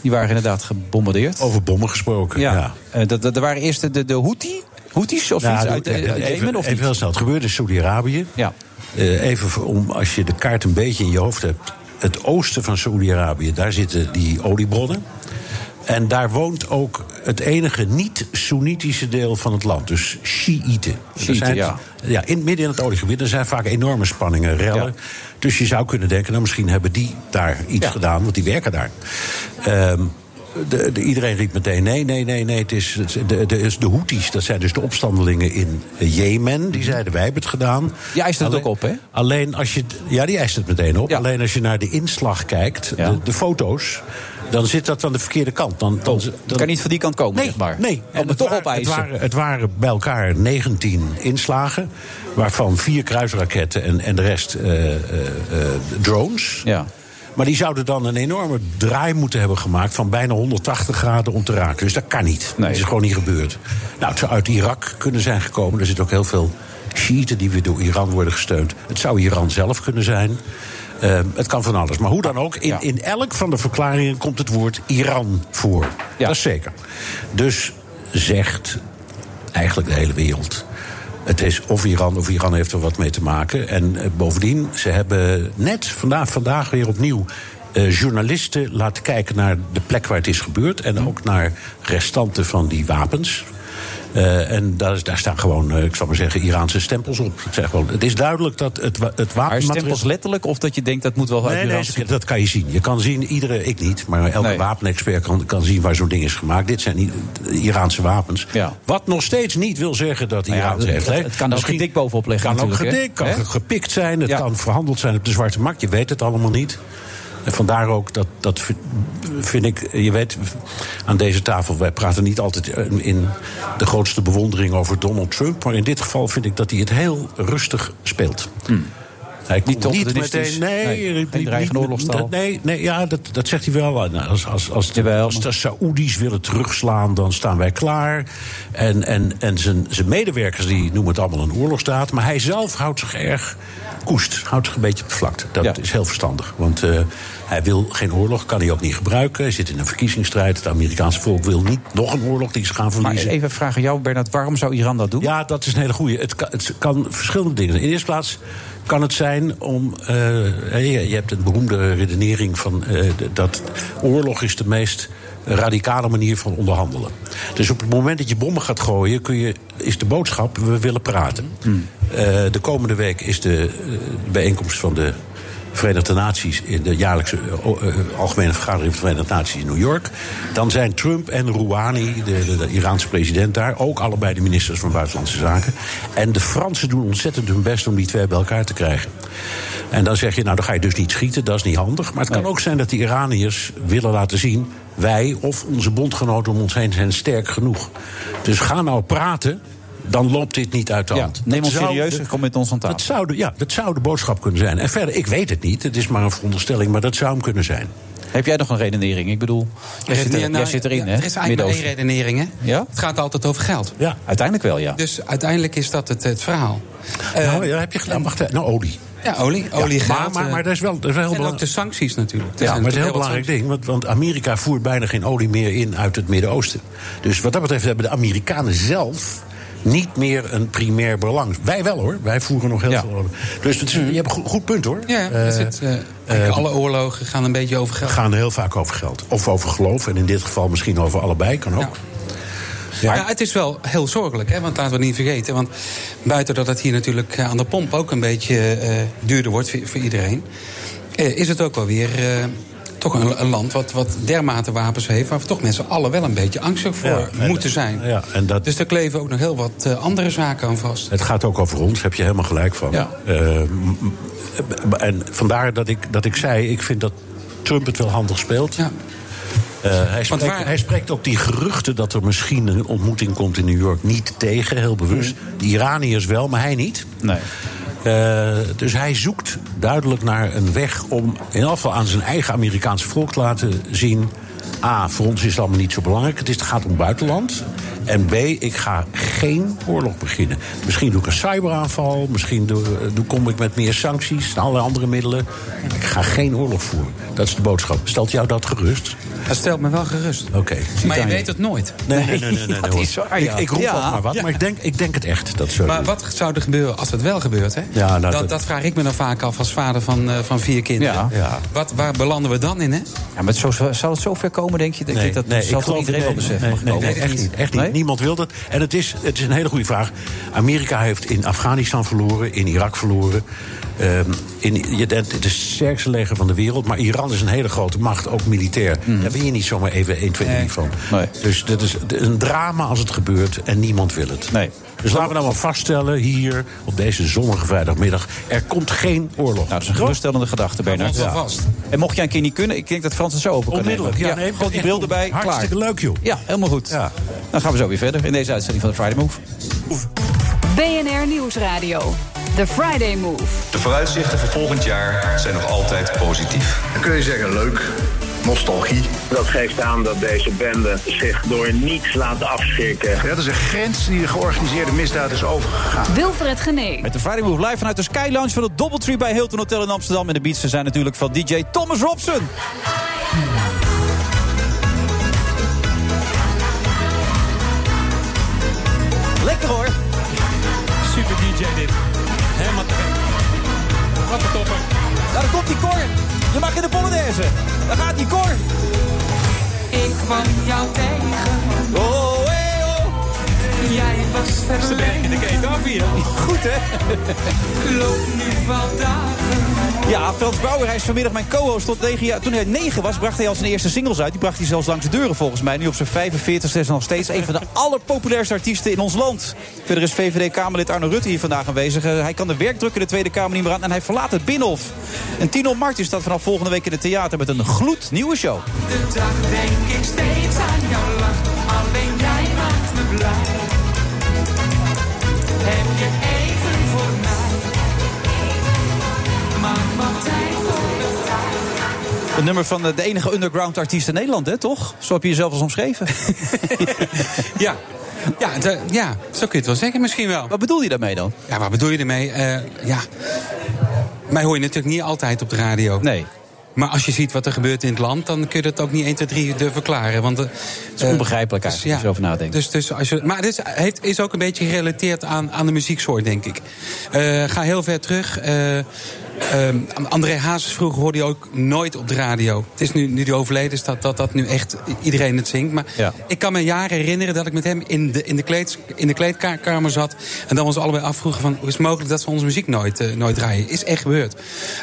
S6: Die waren inderdaad gebombardeerd.
S11: Over bommen gesproken.
S6: Oh, ja.
S11: Ja.
S6: Eh, dat, dat, er waren eerst de, de, de Houthi, Houthis of
S11: Nou,
S6: iets
S11: doe-
S6: uit, eh, uit
S11: even,
S6: Jemen of
S11: even
S6: niet?
S11: heel snel. Het gebeurde in Saudi-Arabië.
S6: Ja.
S11: Eh, even voor- om, als je de kaart een beetje in je hoofd hebt. Het oosten van Saudi-Arabië, daar zitten die oliebronnen. En daar woont ook het enige niet-Soenitische deel van het land. Dus Shiiten. Er
S6: Shiiten,
S11: zijn-
S6: ja.
S11: ja. In, midden in het oliegebied. Er zijn vaak enorme spanningen, rellen.
S6: Ja.
S11: Dus je zou kunnen denken, nou misschien hebben die daar iets
S6: Ja.
S11: gedaan. Want die werken daar. Ehm, de, de- iedereen riep meteen, nee, nee, nee, nee. Het is het- de, de, is de Houthis, dat zijn dus de opstandelingen in Jemen. Die zeiden, wij hebben het gedaan.
S6: Die eisten Mhm. het
S11: Alleen-
S6: ook op, hè?
S11: Alleen als je. Ja, die eist het meteen op.
S6: Ja.
S11: Alleen als je naar de inslag kijkt,
S6: Ja.
S11: de, de foto's. dan zit dat aan de verkeerde kant. Dan, dan,
S6: Het
S11: dan-
S6: Oh, kan niet van die kant komen,
S11: Nee,
S6: zeg maar.
S11: nee.
S6: Om het toch
S11: waren-
S6: opeisen.
S11: Het waren, Eh, het waren bij elkaar 19 inslagen. Waarvan vier kruisraketten en, en de rest eh, eh, eh, drones.
S6: Ja.
S11: Maar die zouden dan een enorme draai moeten hebben gemaakt van bijna 180 graden om te raken. Dus dat kan niet.
S6: Nee.
S11: Dat is gewoon niet gebeurd. Nou, het zou uit Irak kunnen zijn gekomen. Er zitten ook heel veel Shiiten die weer door Iran worden gesteund. Het zou Iran zelf kunnen zijn. Ehm, het kan van alles. Maar hoe dan ook, in,
S6: Ja.
S11: in elk van de verklaringen komt het woord Iran voor.
S6: Ja.
S11: Dat is zeker. Dus zegt eigenlijk de hele wereld. Het is of Iran of Iran heeft er wat mee te maken. En eh, bovendien, ze hebben net vandaag, vandaag weer opnieuw. eh, journalisten laten kijken naar de plek waar het is gebeurd. En ook naar restanten van die wapens. Eh, en daar, daar staan gewoon, eh, ik zal maar zeggen, Iraanse stempels op. Ik zeg gewoon, het is duidelijk dat het, wa- het
S6: Maar
S11: wapenmateriaal...
S6: stempels letterlijk of dat je denkt dat moet wel uit
S11: Nee, nee,
S6: Iran
S11: ze-
S6: zijn?
S11: dat kan je zien. Je kan zien, iedere, ik niet, maar elke
S6: Nee.
S11: wapenexpert kan, kan zien waar zo'n ding is gemaakt. Dit zijn niet eh, Iraanse wapens.
S6: Ja.
S11: Wat nog steeds niet wil zeggen dat
S6: Nou ja,
S11: Iran ze
S6: het-
S11: heeft. hè.
S6: het kan er ook
S11: Misschien-
S6: gedik bovenop liggen
S11: Kan ook
S6: natuurlijk, hè?
S11: gedik, kan
S6: Hè?
S11: ge- gepikt zijn, het
S6: Ja.
S11: kan verhandeld zijn op de zwarte markt. Je weet het allemaal niet. En vandaar ook dat, dat v- vind ik, je weet, aan deze tafel, wij praten niet altijd eh, in de grootste bewondering over Donald Trump. Maar in dit geval vind ik dat hij het heel rustig speelt. Hij komt
S6: te
S11: niet
S6: opportunistisch.
S11: meteen. Nee,
S6: Hmm. Nee,
S11: niet-
S6: geen dreigende
S11: niet-
S6: oorlogstaal.
S11: Nee, nee ja, dat, dat zegt hij wel. Nou, Als, als, als, de,
S6: Jawel,
S11: als de Saoedi's willen terugslaan, dan staan wij klaar. En, en, en zijn, zijn medewerkers die noemen het allemaal een oorlogsdaad. Maar hij zelf houdt zich erg koest. Houdt zich een beetje op de vlakte. Dat
S6: Ja.
S11: is heel verstandig. Want eh, hij wil geen oorlog, kan hij ook niet gebruiken. Hij zit in een verkiezingsstrijd. Het Amerikaanse volk wil niet nog een oorlog die ze gaan
S6: Maar
S11: verliezen.
S6: even vragen jou, Bernard, waarom zou Iran dat doen?
S11: Ja, dat is een hele goeie. Het kan, het kan verschillende dingen zijn. In de eerste plaats kan het zijn om... eh, hè, je je hebt een beroemde redenering van... eh, d- dat oorlog is de meest radicale manier van onderhandelen. Dus op het moment dat je bommen gaat gooien... Kun je, is de boodschap, we willen praten. Eh, de komende week is de eh, bijeenkomst van de... Verenigde Naties, in de jaarlijkse eh, o- eh, algemene vergadering van de Verenigde Naties in New York. Dan zijn Trump en Rouhani, de, de- de Iraanse president daar, ook allebei de ministers van Buitenlandse Zaken. En de Fransen doen ontzettend hun best om die twee bij elkaar te krijgen. En dan zeg je, nou dan ga je dus niet schieten, dat is niet handig. Maar het kan ook zijn dat de Iraniërs willen laten zien. Wij of onze bondgenoten om ons heen zijn sterk genoeg. Dus ga nou praten, dan loopt dit niet uit de
S6: Ja,
S11: hand.
S6: neem
S11: Dat
S6: ons
S11: zou
S6: serieus
S11: de-
S6: en kom met ons aan tafel.
S11: Dat zou de, ja, dat zou de boodschap kunnen zijn. En verder, ik weet het niet, het is maar een veronderstelling, maar dat zou hem kunnen zijn.
S6: Heb jij nog een redenering? Ik bedoel, jij zit, er-
S7: Redeneer- nou,
S6: jij zit erin,
S7: ja,
S6: hè?
S7: Er is eigenlijk maar één
S6: Midden-Oosten.
S7: redenering, hè?
S6: Ja?
S7: Het gaat altijd over geld.
S11: Ja.
S6: Uiteindelijk wel, ja.
S7: Dus uiteindelijk is dat het, het verhaal.
S11: nou, ja, heb je gedaan. Wacht, eh, nou, olie.
S7: Ja, olie, olie
S11: Ja,
S7: geld.
S11: maar- maar-
S7: eh,
S11: maar dat is wel- dat is wel heel
S7: en ook
S11: belangrijk.
S7: de sancties natuurlijk. Er
S11: Ja,
S7: zijn
S11: maar het is een heel
S7: natuurlijk
S11: belangrijk ding, want, want Amerika voert bijna geen olie meer in uit het Midden-Oosten. Dus wat dat betreft hebben de Amerikanen zelf niet meer een primair belang. Wij wel hoor, wij voeren nog heel veel olie. Dus het is- je hebt een goed, goed punt hoor.
S7: Ja,
S11: Eh,
S7: dat is het, eh, eigenlijk alle oorlogen gaan een beetje over geld.
S11: gaan heel vaak over geld. Of over geloof, en in dit geval misschien over allebei, kan ook. Ja.
S7: Maar ja, het is wel heel zorgelijk, hè? want laten we het niet vergeten. Want buiten dat het hier natuurlijk eh, aan de pomp ook een beetje eh, duurder wordt voor, voor iedereen... eh, is het ook wel weer eh, toch een, een land wat, wat dermate wapens heeft... waar we toch mensen allen wel een beetje angstig voor
S11: en-
S7: moeten zijn.
S11: Ja, en dat,
S7: Dus daar kleven ook nog heel wat eh, andere zaken aan vast.
S11: Het gaat ook over ons, heb je helemaal gelijk van.
S7: Ja.
S11: Eh, m- m- en vandaar dat ik, dat ik zei, ik vind dat Trump het wel handig speelt. Eh, hij, spreekt,
S7: waar-
S11: hij spreekt ook die geruchten dat er misschien een ontmoeting komt in New York niet tegen, heel bewust.
S7: Mhm.
S11: De Iraniërs wel, maar hij niet.
S6: Nee.
S11: Eh, dus hij zoekt duidelijk naar een weg om in elk geval aan zijn eigen Amerikaanse volk te laten zien. A, voor ons is het allemaal niet zo belangrijk. Het, is, het gaat om buitenland. En B, ik ga geen oorlog beginnen. Misschien doe ik een cyberaanval. Misschien doe, doe- kom ik met meer sancties en allerlei andere middelen. Ik ga geen oorlog voeren. Dat is de boodschap. Stelt jou dat gerust?
S7: Dat stelt me wel gerust.
S11: Oké.
S7: Maar je weet het nooit.
S11: Nee, nee, nee, nee, nee, nee,
S7: dat
S11: hoor.
S7: is waar, ja.
S11: ik, ik roep
S7: Ja.
S11: ook maar wat,
S7: Ja.
S11: maar ik denk, ik denk het echt. Dat zo
S7: Maar wat zou er gebeuren als het wel gebeurt? Hè?
S11: Ja, nou,
S7: dat,
S11: dat-
S7: dat, vraag ik me dan vaak af als vader van, eh, van vier kinderen.
S6: Ja.
S11: Ja.
S7: Wat, waar belanden we dan in? Hè?
S6: Ja, maar zo, zal het zover komen, denk je? Ik denk dat zal toch
S11: geloof
S6: iedereen wel
S11: het niet.
S6: beseffen. mag
S11: Nee,
S6: ik
S11: nee,
S6: hopen?
S11: nee, echt niet. Echt niet.
S6: Nee?
S11: Niemand wil dat. En het is, het is een hele goede vraag. Amerika heeft in Afghanistan verloren, in Irak verloren. Ehm, in, je, denkt, het is het sterkste leger van de wereld. Maar Iran is een hele grote macht, ook militair. Daar win je niet zomaar even 1, 2, 3 van.
S6: Mhm. Nee.
S11: Dus dat is een drama als het gebeurt en niemand wil het.
S6: Nee.
S11: Dus laten we nou maar vaststellen hier op deze zonnige vrijdagmiddag: er komt geen oorlog.
S6: Nou, dat is een geruststellende gedachte, Bernard.
S7: Ons wel vast.
S6: En mocht jij een keer niet kunnen, ik denk dat Frans het zo open kan
S11: Onmiddellijk.
S6: nemen.
S11: Ja, nee,
S6: gewoon die
S11: echt
S6: beelden bij, klaar.
S11: hartstikke leuk, joh.
S6: Ja, helemaal goed.
S11: Ja.
S6: Dan gaan we zo weer verder in deze uitzending van de Friday Move.
S2: BNR Nieuwsradio. The Friday Move.
S3: De vooruitzichten voor volgend jaar zijn nog altijd positief.
S4: Dan kun je zeggen, leuk, nostalgie.
S5: Dat geeft aan dat deze bende zich door niets laat afschrikken.
S4: Ja, dat is een grens die de georganiseerde misdaad is overgegaan.
S2: Wilfred Genee.
S6: Met de Friday Move live vanuit de Sky Lounge van het Doubletree bij Hilton Hotel in Amsterdam. En de beats zijn natuurlijk van DJ Thomas Robson. Lekker hoor.
S12: Super DJ dit. Helemaal te gek. Wat een topper.
S6: Nou, daar komt die Cor. Je mag in de Polonaise. Daar gaat die Cor.
S12: Ik kwam jou tegen.
S6: Oh, hey, oh.
S12: Jij was verlegen. in de keten af hier.
S6: Goed hè?
S12: Loop nu wel dagen.
S6: Ja, Frans Bauer, hij is vanmiddag mijn co-host tot 9 jaar. Toen hij 9 was, bracht hij al zijn eerste singles uit. Die bracht hij zelfs langs de deuren volgens mij. Nu op zijn 45 is hij nog steeds een van de allerpopulairste artiesten in ons land. Verder is VVD-Kamerlid Arno Rutte hier vandaag aanwezig. Eh, Hij kan de werkdruk in de Tweede Kamer niet meer aan en hij verlaat het Binnenhof. En Tino Martin staat vanaf volgende week in het theater met een gloednieuwe show.
S12: De dag denk ik steeds aan jouw lach. Alleen jij maakt me blij. Heb je even voor mij? Maak wat tijd voor me vrij.
S6: Het nummer van eh, de enige underground artiest in Nederland, hè, toch? Zo heb je jezelf al omschreven.
S7: Ja. Ja, de- ja, zo kun je het wel zeggen misschien wel.
S6: Wat bedoel je daarmee dan?
S7: Ja, wat bedoel je ermee? Eh, ja. Mij hoor je natuurlijk niet altijd op de radio.
S6: Nee.
S7: Maar als je ziet wat er gebeurt in het land, dan kun je dat ook niet 1, 2, 3 durven verklaren. Want, eh, het
S6: is onbegrijpelijk eigenlijk, als je erover nadenkt.
S7: Dus, dus als je, maar het is, het is ook een beetje gerelateerd aan, aan de muzieksoort, denk ik. Eh, ga heel ver terug. eh, ehm, André Hazes vroeger hoorde je ook nooit op de radio. Het is nu, nu die overleden is dat, dat dat nu echt iedereen het zingt. Maar
S6: Ja.
S7: ik kan me jaren herinneren dat ik met hem in de, in de, kleed, in de kleedkamer zat. En dan we ons allebei afvroegen van... hoe is het mogelijk dat ze onze muziek nooit, eh, nooit draaien? Is echt gebeurd.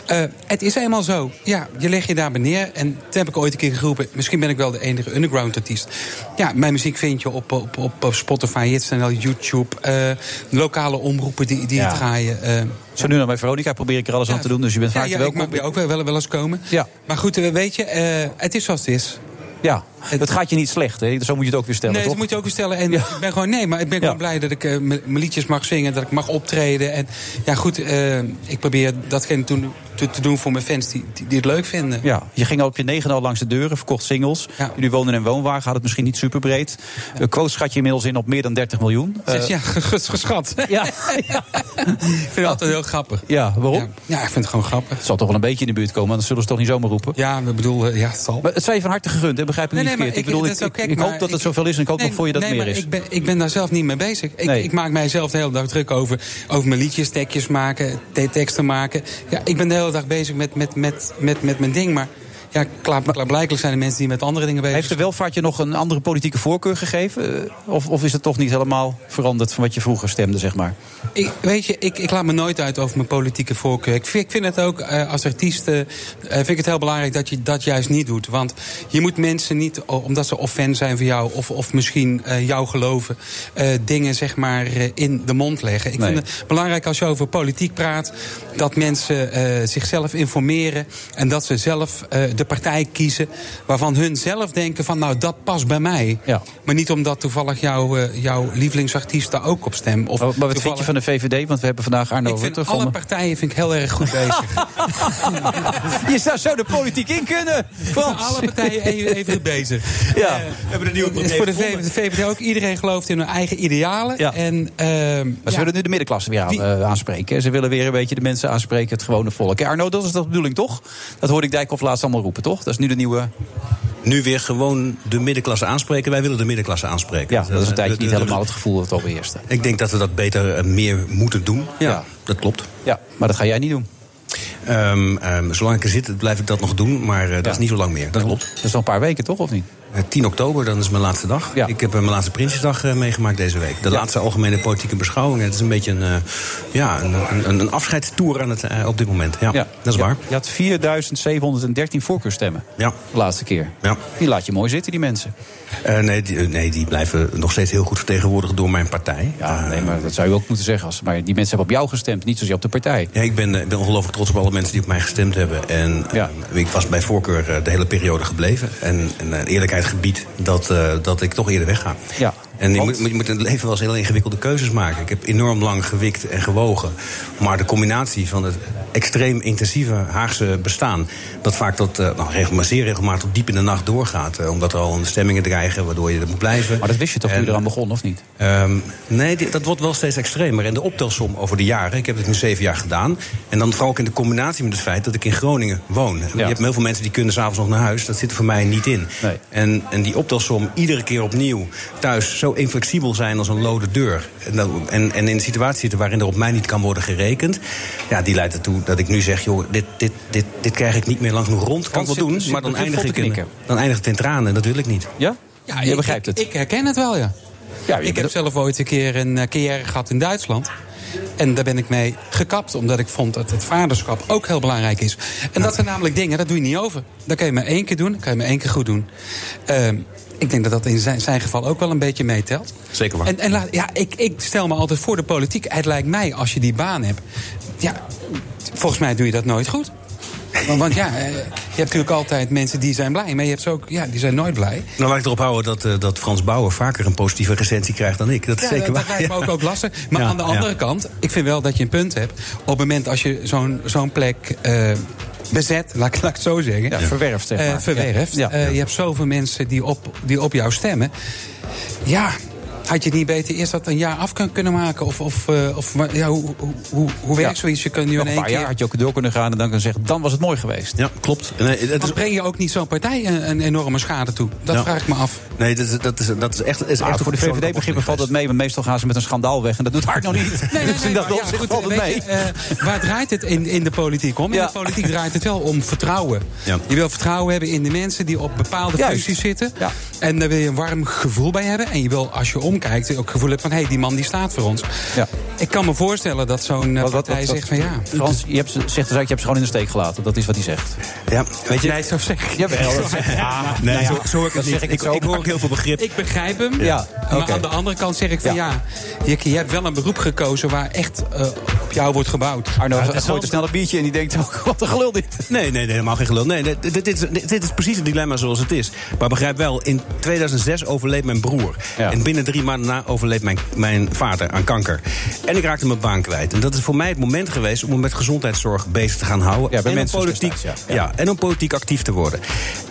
S7: Eh, het is eenmaal zo. Ja, je legt je daarbij neer. En toen heb ik ooit een keer geroepen... misschien ben ik wel de enige underground artiest. Ja, mijn muziek vind je op, op, op, op Spotify, Hitsnl, YouTube. eh, lokale omroepen die, die
S6: Ja.
S7: het draaien. eh,
S6: Zo nu naar bij Veronica probeer ik er alles aan te doen. Dus je bent
S7: ja,
S6: vaak
S7: ja, ik
S6: welkom.
S7: mag bij jou ook wel, wel, wel eens komen.
S6: Ja.
S7: Maar goed, eh, weet je, eh, het is zoals het is.
S6: Ja, het gaat je niet slecht, hè? zo moet je het ook weer stellen.
S7: Nee,
S6: toch?
S7: dat moet je ook weer stellen. En ik ben gewoon, nee, maar ik ben gewoon blij dat ik eh, mijn mijn liedjes mag zingen, dat ik mag optreden. En ja, goed, eh, ik probeer datgene toen- te, te doen voor mijn fans die, die, die het leuk vinden.
S6: Ja, je ging al op je negen al langs de deuren, verkocht singles. Jullie wonen in een woonwagen, had het misschien niet super breed. De quote schat je inmiddels in op meer dan 30 miljoen. Eh,
S7: ja, geschat.
S6: Ja.
S7: ik vind het altijd heel grappig.
S6: Ja, waarom? Ja.
S7: ik vind het gewoon grappig.
S6: Het zal toch wel een beetje in de buurt komen, anders zullen ze het toch niet zomaar roepen?
S7: Ja, ik bedoel, eh, ja, het zal.
S6: Maar het zijn je van harte gegund, hè? begrijp me niet verkeerd. ik, bedoel,
S7: dat is ook gek,
S6: ik hoop
S7: maar
S6: dat het zoveel is en ik hoop
S7: nee,
S6: nog voor je dat
S7: nee,
S6: meer
S7: maar
S6: is.
S7: Ik ben, ik ben daar zelf niet mee bezig. Ik, ik maak mijzelf de hele dag druk over, over mijn liedjes, tekjes maken, te- teksten maken. Ja, ik ben de hele dag bezig met, met, met, met, met mijn ding, maar... Ja, klaar, klaarblijkelijk zijn de mensen die met andere dingen bezig
S6: Heeft de welvaart je nog een andere politieke voorkeur gegeven? Eh, Of, of is het toch niet helemaal veranderd van wat je vroeger stemde, zeg maar?
S7: Ik, weet je, ik, ik laat me nooit uit over mijn politieke voorkeur. Ik vind, ik vind het ook eh, als artiest eh, eh, vind ik het heel belangrijk dat je dat juist niet doet. Want je moet mensen niet, o- omdat ze of fan zijn van jou of, of misschien eh, jou geloven, eh, dingen zeg maar eh, in de mond leggen. Ik
S6: Nee.
S7: vind het belangrijk als je over politiek praat, dat mensen eh, zichzelf informeren en dat ze zelf eh, de partij kiezen waarvan hun zelf denken van nou dat past bij mij. Maar niet omdat toevallig jouw, eh, jouw lievelingsartiest daar ook op stemt. Of
S6: maar wat vind
S7: toevallig-
S6: je van de VVD? Want we hebben vandaag Arno
S7: ik vind
S6: Rutte.
S7: alle
S6: van-
S7: partijen vind ik heel erg goed bezig.
S6: Je zou zo de politiek in kunnen. Frans.
S7: alle partijen even, even goed bezig. Eh,
S6: Ja,
S7: we
S6: hebben een nieuwe premier
S7: Voor de
S6: gevonden.
S7: VVD, ook. Iedereen gelooft in hun eigen idealen.
S6: Ja.
S7: En, ehm,
S6: Maar ze willen nu de middenklasse weer aan, eh, aanspreken. hè. Ze willen weer een beetje de mensen aanspreken, het gewone volk. Hè, Arno, dat is de bedoeling toch? Dat hoorde ik Dijkhoff laatst allemaal roepen, toch? Dat is nu de nieuwe.
S13: Nu weer gewoon de middenklasse aanspreken. Wij willen de middenklasse aanspreken.
S6: Ja, dat is een tijdje niet helemaal het gevoel dat het
S13: Ik denk dat we dat beter eh, meer moeten doen. Ja, dat klopt. Ehm,
S6: Ja, maar dat ga jij niet doen.
S13: zolang ik er zit, blijf ik dat nog doen. Maar eh, dat
S6: Ja.
S13: is niet zo lang meer. Dat klopt.
S6: Dat is nog een paar weken, toch? Of niet?
S13: 10 oktober, dan is mijn laatste dag. Ik heb eh, mijn laatste Prinsjesdag eh, meegemaakt deze week. De laatste algemene politieke beschouwing. Het is een beetje een, eh, ja, een, een, een afscheidstoer aan het, eh, op dit moment. Ja, dat is
S6: Ja,
S13: waar.
S6: Je had 4713 voorkeurstemmen.
S13: Ja.
S6: De laatste keer.
S13: Ja.
S6: Die laat je mooi zitten, die mensen.
S13: Eh, nee, die, eh, nee, die blijven nog steeds heel goed vertegenwoordigd door mijn partij.
S6: Ja, nee, maar dat zou je ook moeten zeggen. Als, maar die mensen hebben op jou gestemd, niet zozeer op de partij.
S13: Ja, ik ben, eh, ik ben ongelooflijk trots op alle mensen die op mij gestemd hebben. En eh, ik was bij voorkeur eh, de hele periode gebleven. En, en eh, eerlijkheid gebied dat, eh, dat ik toch eerder wegga.
S6: Ja.
S13: En je moet, je moet in het leven wel eens heel ingewikkelde keuzes maken. Ik heb enorm lang gewikt en gewogen. Maar de combinatie van het extreem intensieve Haagse bestaan... dat vaak tot, eh, nou, regelmatig, zeer regelmatig tot diep in de nacht doorgaat. eh, omdat er al stemmingen dreigen waardoor je er moet blijven.
S6: Maar dat wist je toch hoe
S13: En-
S6: je eraan begon, of niet?
S13: Ehm, nee, die- dat wordt wel steeds extremer. En de optelsom over de jaren, ik heb het nu zeven jaar gedaan. En dan vooral ook in de combinatie met het feit dat ik in Groningen woon. En Je hebt heel veel mensen die kunnen s'avonds nog naar huis. Dat zit er voor mij niet in. En, en die optelsom iedere keer opnieuw thuis zo inflexibel zijn als een lode deur. En, dan- en, en in de situatie zitten waarin er op mij niet kan worden gerekend. Ja, die leidt ertoe dat ik nu zeg, joh, dit, dit, dit, dit krijg ik niet meer lang genoeg rond. Kan ik wel
S7: Zit-
S13: doen,
S7: zit
S13: maar dan
S7: begin
S13: eindig,
S7: vol
S13: ik
S7: te
S13: in,
S7: knikken.
S13: dan eindigt het in tranen. En dat wil ik niet.
S6: Ja?
S7: Ja, je begrijpt het. Ik herken het wel, ja. ik heb zelf ooit een keer een eh, carrière gehad in Duitsland. En daar ben ik mee gekapt, omdat ik vond dat het vaderschap ook heel belangrijk is. En dat zijn namelijk dingen, dat doe je niet over. Dat kan je maar één keer doen, dat kan je maar één keer goed doen. Ehm, ik denk dat dat in zijn, zijn geval ook wel een beetje meetelt.
S13: Zeker waar.
S7: En, en laat- ja, ik, ik stel me altijd voor de politiek. Het lijkt mij, als je die baan hebt... Ja, volgens mij doe je dat nooit goed. Want, want ja, eh, je hebt natuurlijk altijd mensen die zijn blij. Maar je hebt ze ook, ja, die zijn nooit blij.
S13: Nou, laat ik erop houden dat, eh, dat Frans Bauer vaker een positieve recensie krijgt dan ik. Dat is
S7: Ja, dat,
S13: zeker waar.
S7: dat lijkt me ook, ook lastig. Maar
S13: Ja,
S7: aan de andere
S13: ja.
S7: kant, ik vind wel dat je een punt hebt. Op het moment als je zo'n zo'n plek eh, bezet, laat, ik- laat ik het zo zeggen.
S6: Ja, verwerft, zeg
S7: Eh,
S6: maar.
S7: verwerft.
S6: Ja. Ja.
S7: Eh, je hebt zoveel mensen die op, die op jou stemmen. Ja, had je het niet beter eerst dat een jaar af kun- kunnen maken? Of, of, eh, of wa- ja, hoe, hoe, hoe, hoe werkt
S6: Ja.
S7: zoiets? Je kunt nu
S6: Nog
S7: in
S6: een
S7: één
S6: paar
S7: keer...
S6: jaar had je ook door kunnen gaan en dan kunnen zeggen... dan was het mooi geweest.
S13: Ja, klopt. Nee,
S7: Dan breng je ook niet zo'n partij een, een enorme schade toe. Dat
S6: Ja.
S7: vraag ik me af.
S13: Nee, dat is, dat is, dat is echt, is
S6: Maar
S13: echt
S6: voor de VVD-begrippen valt dat mee, maar meestal gaan ze met een schandaal weg. En dat doet Hart nog niet. Dus
S7: Nee, nee, nee,
S6: dat
S7: maar ja,
S6: opzicht
S7: goed,
S6: valt het
S7: weet
S6: mee.
S7: je, eh, waar draait het in, in de politiek om? In
S6: Ja.
S7: de politiek draait het wel om vertrouwen. Je wil vertrouwen hebben in de mensen die op bepaalde
S6: Juist.
S7: functies zitten. En daar wil je een warm gevoel bij hebben. En je wil, als je omkijkt, ook het gevoel hebben van... hé, hey, die man die staat voor ons. Ik kan me voorstellen dat zo'n eh, partij zegt van ja.
S6: Frans, je hebt ze, zegt dus eigenlijk, je hebt ze gewoon in de steek gelaten. Dat is wat hij zegt.
S7: Ja, weet je, nee, zo zeg ik.
S6: Jawel, dat zeg ik. Ah,
S7: nee,
S6: nou ja,
S7: zo, zo hoor ik
S6: dat
S7: het niet.
S6: zeg ik
S7: Ik,
S6: niet
S7: ik,
S6: zo,
S7: hoor
S6: maar-
S7: ook heel veel begrip. Ik begrijp hem.
S6: Ja, oké.
S7: Maar aan de andere kant zeg ik van ja, je, je hebt wel een beroep gekozen waar echt eh, op jou wordt gebouwd.
S6: Arno gooit er snel een biertje en die denkt ook, wat een gelul dit.
S13: Nee, nee, nee helemaal geen gelul. Nee, nee, dit, dit is, dit, dit is precies het dilemma zoals het is. Maar begrijp wel, in 2006 overleed mijn broer. En binnen drie maanden na overleed mijn, mijn vader aan kanker. En ik raakte mijn baan kwijt. En dat is voor mij het moment geweest om me met gezondheidszorg bezig te gaan houden.
S6: bij
S13: en, om
S6: mensen
S13: politiek,
S6: destijds, ja.
S13: ja. en om politiek actief te worden.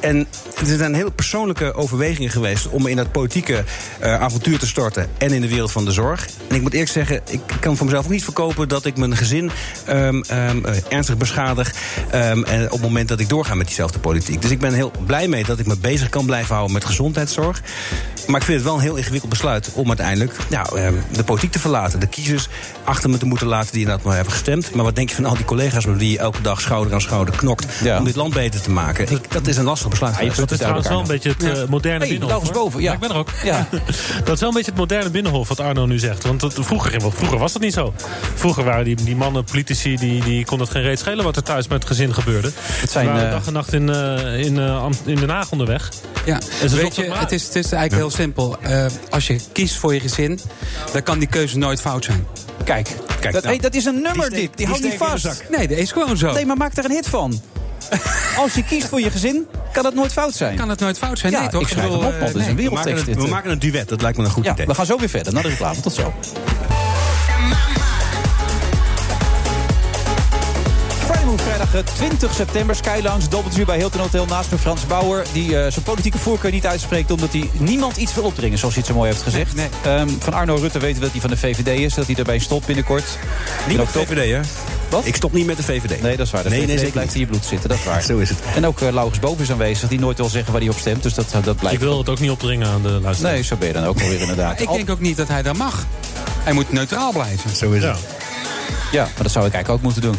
S13: En er zijn hele persoonlijke overwegingen geweest... om me in dat politieke eh, avontuur te storten en in de wereld van de zorg. En ik moet eerlijk zeggen, ik kan voor mezelf ook niet verkopen... dat ik mijn gezin ehm, ehm, eh, ernstig beschadig... ehm, en op het moment dat ik doorga met diezelfde politiek. Dus ik ben heel blij mee dat ik me bezig kan blijven houden met gezondheidszorg. Maar ik vind het wel een heel ingewikkeld besluit... om uiteindelijk ja, ehm, de politiek te verlaten. De kiezers achter me te moeten laten die inderdaad maar hebben gestemd. Maar wat denk je van al die collega's... met wie je elke dag schouder aan schouder knokt... om dit land beter te maken? Ik- dat is een lastig besluit.
S14: Ja, dat is trouwens wel een beetje het eh, moderne
S13: Hey,
S14: binnenhof.
S13: Laurens
S14: hoor.
S13: Boven, ja.
S14: ik ben er ook.
S6: Ja.
S14: dat is wel een beetje het moderne binnenhof wat Arno nu zegt. Want dat, vroeger, want vroeger was dat niet zo. Vroeger waren die, die mannen, politici, die, die kon het geen reet schelen wat er thuis met het gezin gebeurde. Het
S7: zijn,
S14: waren
S7: eh,
S14: dag en nacht in, eh, in, eh, Am- in Den Haag onderweg.
S7: Ja,
S14: En ze
S7: weet
S14: zochten
S7: je,
S14: maar.
S7: het is, het is eigenlijk
S14: Ja.
S7: heel simpel. Eh, als je kiest voor je gezin, dan kan die keuze nooit fout zijn.
S6: Kijk, dat, hey, dat is een nummer
S7: steek-
S6: dit. Die,
S7: die
S6: houdt niet
S7: steek in de
S6: vast.
S7: zak. Nee, dat is gewoon zo.
S6: Nee, maar maak daar een hit van. Als je kiest voor je gezin, kan dat nooit fout zijn.
S7: Kan het nooit fout zijn?
S6: Ja,
S7: nee, toch?
S6: ik schrijf
S7: bedoel,
S6: hem op, want het
S7: eh,
S6: is een
S7: nee.
S6: wereldtekst dit.
S13: We maken een duet, dat lijkt me een goed
S6: ja,
S13: idee.
S6: we gaan zo weer verder naar de reclame. Tot zo. Friday Move, vrijdag eh, 20 september. Skylounge, dobbeltuur bij Hilton Hotel naast me Frans Bauer. Die eh, zijn politieke voorkeur niet uitspreekt omdat hij niemand iets wil opdringen. Zoals hij het zo mooi heeft gezegd. Ehm, van Arno Rutte weten we dat hij van de VVD is. Dat hij erbij stopt binnenkort.
S13: Niet
S6: En
S13: met
S6: ook
S13: de VVD, hè?
S6: Wat?
S13: Ik stop niet met de VVD.
S6: Nee, dat is waar. De
S13: Nee, nee,
S6: VVD
S13: zeker
S6: blijft in je bloed zitten, dat is waar.
S13: Zo is het.
S6: En ook eh Laurens Boven is aanwezig. Die nooit wil zeggen waar hij op stemt. Dus dat, dat blijkt.
S14: Ik wil het ook niet opdringen aan de luisteraar.
S6: Nee, zo ben je dan ook alweer inderdaad.
S7: Ik denk ook niet dat hij daar mag. Hij moet neutraal blijven.
S13: Zo is
S14: Ja.
S6: Ja, maar dat zou ik eigenlijk ook moeten doen.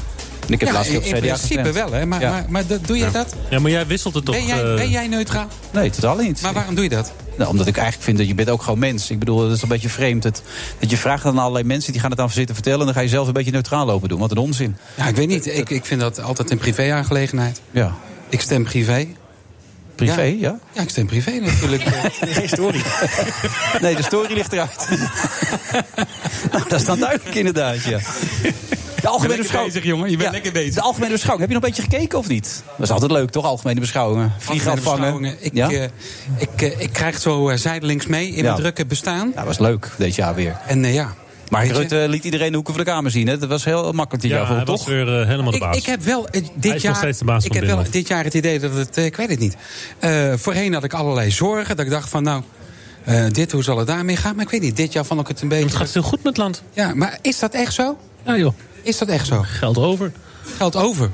S6: En ik heb
S7: Ja,
S6: laatst
S7: in-
S6: op CDA
S7: in principe
S6: gestemd.
S7: wel, hè? Maar,
S6: Ja.
S7: maar, maar dat- doe jij dat?
S14: Ja, maar jij wisselt het toch?
S7: Ben jij,
S14: eh,
S7: ben jij neutraal?
S6: Nee, totaal niet.
S7: Maar waarom doe je dat?
S6: Nou, omdat ik eigenlijk vind dat je bent ook gewoon mens. Ik bedoel, dat is een beetje vreemd. Dat, dat je vraagt aan allerlei mensen, die gaan het aan zitten vertellen... en dan ga je zelf een beetje neutraal lopen doen. Wat een onzin.
S7: Ja, ik weet niet. Ik, ik vind dat altijd een privé-aangelegenheid.
S6: Ja.
S7: Ik stem privé.
S6: Privé, ja?
S7: Ja, ik stem privé natuurlijk.
S6: Nee, story. nee, de story ligt eruit. nou, dat is dan duidelijk inderdaad, ja. De algemene
S7: lekker
S6: beschouwing.
S7: bezig, jongen. Je bent lekker bezig.
S6: De algemene beschouwing. Heb je nog een beetje gekeken of niet? Dat is altijd leuk, toch? Algemene beschouwingen. Vliegen
S7: Algemene
S6: afvangen.
S7: beschouwingen. Ik,
S6: ja?
S7: eh, ik, eh, ik krijg het zo eh, zijdelings mee in
S6: Ja.
S7: mijn drukke bestaan.
S6: Ja, was leuk dit jaar weer.
S7: En eh, ja.
S6: Maar
S7: Weet je?
S6: Rutte liet iedereen de hoeken van de kamer zien. Hè? Dat was heel makkelijk dit
S14: ja,
S6: jaar voor
S14: hij
S6: hem,
S14: was
S6: toch?
S14: weer eh, helemaal de
S7: Ik,
S14: baas.
S7: ik heb wel eh, dit
S14: Hij is nog
S7: jaar.
S14: steeds de baas
S7: ik
S14: van
S7: heb wel
S14: Binnenhof.
S7: dit jaar het idee dat het. eh, ik weet het niet. Eh, voorheen had ik allerlei zorgen. Dat ik dacht van nou. eh, dit, hoe zal het daarmee gaan? Maar ik weet niet, dit jaar vond ik het een beetje... Het
S14: gaat heel goed met land.
S7: Ja, maar is dat echt zo?
S14: Ja joh.
S7: Is dat echt zo?
S14: Geld over.
S7: Geld over.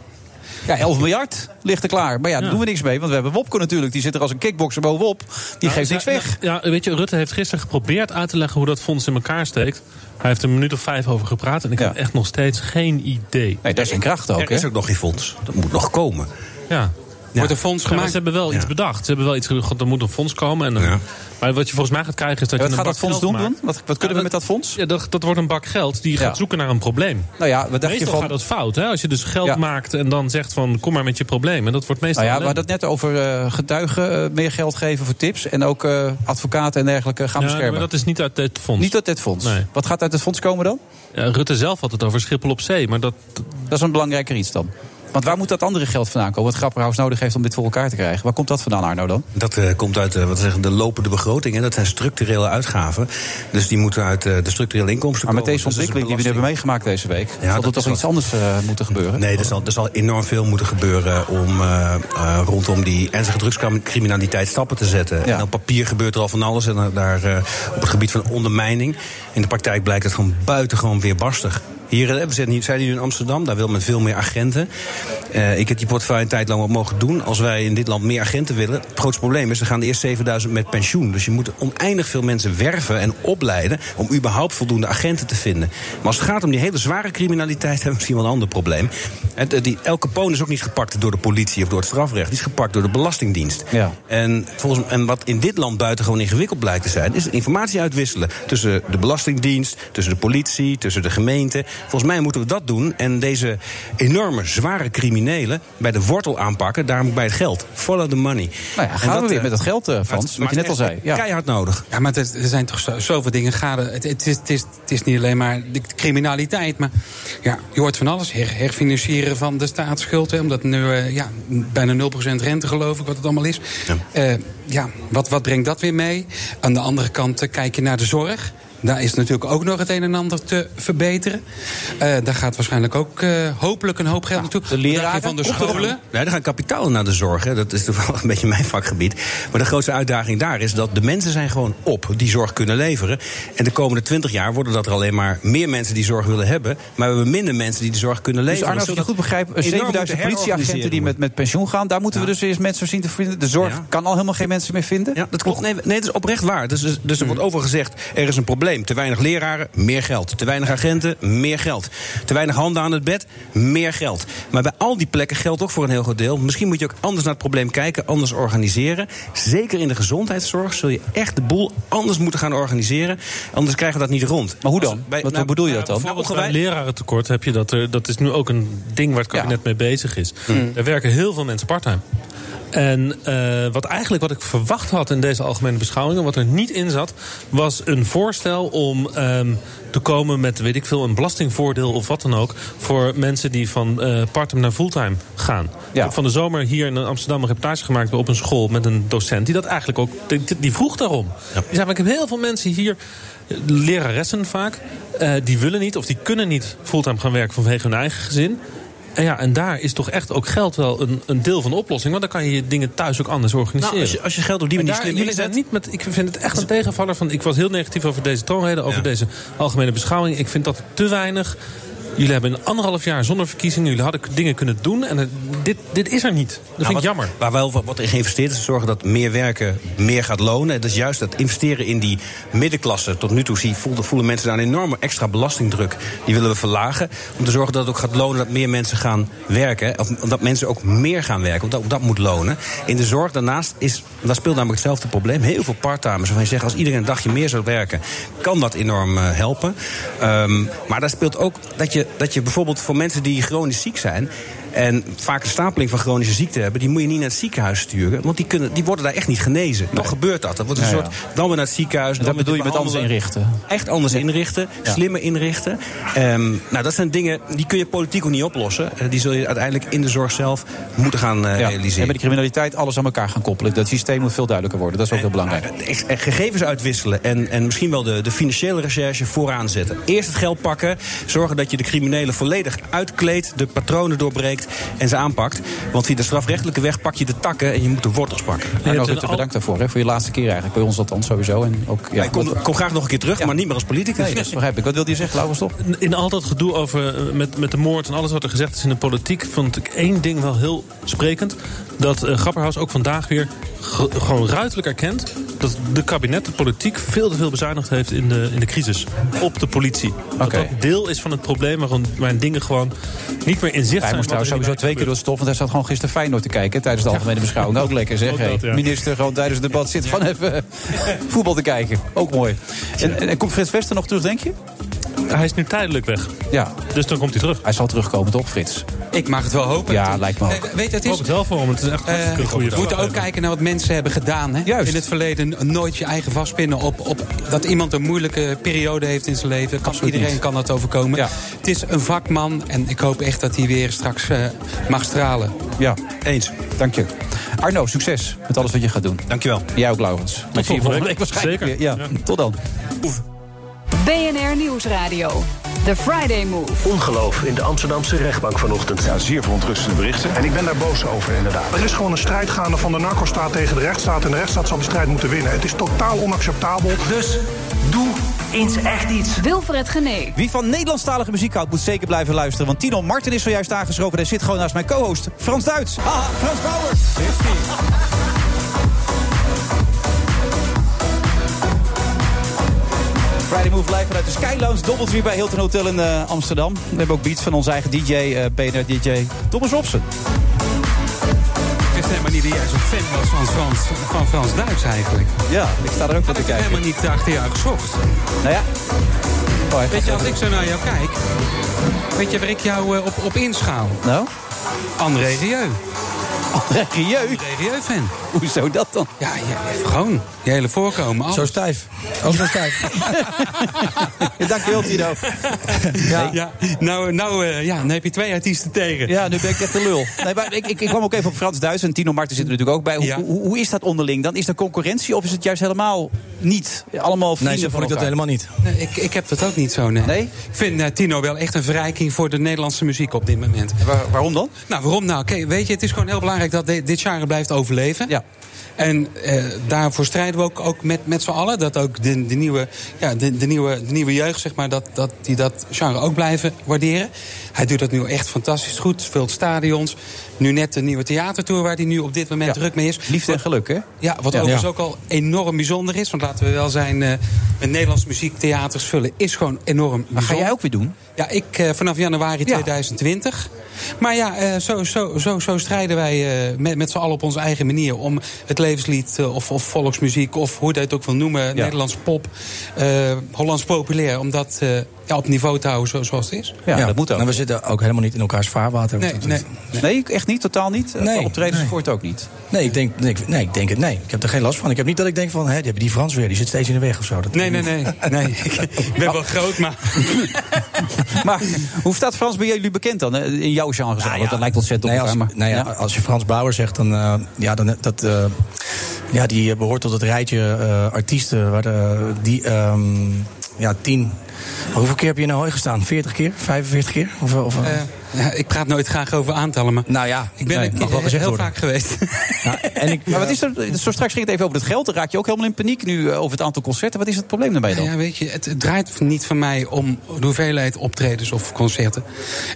S6: Ja, 11 miljard ligt er klaar. Maar ja, daar doen we niks mee. Want we hebben Wopke natuurlijk. Die zit er als een kickboxer bovenop. Die
S14: Nou,
S6: geeft niks
S14: zij-
S6: weg.
S14: Ja, weet je, Rutte heeft gisteren geprobeerd uit te leggen hoe dat fonds in elkaar steekt. Hij heeft er een minuut of vijf over gepraat en ik heb echt nog steeds geen idee.
S6: Nee, dat is een kracht ook,
S13: Er is ook nog geen fonds. Dat moet nog komen.
S14: Ja.
S7: Wordt een fonds
S14: Ja, maar
S7: gemaakt?
S14: ze hebben wel iets bedacht. Ze hebben wel iets ge- Er moet een fonds komen. En, eh, Maar wat je volgens mij gaat krijgen is dat
S6: Ja,
S14: je
S6: wat gaat
S14: een bak
S6: dat fonds
S14: geld
S6: doen
S14: maakt.
S6: dan? Wat- wat kunnen we met dat fonds?
S14: Ja, dat, dat wordt een bak geld die gaat zoeken naar een probleem.
S6: Nou ja, wat dacht
S14: meestal
S6: je van...
S14: gaat dat fout. Hè? Als je dus geld maakt en dan zegt van kom maar met je probleem. En dat wordt meestal
S6: Nou ja, we
S14: ellende.
S6: hadden het net over eh, getuigen eh, meer geld geven voor tips. En ook eh, advocaten en dergelijke gaan
S14: Ja,
S6: beschermen.
S14: maar dat is niet uit dit fonds.
S6: Niet uit dit fonds.
S14: Nee.
S6: Wat gaat uit het fonds komen dan?
S14: Ja, Rutte zelf had het over Schiphol op zee. Maar dat,
S6: Dat is een belangrijker iets dan. Want waar moet dat andere geld vandaan komen? Wat Grapperhaus nodig heeft om dit voor elkaar te krijgen. Waar komt dat vandaan, Arno, dan?
S13: Dat eh, komt uit eh, wat we zeggen, de lopende begroting. Hè. Dat zijn structurele uitgaven. Dus die moeten uit eh, de structurele inkomsten
S6: Maar met
S13: komen.
S6: deze
S13: Dus dat is een
S6: ontwikkeling die we nu hebben meegemaakt deze week...
S13: Ja,
S6: zal er
S13: dat
S6: toch
S13: is wel-
S6: iets anders eh, moeten gebeuren?
S13: Nee, er zal, er zal enorm veel moeten gebeuren om eh, eh, rondom die ernstige drugscriminaliteit stappen te zetten. En op papier gebeurt er al van alles. En eh, daar eh, op het gebied van ondermijning. In de praktijk blijkt het gewoon buitengewoon weerbarstig. Hier eh, we zitten hier- zijn hier in Amsterdam, daar wil men veel meer agenten. Eh, ik heb die portefeuille een tijd lang wat mogen doen. Als wij in dit land meer agenten willen, het grootste probleem is... er gaan de eerst 7000 met pensioen. Dus je moet oneindig veel mensen werven en opleiden... om überhaupt voldoende agenten te vinden. Maar als het gaat om die hele zware criminaliteit... hebben we misschien wel een ander probleem. Het, eh, die, El Capone is ook niet gepakt door de politie of door het strafrecht. Die is gepakt door de Belastingdienst.
S6: Ja.
S13: En, volgens, en wat in dit land buitengewoon ingewikkeld blijkt te zijn, is informatie uitwisselen. Tussen de Belastingdienst, tussen de politie, tussen de gemeente. Volgens mij moeten we dat doen en deze enorme, zware criminelen bij de wortel aanpakken. Daarom ook bij het geld. Follow the money.
S6: Nou ja,
S13: En
S6: gaan we weer
S13: eh,
S6: met dat geld, eh,
S13: maar
S6: Frans,
S13: het-
S6: wat je
S13: maar
S6: net al
S13: echt
S6: zei. Ja.
S13: Keihard nodig.
S7: Ja, maar het- er zijn toch zo- zoveel dingen gade. Het, het, is, het, is, het is niet alleen maar de criminaliteit, maar ja, je hoort van alles. Her- herfinancieren van de staatsschuld, hè, omdat nu eh, ja, bijna 0% rente geloof ik wat het allemaal is. Ja, ja wat, wat brengt dat weer mee? Aan de andere kant eh, kijk je naar de zorg. Daar is natuurlijk ook nog het een en ander te verbeteren. Eh, daar gaat waarschijnlijk ook eh, hopelijk een hoop geld naartoe. De leraren van de scholen.
S13: Nee, er gaan kapitalen naar de zorg. Hè. Dat is toevallig een beetje mijn vakgebied. Maar de grootste uitdaging daar is dat de mensen zijn gewoon op die zorg kunnen leveren. En de komende twintig jaar worden dat er alleen maar meer mensen die zorg willen hebben. Maar we hebben minder mensen die de zorg kunnen
S6: Dus
S13: leveren.
S6: Arno, als ik je goed begrijp, 7000 politieagenten die met, met pensioen gaan... daar moeten we dus eerst mensen voor zien te vinden. De zorg kan al helemaal geen mensen meer vinden. Hmm.
S13: Ja, dat klopt. Nee, nee, dat is oprecht waar. Dus, dus er wordt over gezegd, er is een probleem. Te weinig leraren, meer geld. Te weinig agenten, meer geld. Te weinig handen aan het bed, meer geld. Maar bij al die plekken geldt ook voor een heel groot deel. Misschien moet je ook anders naar het probleem kijken, anders organiseren. Zeker in de gezondheidszorg zul je echt de boel anders moeten gaan organiseren. Anders krijgen we dat niet rond. nou, Maar hoe dan?
S14: Wat- wat
S13: bedoel je
S14: dat dan? Bijvoorbeeld bij lerarentekort heb je dat. Er, dat is nu ook een ding waar het kabinet mee bezig is.
S6: Hmm.
S14: Er werken heel veel mensen parttime. En eh, wat eigenlijk wat ik verwacht had in deze algemene beschouwingen, wat er niet in zat, was een voorstel om ehm, te komen met, weet ik veel, een belastingvoordeel of wat dan ook. Voor mensen die van eh parttime naar fulltime gaan. Ik heb van de zomer hier in Amsterdam een reportage gemaakt op een school met een docent die dat eigenlijk ook. Die, die vroeg daarom. Die zei, maar ik heb heel veel mensen hier leraressen vaak. eh, die willen niet of die kunnen niet fulltime gaan werken vanwege hun eigen gezin. En, ja, en daar is toch echt ook geld wel een, een deel van de oplossing. Want dan kan je je dingen thuis ook anders organiseren.
S13: Nou, als je- als je geld op die
S14: En
S13: manier
S14: daar-
S13: slim
S14: jullie zijn niet met, Ik vind het echt een tegenvaller. Van, ik was heel negatief over deze toonreden, over deze algemene beschouwing. Ik vind dat te weinig. Jullie hebben een anderhalf jaar zonder verkiezingen. Jullie hadden k- dingen kunnen doen. En het- dit, dit is er niet. Dat vind ik
S13: Nou,
S14: jammer.
S13: wat- Waar wel wat- wat in geïnvesteerd is, zorgen dat meer werken meer gaat lonen. En Dat is juist dat investeren in die middenklasse. Tot nu toe zie, voelden, voelen mensen daar een enorme extra belastingdruk. Die willen we verlagen. Om te zorgen dat het ook gaat lonen dat meer mensen gaan werken. hè. Of dat mensen ook meer gaan werken. Want dat, dat moet lonen. In de zorg daarnaast is, daar speelt namelijk hetzelfde probleem. Heel veel parttimers waarvan je zegt, als iedereen een dagje meer zou werken, kan dat enorm eh, helpen. Ehm, maar daar speelt ook dat je, dat je bijvoorbeeld voor mensen die chronisch ziek zijn. En vaak een stapeling van chronische ziekten hebben, die moet je niet naar het ziekenhuis sturen. Want die, kunnen, die worden daar echt niet genezen. Toch gebeurt dat. Dat wordt een
S6: Ja, ja.
S13: soort. Dan weer naar het ziekenhuis.
S6: En
S13: dan
S6: dat bedoel je met anders inrichten?
S13: Echt anders inrichten,
S6: Ja.
S13: slimmer inrichten. Ehm, nou, dat zijn dingen die kun je politiek ook niet oplossen. Eh, die zul je uiteindelijk in de zorg zelf moeten gaan eh,
S6: Ja. En bij
S13: realiseren.
S6: de criminaliteit alles aan elkaar gaan koppelen. Dat systeem moet veel duidelijker worden. Dat is ook heel belangrijk.
S13: Echt, eh, gegevens uitwisselen en, en misschien wel de, de financiële recherche vooraan zetten. Eerst het geld pakken, zorgen dat je de criminelen volledig uitkleedt, de patronen doorbreekt en ze aanpakt. Want via de strafrechtelijke weg pak je de takken en je moet de wortels pakken.
S6: Arno Rutte, bedankt daarvoor. Hè, voor je laatste keer eigenlijk. Bij ons althans sowieso. En ook, ja,
S13: Ik kom,
S6: dat-
S13: kom graag nog een keer terug, maar niet meer als politicus.
S6: Nee, dat begrijp ik. Wat wilde je zeggen, Laurens, toch?
S14: In al dat gedoe over eh, met, met de moord en alles wat er gezegd is in de politiek, vond ik één ding wel heel sprekend. Dat eh, Grapperhaus ook vandaag weer ge- gewoon ruidelijk erkent dat de kabinet, de politiek, veel te veel bezuinigd heeft in de, in de crisis. Op de politie. Dat dat deel is van het probleem waarom- waarin dingen gewoon niet meer in zicht zijn.
S6: Hij moest
S14: wat er
S6: trouwens sowieso
S14: in de
S6: twee keer door het stof, want hij zat gewoon gisteren Feyenoord te kijken tijdens de algemene beschouwing. Ook lekker zeg.
S14: Ook dat,
S6: hey.
S14: ja.
S6: Minister gewoon tijdens het debat zit gewoon even voetbal te kijken. Ook mooi. En, en, en komt Frits Wester nog terug, denk je?
S14: Hij is nu tijdelijk weg.
S6: Ja.
S14: Dus dan komt hij terug.
S6: Hij zal terugkomen, toch, Frits?
S7: Ik mag het wel hopen.
S6: Ja, lijkt me ook.
S7: Eh, Weet je, het
S14: Ik hoop
S7: is,
S14: het wel voor hem, het is echt
S7: Eh,
S14: een goede
S7: we moeten
S14: vraag.
S7: ook kijken naar wat mensen hebben gedaan. Hè? In het verleden nooit je eigen vastpinnen op, op dat iemand een moeilijke periode heeft in zijn leven. Kan, iedereen
S6: niet.
S7: kan dat overkomen. Het is een vakman en ik hoop echt dat hij weer straks eh, mag stralen.
S6: Ja.
S13: Eens.
S6: Dank je. Arno, succes met alles wat je gaat doen.
S13: Dankjewel.
S6: Jij ook, Laurens. Tot
S2: volgende week.
S6: waarschijnlijk
S2: Zeker.
S6: weer. Ja. Tot dan.
S2: BNR Nieuwsradio. The Friday Move.
S4: Ongeloof in de Amsterdamse rechtbank vanochtend. Ja, zeer verontrustende berichten. En ik ben daar boos over, inderdaad.
S15: Er is gewoon een strijd gaande van de narcostaat tegen de rechtsstaat. En de rechtsstaat zal die strijd moeten winnen. Het is totaal onacceptabel.
S16: Dus doe
S15: eens echt iets.
S2: Wilfred Genee.
S6: Wie van Nederlandstalige muziek houdt, moet zeker blijven luisteren. Want Tino Martin is zojuist aangeschoven. Hij zit gewoon naast mijn co-host Frans Duits. Haha, Ah, Frans Bauer. Friday Move live vanuit de Sky Lounge Doubletree bij Hilton Hotel in eh, Amsterdam. We hebben ook beats van onze eigen DJ, eh BNR DJ Thomas Robson.
S7: Ik wist helemaal niet dat jij zo'n fan was van Frans, van Frans Duits eigenlijk.
S6: Ja, ik sta er ook van
S7: te kijken. Ik helemaal niet achter jou gezocht.
S6: Nou ja. Oh,
S7: weet je, als ik zo naar jou kijk, weet je waar ik jou eh, op, op inschaal?
S6: Nou?
S7: André Rieu.
S6: André Rieu?
S7: André Rieu-fan.
S6: Hoezo dat dan?
S7: Ja, ja, gewoon. Je hele voorkomen. Alles. Zo
S6: stijf.
S7: Ook zo stijf.
S6: Dankjewel, Tino.
S7: Ja. Ja, nou, nou eh, ja, dan heb je twee artiesten tegen.
S6: Ja, nu ben ik echt de lul. Nee, maar ik, ik, ik kwam ook even op Frans Duits en Tino Marten zit er natuurlijk ook bij. Hoe, hoe, hoe is dat onderling dan? Is er concurrentie of is het juist helemaal niet? Allemaal vrienden
S7: zo
S6: van
S7: vond ik dat helemaal
S6: elkaar.
S7: niet. Nee, ik, ik heb dat ook niet zo, nee. Ik vind eh, Tino wel echt een verrijking voor de Nederlandse muziek op dit moment.
S6: waarom dan?
S7: Nou, waarom nou? Kijk, weet je, het is gewoon heel belangrijk dat de- dit genre blijft overleven. Ja. En eh, daarvoor strijden we ook, ook met, met z'n allen. Dat ook de, de, nieuwe, ja, de, de, nieuwe, de nieuwe jeugd, zeg maar, dat, dat, die dat genre ook blijven waarderen. Hij doet dat nu echt fantastisch goed. Vult stadions. Nu net de nieuwe theatertour waar hij nu op dit moment druk mee is.
S6: Liefde en geluk, hè?
S7: Ja, wat
S6: Ja.
S7: overigens
S6: Ja.
S7: ook al enorm bijzonder is. Want laten we wel zijn, eh, met Nederlands muziek theaters vullen is gewoon enorm Maar ga jij
S6: ook weer doen?
S7: Ja, ik eh, vanaf januari 2020. Maar ja, eh, zo, zo, zo, zo strijden wij eh, met, met z'n allen op onze eigen manier... om het levenslied eh, of, of volksmuziek of hoe je het ook wil noemen... Nederlands pop, eh, Hollands populair, om dat eh, ja, op niveau te houden zo- zoals het is.
S16: En Nou, we zitten ook helemaal niet in elkaars vaarwater.
S7: Nee,
S16: Want-
S7: nee.
S6: Nee, echt niet? Totaal niet?
S16: Nee.
S6: Optredens voor het ook niet?
S16: Nee, ik denk, nee, ik- nee, ik denk het. Nee, ik heb er geen last van. Ik heb niet dat ik denk van, hé, die hebben die Frans weer, die zit steeds in de weg of zo. Dat
S7: Nee, nee, nee. nee. ik ben wel groot, maar...
S6: maar hoe staat Frans bij jullie bekend dan? hè? In jouw genre?
S7: Nou
S6: zo? Want dat lijkt ontzettend
S16: nee,
S6: op
S16: als,
S6: elkaar. maar-
S16: nou ja, als je Frans Bauer zegt, dan, eh, ja, dan dat, eh, ja, die eh, behoort tot het rijtje eh, artiesten waar de, die ehm, ja, tien. Hoeveel keer heb je in Ahoy gestaan? 40 keer? 45 keer? Of, of,
S6: Eh,
S7: Ja, ik praat nooit graag over aantallen, maar...
S16: Nou ja,
S7: ik ben
S16: nee,
S7: er
S16: mag wel
S7: heel
S16: gezegd worden.
S7: vaak geweest.
S6: maar wat is er, zo straks ging het even over het geld. Dan raak je ook helemaal in paniek nu eh, over het aantal concerten. Wat is het probleem daarbij dan?
S7: Ja, weet je, het, het draait niet van mij om de hoeveelheid optredens of concerten.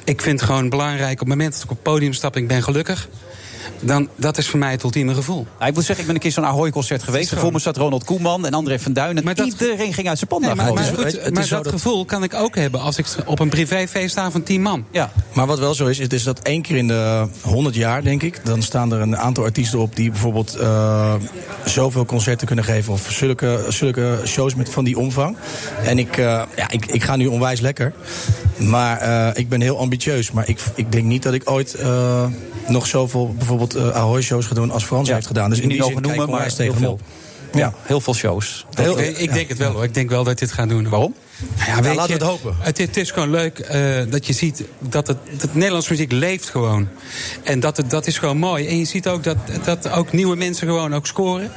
S7: Ik vind het gewoon belangrijk, op het moment dat ik op het podium stap en ik ben gelukkig... dan dat is voor mij het ultieme gevoel.
S6: Ja, ik moet zeggen, ik ben een keer zo'n Ahoy-concert geweest. Voor me zat Ronald Koeman en André van Duin. En iedereen ging uit zijn pand.
S7: Nee,
S6: daar
S7: maar
S6: gewoon.
S7: maar, goed, maar dat, gevoel kan ik ook hebben als ik op een privéfeest sta van 10 man.
S6: Ja.
S16: Maar wat wel zo is, het is dat één keer in de 100 jaar, denk ik, dan staan er een aantal artiesten op die bijvoorbeeld eh, zoveel concerten kunnen geven of zulke, zulke shows met van die omvang. En ik, eh, ja, ik, ik ga nu onwijs lekker, maar eh, ik ben heel ambitieus. Maar ik, ik denk niet dat ik ooit eh, nog zoveel bijvoorbeeld eh Ahoy-shows ga doen als Frans heeft gedaan. Dus in die
S6: Niet
S16: zin
S6: over
S16: kijk ik
S6: noemen, maar
S16: onwijs tegen
S6: heel
S16: hem
S6: veel.
S16: op. Ja.
S6: Heel veel shows.
S7: ik, denk- ik denk het wel hoor. Ik denk wel dat dit gaat doen. Waarom? Ja,
S6: Nou,
S7: weet
S16: laten we
S7: je,
S16: het hopen.
S7: Het, het is gewoon leuk eh, dat je ziet dat het, dat Nederlandse muziek leeft gewoon. En dat, het, dat is gewoon mooi. En je ziet ook dat, dat ook nieuwe mensen gewoon ook scoren.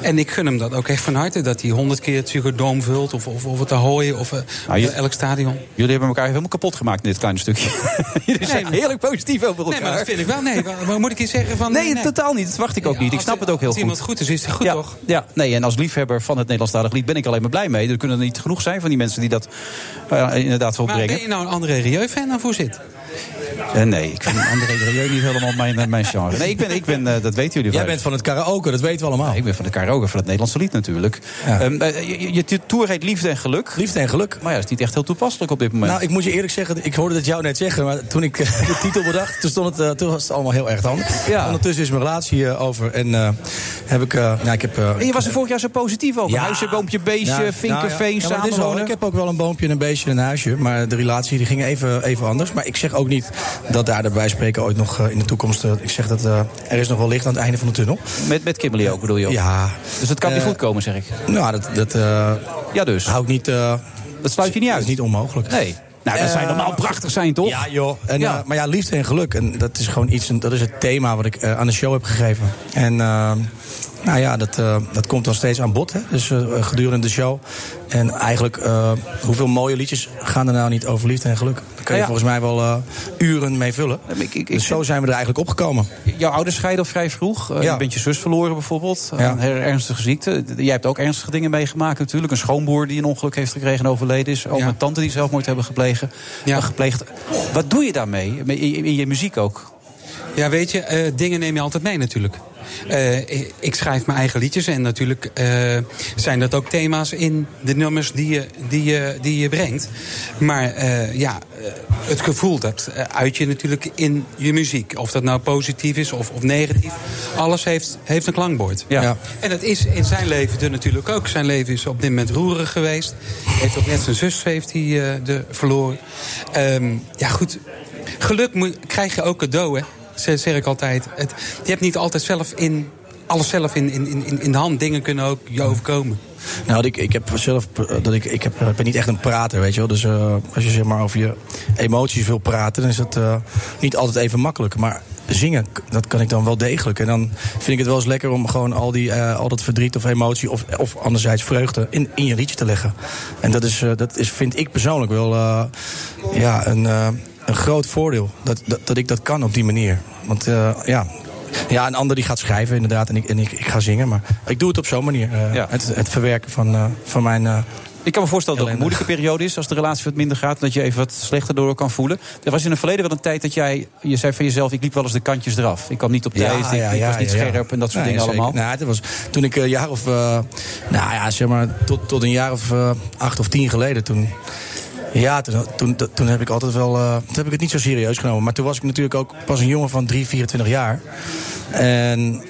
S7: En ik gun hem dat ook echt van harte. Dat hij honderd keer het Ziggo Dome vult. Of, of, of het Ahoy. Of eh,
S6: Nou, je-
S7: elk stadion.
S6: Jullie hebben elkaar helemaal kapot gemaakt in dit kleine stukje. Jullie zijn
S7: maar-
S6: heerlijk positief over elkaar.
S7: Nee, maar dat vind ik wel. Nee, maar- maar moet ik je zeggen van...
S6: Nee, totaal niet. Dat wacht ik ook niet. Ik snap het ook heel
S7: als
S6: goed.
S7: iemand goed is, is het goed,
S6: ja,
S7: toch?
S6: Ja, nee, en als liefhebber van het Nederlandstalig lied ben ik alleen maar blij mee. Er kunnen er niet genoeg zijn van die mensen die dat eh, inderdaad wel
S7: Maar
S6: brengen.
S7: ben je nou een André Rieu-fan dan voor zit?
S6: Eh, nee, ik vind André Rieu niet helemaal mijn, eh, mijn genre. Nee, ik ben, ik ben eh, dat weten jullie wel.
S16: Jij bent van het karaoke, dat weten we allemaal.
S6: ik ben van de karaoke, van het Nederlandse lied natuurlijk. Ehm, eh, je, je- je tour heet Liefde en Geluk.
S16: Liefde en Geluk.
S6: Maar ja, dat is niet echt heel toepasselijk op dit moment.
S16: Nou, ik moet je eerlijk zeggen, ik hoorde het jou net zeggen, maar toen ik eh, de titel bedacht, toen, stond het, eh, toen was het allemaal heel erg anders. Ondertussen is mijn relatie eh, over en eh, heb ik, eh, nou, ik heb. eh,
S6: en je was er vorig jaar zo positief over. Huisje, boompje, beestje,
S16: Ja,
S6: vinkerveen,
S16: nou ja, ja, maar het is wel,
S6: samenwonen.
S16: Ik heb ook wel een boompje en een beestje en een huisje. Maar de relatie die ging even, even anders. Maar ik zeg ook niet dat daar daarbij spreken ooit nog eh, in de toekomst. eh, ik zeg dat eh, er is nog wel licht aan het einde van de tunnel.
S6: Met, met Kimberly ook bedoel je ook?
S16: Ja.
S6: Dus het kan niet
S16: Eh,
S6: goed komen, zeg ik.
S16: Nou, dat, dat
S6: ja, dus.
S16: houdt niet. eh,
S6: dat sluit je niet uit.
S16: is niet onmogelijk.
S6: Nee. Nou, dat zou
S16: Eh,
S6: normaal prachtig zijn, toch?
S16: Ja, joh. En,
S6: Ja.
S16: eh, maar ja, liefde en geluk. En dat is gewoon iets, en dat is het thema wat ik eh, aan de show heb gegeven. En eh, Nou ja, dat, uh, dat komt dan steeds aan bod. Hè? Dus uh, gedurende de show. En eigenlijk, uh, hoeveel mooie liedjes gaan er nou niet over liefde en geluk? Daar kun je
S6: Ja.
S16: volgens mij wel eh, uren mee vullen. dus zo zijn we er eigenlijk opgekomen.
S6: Jouw ouders scheiden al vrij vroeg. Eh,
S16: Ja.
S6: Je bent je zus verloren bijvoorbeeld. aan
S16: Ja.
S6: Een her- ernstige ziekte. D- Jij hebt ook ernstige dingen meegemaakt natuurlijk. Een schoonboer die een ongeluk heeft gekregen en overleden is. Oom en tante die zelfmoord hebben geplegen, eh, gepleegd. Wat doe je daarmee? In, in- in je muziek ook?
S7: Ja, weet je, eh, dingen neem je altijd mee natuurlijk. Eh, ik schrijf mijn eigen liedjes en natuurlijk eh, zijn dat ook thema's in de nummers die je, die je, die je brengt. Maar eh, ja, eh, het gevoel dat eh, uit je natuurlijk in je muziek. Of dat nou positief is of, of negatief. Alles heeft, heeft een klankbord.
S6: Ja.
S7: En dat is in zijn leven er natuurlijk ook. Zijn leven is op dit moment roerig geweest. Heeft ook net zijn zus heeft hij eh, de, verloren. Ehm, ja, goed. Geluk moet- krijg je ook cadeau, hè? Ze- Zeg ik altijd. Het, je hebt niet altijd zelf in, alles zelf in, in, in, in de hand. Dingen kunnen ook je overkomen.
S16: Nou, ik, ik heb zelf. eh, Dat ik, ik, heb, ik ben niet echt een prater, weet je wel. Dus eh, als je zeg maar over je emoties wil praten, dan is dat eh, niet altijd even makkelijk. Maar zingen, k- dat kan ik dan wel degelijk. En dan vind ik het wel eens lekker om gewoon al, die, eh, al dat verdriet of emotie. of, of anderzijds vreugde in, in je liedje te leggen. En dat, is, eh, dat is, vind ik persoonlijk wel eh, ja, een, eh, een groot voordeel. Dat, dat, dat ik dat kan op die manier. Want eh, ja. Ja, een ander die gaat schrijven inderdaad en ik, en ik, ik ga zingen. Maar ik doe het op zo'n manier. eh,
S6: Ja.
S16: het, het verwerken van, eh, van mijn... eh,
S6: Ik kan me voorstellen dat het een
S16: Ellende.
S6: moeilijke periode is als de relatie wat minder gaat. en Dat je even wat slechter door kan voelen. Er was in het verleden wel een tijd dat jij, je zei van jezelf, ik liep wel eens de kantjes eraf. Ik kwam niet op tijd, ik, ik was niet
S16: ja, ja.
S6: scherp en dat soort
S16: Nee,
S6: dingen
S16: zeker.
S6: allemaal.
S16: Nou, het was, toen ik een jaar of... eh, nou ja, zeg maar, tot, tot een jaar of eh, acht of tien geleden toen... Ja, toen, toen, toen heb ik altijd wel. eh, toen heb ik het niet zo serieus genomen. Maar toen was ik natuurlijk ook pas een jongen van 3, 24 jaar. En.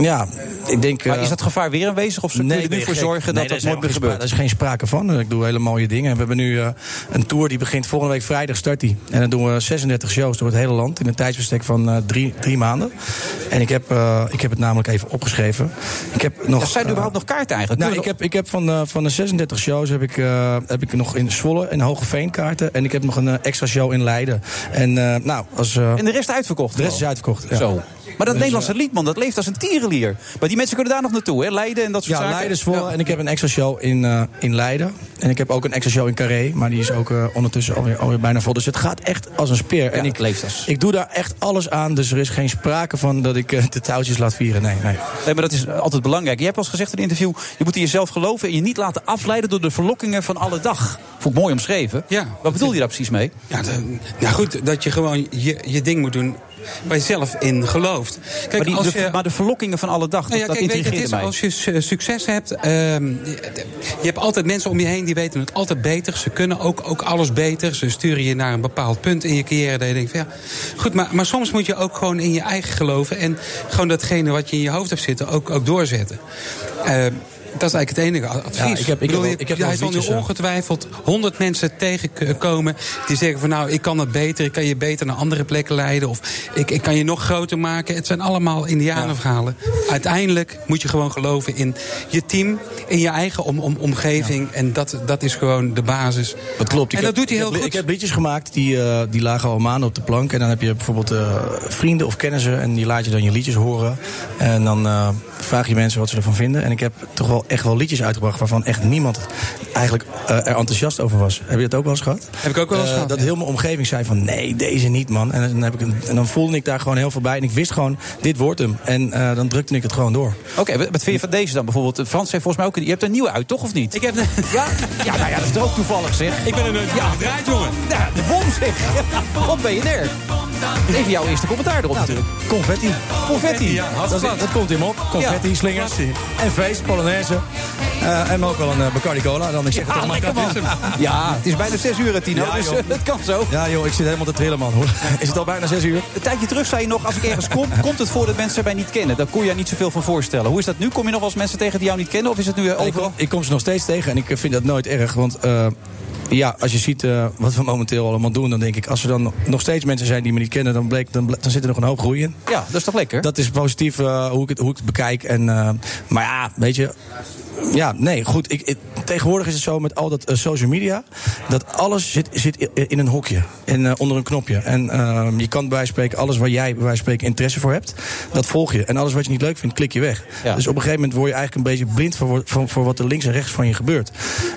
S16: Ja, ik denk.
S6: Maar
S16: eh,
S6: is dat gevaar weer aanwezig? Of ze
S16: Nee,
S6: kunnen
S16: ben
S6: er
S16: je
S6: nu voor
S16: gek?
S6: zorgen
S16: Nee,
S6: dat dat
S16: is
S6: nooit meer
S16: helemaal
S6: gebeurt?
S16: geen spra- Daar is geen sprake van. Ik doe hele mooie dingen. We hebben nu eh, een tour die begint volgende week vrijdag start die. En dan doen we 36 shows door het hele land in een tijdsbestek van eh, drie, drie maanden. En ik heb, eh, ik heb het namelijk even opgeschreven. Ik heb nog,
S6: Ja, zijn er
S16: eh,
S6: überhaupt nog kaarten eigenlijk?
S16: Nou, ik,
S6: Kunnen
S16: heb, ik heb van, eh, van de 36 shows heb ik, eh, heb ik nog in Zwolle en Hogeveen kaarten. En ik heb nog een eh, extra show in Leiden. En, eh, nou, als, eh,
S6: En de rest uitverkocht?
S16: De rest
S6: gewoon?
S16: is uitverkocht, ja.
S6: Zo. Maar dat
S16: Dus,
S6: Nederlandse
S16: eh,
S6: lied, man, dat leeft als een tierenlier. Maar die mensen kunnen daar nog naartoe, hè? Leiden en dat soort
S16: ja,
S6: zaken.
S16: Leiden, Zwolle. En ik heb een extra show in, eh, in Leiden. En ik heb ook een extra show in Carré. Maar die is ook eh, ondertussen alweer, alweer bijna vol. Dus het gaat echt als een speer. en ik,
S6: leeft als.
S16: ik doe daar echt alles aan. Dus er is geen sprake van dat ik eh, de touwtjes laat vieren. Nee, nee.
S6: Nee, maar dat is altijd belangrijk. Je hebt al eens gezegd in een interview... je moet in jezelf geloven en je niet laten afleiden... door de verlokkingen van alle dag. Vond ik mooi omschreven. Ja. Wat bedoel je daar precies mee?
S7: Ja, dat- nou goed, dat je gewoon je, je ding moet doen waar je zelf in gelooft. Kijk,
S6: maar, die-
S7: als
S6: de,
S7: je,
S6: maar de verlokkingen van alle dag,
S7: Nou ja,
S6: dat,
S7: kijk,
S6: dat
S7: weet je, het
S6: intrigeerde
S7: is,
S6: mij.
S7: als je su- succes hebt, ehm, je, je hebt altijd mensen om je heen die weten het altijd beter. Ze kunnen ook, ook alles beter. Ze sturen je naar een bepaald punt in je carrière. Dat je denkt van, ja, goed, maar, maar soms moet je ook gewoon in je eigen geloven. En gewoon datgene wat je in je hoofd hebt zitten ook, ook doorzetten. Ehm, dat is eigenlijk het enige advies.
S16: Ja, ik heb- ik heb
S7: bedoel,
S16: wel-
S7: je-
S16: ik heb wel
S7: Jij zal nu
S16: liedjes, ja.
S7: ongetwijfeld honderd mensen tegenkomen die zeggen van nou, ik kan het beter, ik kan je beter naar andere plekken leiden of ik, ik kan je nog groter maken. Het zijn allemaal indianenverhalen. Uiteindelijk moet je gewoon geloven in je team, in je eigen om, om, omgeving en dat, dat is gewoon de basis.
S16: Dat klopt.
S7: En
S16: Ik
S7: dat
S16: heb-
S7: doet hij
S16: ik
S7: heel
S16: heb,
S7: goed.
S16: Ik heb liedjes gemaakt die, eh, die lagen al maanden op de plank. En dan heb je bijvoorbeeld eh, vrienden of kennissen. En die laat je dan je liedjes horen. En dan eh, vraag je mensen wat ze ervan vinden. En ik heb toch wel echt wel liedjes uitgebracht waarvan echt niemand eigenlijk eh, er enthousiast over was. Heb je dat ook wel eens gehad?
S7: Heb ik ook wel eens
S16: Eh,
S7: gehad,
S16: Dat heel mijn omgeving zei van nee, deze niet man. En, dan heb ik, een- en dan voelde ik daar gewoon heel veel bij. En ik wist gewoon, dit wordt hem. En eh, dan drukte ik het gewoon door.
S6: Oké, wat wat vind je van deze dan bijvoorbeeld? eh, Frans heeft volgens mij ook... een- Je hebt een nieuwe uit, toch of niet? Ik
S7: heb...
S6: Ja, ja, nou ja, dat is toch ook toevallig, zeg.
S7: Ik ben er nooit ja. gedraaid, jongen.
S6: Ja, de bom, zeg. Op BNR. Even jouw eerste commentaar erop natuurlijk.
S16: Nou, Confetti.
S6: Confetti.
S16: Ja, dat, is- dat komt hem op. Confetti, slingers. En feest, Polonaise. Eh, en ook wel een eh, Bacardi Cola. Dan ik zeg het
S6: Ja,
S16: toch maar.
S6: lekker man. Ja, Ah, het is bijna 6 uur, Tino. dus
S16: joh.
S6: eh, dat kan zo.
S16: Ja joh, ik zit helemaal te trillen man. Hoor. Is het al bijna 6 uur?
S6: Een tijdje terug zei je nog, als ik ergens kom, komt het voor dat mensen mij niet kennen. Daar kon je niet zoveel van voorstellen. Hoe is dat nu? Kom je nog wel eens mensen tegen die jou niet kennen? Of is het nu eh,
S16: Ik
S6: overal?
S16: kom, ik kom ze nog steeds tegen en ik eh, vind dat nooit erg. Want eh, ja, als je ziet eh, wat we momenteel allemaal doen, dan denk ik, als er dan nog steeds mensen zijn die me niet kennen, dan, bleek, dan, ble- dan zit er nog een hoop groei in.
S6: Ja, dat is toch lekker?
S16: Dat is positief eh, hoe, ik het, hoe ik het bekijk. En, eh, maar ja, weet je. Ja, nee, goed. Ik, ik- tegenwoordig is het zo met al dat eh, social media. Dat alles zit, zit i- in een hokje. En eh, onder een knopje. En eh, je kan bij wijze van spreken alles waar jij bij wijze van spreken interesse voor hebt. Dat volg je. En alles wat je niet leuk vindt, klik je weg.
S6: Ja.
S16: Dus op een gegeven moment word je eigenlijk een beetje blind voor, voor, voor wat er links en rechts van je gebeurt.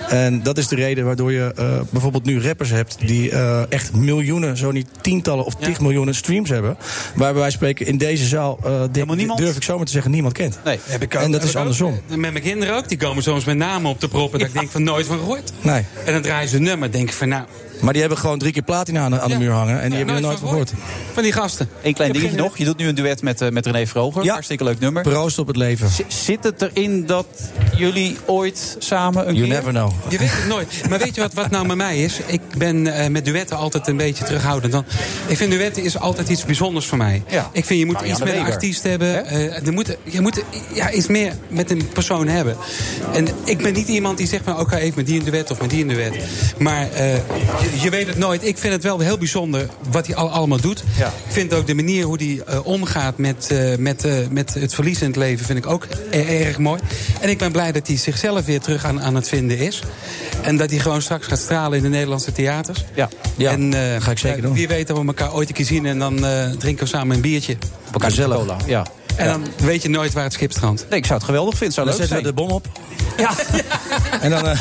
S16: En dat is de reden waardoor je eh, bijvoorbeeld nu rappers hebt die eh, echt miljoenen, zo niet tientallen of tig miljoenen streams hebben. Waar wij spreken in deze zaal, eh, denk, durf ik zomaar te zeggen, niemand kent.
S6: Nee,
S16: heb ik en dat is andersom.
S7: Met mijn kinderen ook, die komen soms met namen op de prop. En dat ik denk van nooit van gehoord.
S16: Nee.
S7: En dan draaien ze een nummer. Denk ik van nou,
S16: Maar die hebben gewoon drie keer platina aan, de- aan de muur hangen. En die hebben er nooit
S7: nooit
S16: van gehoord.
S7: van die gasten.
S6: Eén klein
S7: Ik heb
S6: dingetje
S7: geen-
S6: nog. Je doet nu een duet met, eh, met René Vroger.
S16: Ja.
S6: Hartstikke leuk nummer.
S16: Proost op het leven.
S6: Z- zit het erin dat jullie ooit samen een
S16: You
S6: keer...
S16: never know.
S7: Je weet het nooit. Maar weet je wat, wat nou met mij is? Ik ben eh, met duetten altijd een beetje terughoudend. Want ik vind duetten is altijd iets bijzonders voor mij. Ik vind je moet
S6: Marianne
S7: iets met een
S6: Weber.
S7: artiest hebben. eh, er moet, je moet ja, iets meer met een persoon hebben. En ik ben niet iemand die zegt van oké, even met die een duet of met die een duet. Maar eh, je, je weet het nooit. Ik vind het wel heel bijzonder wat hij al, allemaal doet. Ik vind ook de manier hoe hij eh, omgaat met, eh, met, eh, met het verlies in het leven vind ik ook e- erg mooi. En ik ben blij dat hij zichzelf weer terug aan, aan het vinden is. En dat hij gewoon straks gaat stralen in de Nederlandse theaters.
S6: Ja,
S16: ja
S7: en, eh,
S16: ga ik zeker doen.
S7: Wie weet dat we elkaar ooit een keer zien en dan eh, drinken we samen een biertje.
S6: elkaar Gezellig. cola, ja.
S7: En dan weet je nooit waar het schip strandt.
S6: Nee, ik zou het geweldig vinden. Zou
S7: Dan
S6: leuk
S7: zetten
S6: zijn. eh,
S7: we
S16: de bom op.
S6: Ja.
S16: En dan...
S6: En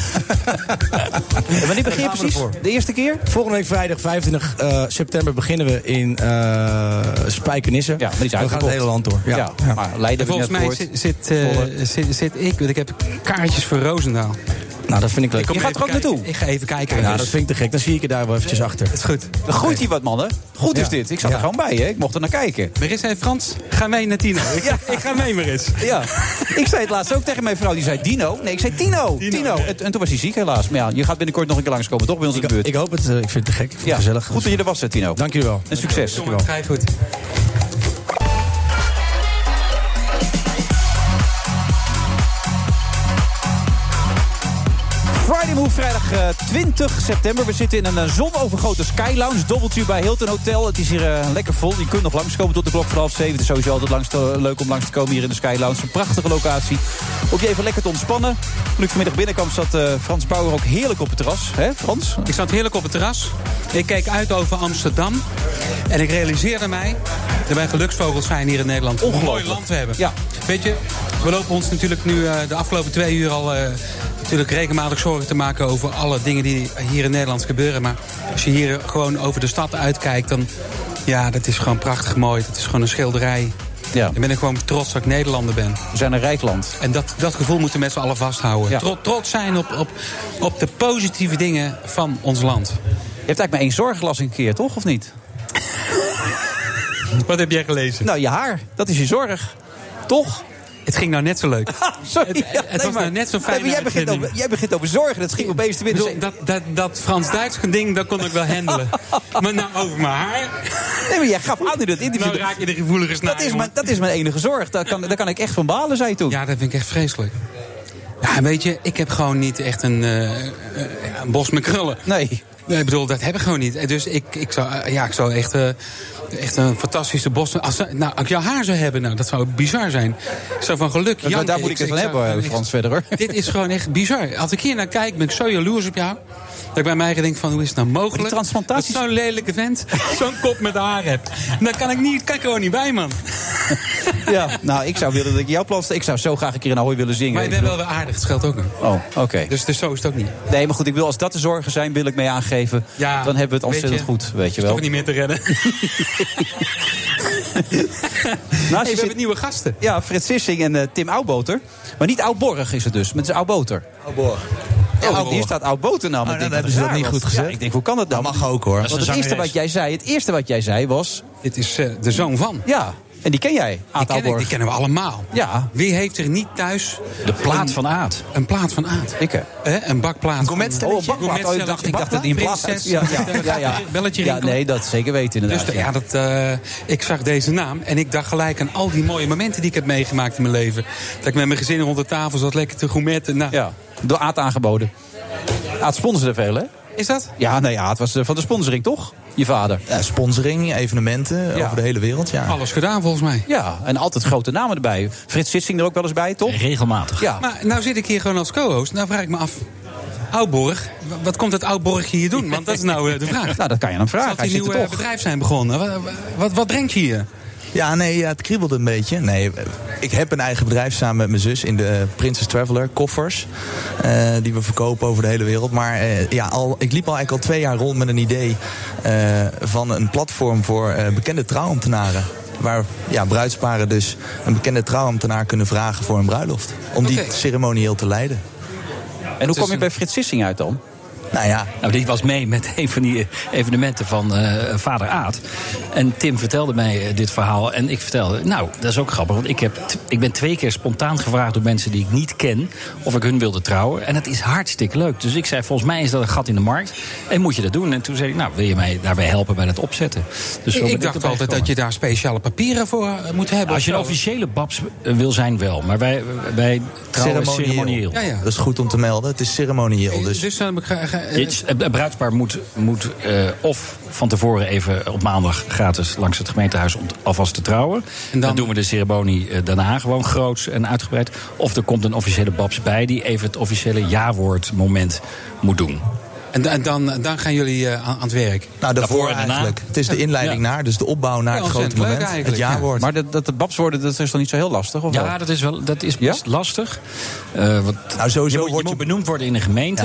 S6: wanneer begin je
S16: Daar gaan we
S6: precies?
S16: ervoor.
S6: De eerste keer?
S16: Volgende week vrijdag 25 eh, september beginnen we in eh Spijkenisse. Ja,
S6: die is
S16: we gaan het
S6: uitverkocht.
S16: hele land door. Ja,
S6: Ja, maar
S7: En volgens mij zit, zit, eh, zit, zit ik, want ik heb kaartjes voor Roosendaal.
S16: Nou, dat vind ik leuk.
S7: kom
S16: Je gaat
S7: even
S16: er ook
S7: kijken.
S16: naartoe?
S7: Ik ga even kijken.
S16: Nou,
S7: Dus-
S16: dat vind ik te gek. Dan zie ik je daar wel eventjes achter.
S7: is goed.
S6: Dan groeit hij wat, mannen. Goed is
S16: Ja.
S6: dit. Ik zat er
S16: Ja.
S6: gewoon bij, hè. Ik mocht er naar kijken.
S7: Marissa en Frans, ga mee naar Tino. ja, ik ga mee, Maris.
S6: Ja. Ik zei het laatst ook tegen mijn vrouw. Die zei Dino. Nee, ik zei Tino. Tino. En, en toen was hij ziek, helaas. Maar ja, je gaat binnenkort nog een keer langskomen, toch? Bij ons in de buurt.
S16: Ik hoop het. eh, ik vind het te gek. Ik vind het gezellig.
S6: Goed dat je er was, hè, Tino.
S16: Dank jullie wel.
S6: En succes.
S7: Jongen, ga je goed.
S6: Friday Move, vrijdag eh, 20 september. We zitten in een eh, zonovergoten Sky Lounge. Dobbeltje bij Hilton Hotel. Het is hier eh, lekker vol. Je kunt nog langskomen tot de klok van half zeven. Het is sowieso altijd langs te- eh, leuk om langs te komen hier in de Sky Lounge. Een prachtige locatie. Ook je even lekker te ontspannen. Toen ik vanmiddag binnenkwam zat eh, Frans Bauer ook heerlijk op het terras. Hè, Frans?
S7: Ik zat heerlijk op het terras. Ik keek uit over Amsterdam. En ik realiseerde mij dat wij geluksvogels zijn hier in Nederland. Hoe
S6: Ongelooflijk.
S7: mooi land we hebben.
S6: Ja.
S7: Weet je, we lopen ons natuurlijk nu eh, de afgelopen twee uur al... eh, natuurlijk regelmatig zorgen te maken over alle dingen die hier in Nederland gebeuren. Maar als je hier gewoon over de stad uitkijkt, dan... Ja, dat is gewoon prachtig mooi. Dat is gewoon een schilderij.
S6: Ja.
S7: Dan ben ik gewoon trots dat ik Nederlander ben.
S6: We zijn een rijk land.
S7: En dat, dat gevoel moeten we met z'n allen vasthouden.
S6: Ja.
S7: Tro- trots zijn op, op, op de positieve dingen van ons land.
S6: Je hebt eigenlijk maar één zorgglas een keer, toch? Of niet?
S7: Wat heb jij gelezen?
S6: Nou, je haar. Dat is je zorg. Toch?
S7: Het ging nou net zo leuk.
S6: Sorry.
S7: Het-
S6: ja,
S7: het was
S6: maar-
S7: nou net zo'n
S6: Nee,
S7: fijne
S6: maar jij, begint
S7: uitzending.
S6: over, jij begint over zorgen. Dat schiet me opeens te
S7: Ik
S6: binnen.
S7: bedoel, dat, dat, dat Frans-Duits ding, dat kon ik wel handelen. maar nou over mijn haar,
S6: Nee, maar jij gaf aan in dat interview.
S7: nou raak je de gevoelige snaar.
S6: Dat is,
S7: jongen.
S6: mijn, dat is mijn enige zorg. Daar kan, daar kan ik echt van balen, zei je toen.
S7: Ja, dat vind ik echt vreselijk. Ja, weet je, ik heb gewoon niet echt een, eh, eh, ja, een bos met krullen.
S6: Nee.
S7: Nee, ik bedoel, dat heb ik gewoon niet. Eh, Dus ik, ik, zou, eh, ja, ik zou echt, eh, echt een fantastische bos... Als, ze- nou, als ik jouw haar zou hebben, nou, dat zou bizar zijn. Ik zou van geluk
S6: Maar
S7: janken.
S6: daar moet ik het van
S7: zou
S6: hebben, eh,
S7: gewoon echt-
S6: Frans, verder hoor.
S7: Dit is gewoon echt bizar. Als ik hier naar kijk, ben ik zo jaloers op jou. Dat ik bij mij eigen denk van, hoe is het nou mogelijk?
S6: Die transplantaties-
S7: Dat zo'n lelijke vent zo'n kop met haar hebt. Daar kan ik, niet, kan ik gewoon niet bij, man.
S6: Ja, nou, ik zou willen dat ik jouw plan... Ik zou zo graag een keer een hooi willen zingen.
S7: Maar je
S6: Ik
S7: bent wel
S6: bedoel-
S7: weer aardig, dat geldt ook nog.
S6: Oh, oké.
S7: Dus, dus zo is het ook niet.
S6: Nee, maar goed, ik wil, als dat de zorgen zijn, wil ik mee aangeven.
S7: Ja,
S6: dan hebben we het
S7: weet
S6: ontzettend
S7: je,
S6: goed, weet je
S7: Is
S6: wel.
S7: toch niet meer te redden.
S6: Naast je
S7: we
S6: zit-
S7: hebben nieuwe gasten.
S6: Ja, Frits Sissing en eh, Tim Oudboter. Maar niet Oudborg is het dus, maar het is
S7: Oh,
S6: Oudboter. Ja, ook hier Oh, staat Oudboter nou. maar ik
S16: dan
S6: denk
S16: hebben ze
S6: het
S16: dat
S6: raar
S16: niet
S6: was.
S16: goed gezegd.
S6: Ja, ik denk, hoe kan dat nou?
S16: mag ook, hoor.
S6: Want het eerste wat jij zei, het eerste wat jij zei was...
S7: Dit is eh, de zoon van.
S6: Ja, en die ken jij,
S7: Die,
S6: Aad
S7: ken ik,
S6: Oudborg.
S7: die kennen we allemaal.
S6: Ja.
S7: Wie heeft er niet thuis
S6: De plaat van Aad.
S7: een plaat van Aad?
S6: Ik hè.
S7: Hè, een bakplaat.
S6: Oh, een bakplaat. Oh, ik dacht, ik dacht dat die een plaat
S7: is.
S6: Ja, ja, ja, ja.
S7: Belletje
S6: ja,
S7: rinkelen.
S6: nee, dat zeker weten
S7: Dus
S6: inderdaad.
S7: de- ja, dat, eh, ik zag deze naam en ik dacht gelijk aan al die mooie momenten die ik heb meegemaakt in mijn leven. Dat ik met mijn gezin rond de tafel zat lekker te gourmetten. Nou,
S6: Ja, door Aad aangeboden. Aad sponsorde veel, hè?
S7: is dat?
S6: Ja, nou ja, het was eh, van de sponsoring, toch? Je vader.
S17: Ja, sponsoring, evenementen over de hele wereld, ja.
S7: Alles gedaan volgens mij.
S6: Ja, en altijd grote namen erbij. Frits Sissing er ook wel eens bij, toch?
S7: Regelmatig.
S6: Ja.
S7: Maar nou zit ik hier gewoon als co-host. Nou vraag ik me af. Oudborg, w- wat komt het Oudborg hier doen? Want dat is nou eh, de vraag.
S6: Nou, dat kan je hem vragen.
S7: Zal
S6: Hij
S7: die
S6: zit er
S7: nieuwe
S6: toch.
S7: bedrijf zijn begonnen? Wat, wat, wat brengt je hier?
S17: Ja, nee, ja, het kriebelde een beetje. Nee, ik heb een eigen bedrijf samen met mijn zus in de eh, Princess Traveler koffers. eh, die we verkopen over de hele wereld. Maar eh, ja, al, ik liep al eigenlijk al twee jaar rond met een idee eh, van een platform voor eh, bekende trouwambtenaren. Waar ja, bruidsparen dus een bekende trouwambtenaar kunnen vragen voor een bruiloft. Om die ceremonieel te leiden.
S6: En hoe kom je bij Frits Sissing uit dan?
S17: Nou ja.
S15: Nou, dit was mee met een van die evenementen van eh, vader Aad. En Tim vertelde mij eh, dit verhaal. En ik vertelde, nou, dat is ook grappig. Want ik, heb t- ik ben twee keer spontaan gevraagd door mensen die ik niet ken... of ik hun wilde trouwen. En het is hartstikke leuk. Dus ik zei, volgens mij is dat een gat in de markt. En moet je dat doen? En toen zei ik, nou, wil je mij daarbij helpen bij het opzetten? Dus zo
S7: ik
S15: ben
S7: ik dacht
S15: erbij
S7: altijd dat
S15: gekomen.
S7: je daar speciale papieren voor eh, moet hebben.
S15: Als je
S7: of
S15: een
S7: zo.
S15: officiële babs eh, wil zijn, wel. Maar wij, wij trouwen
S17: Ceremonieel.
S15: ceremonieel.
S17: Ja, ja. Dat is goed om te melden. Het is ceremonieel. Dus
S7: Dus dan ga, ga, eh,
S15: Dit- Het bruidspaar moet, moet eh, of van tevoren even op maandag gratis langs het gemeentehuis om t- alvast te trouwen. dan, doen we de ceremonie eh, daarna gewoon groots en uitgebreid. Of er komt een officiële babs bij die even het officiële ja-woord moment moet doen.
S7: en, en dan, dan gaan jullie eh, aan, aan het werk.
S17: Nou, daarvoor, eigenlijk. Het is de inleiding naar, dus de opbouw naar het grote moment. Het jaarwoord.
S6: Maar dat, dat de babs worden, dat is dan niet zo heel lastig, of
S15: Ja,
S6: wel?
S15: dat is, wel, dat is best lastig. Eh, want
S17: nou, sowieso
S15: je moet, je moet benoemd worden in een gemeente.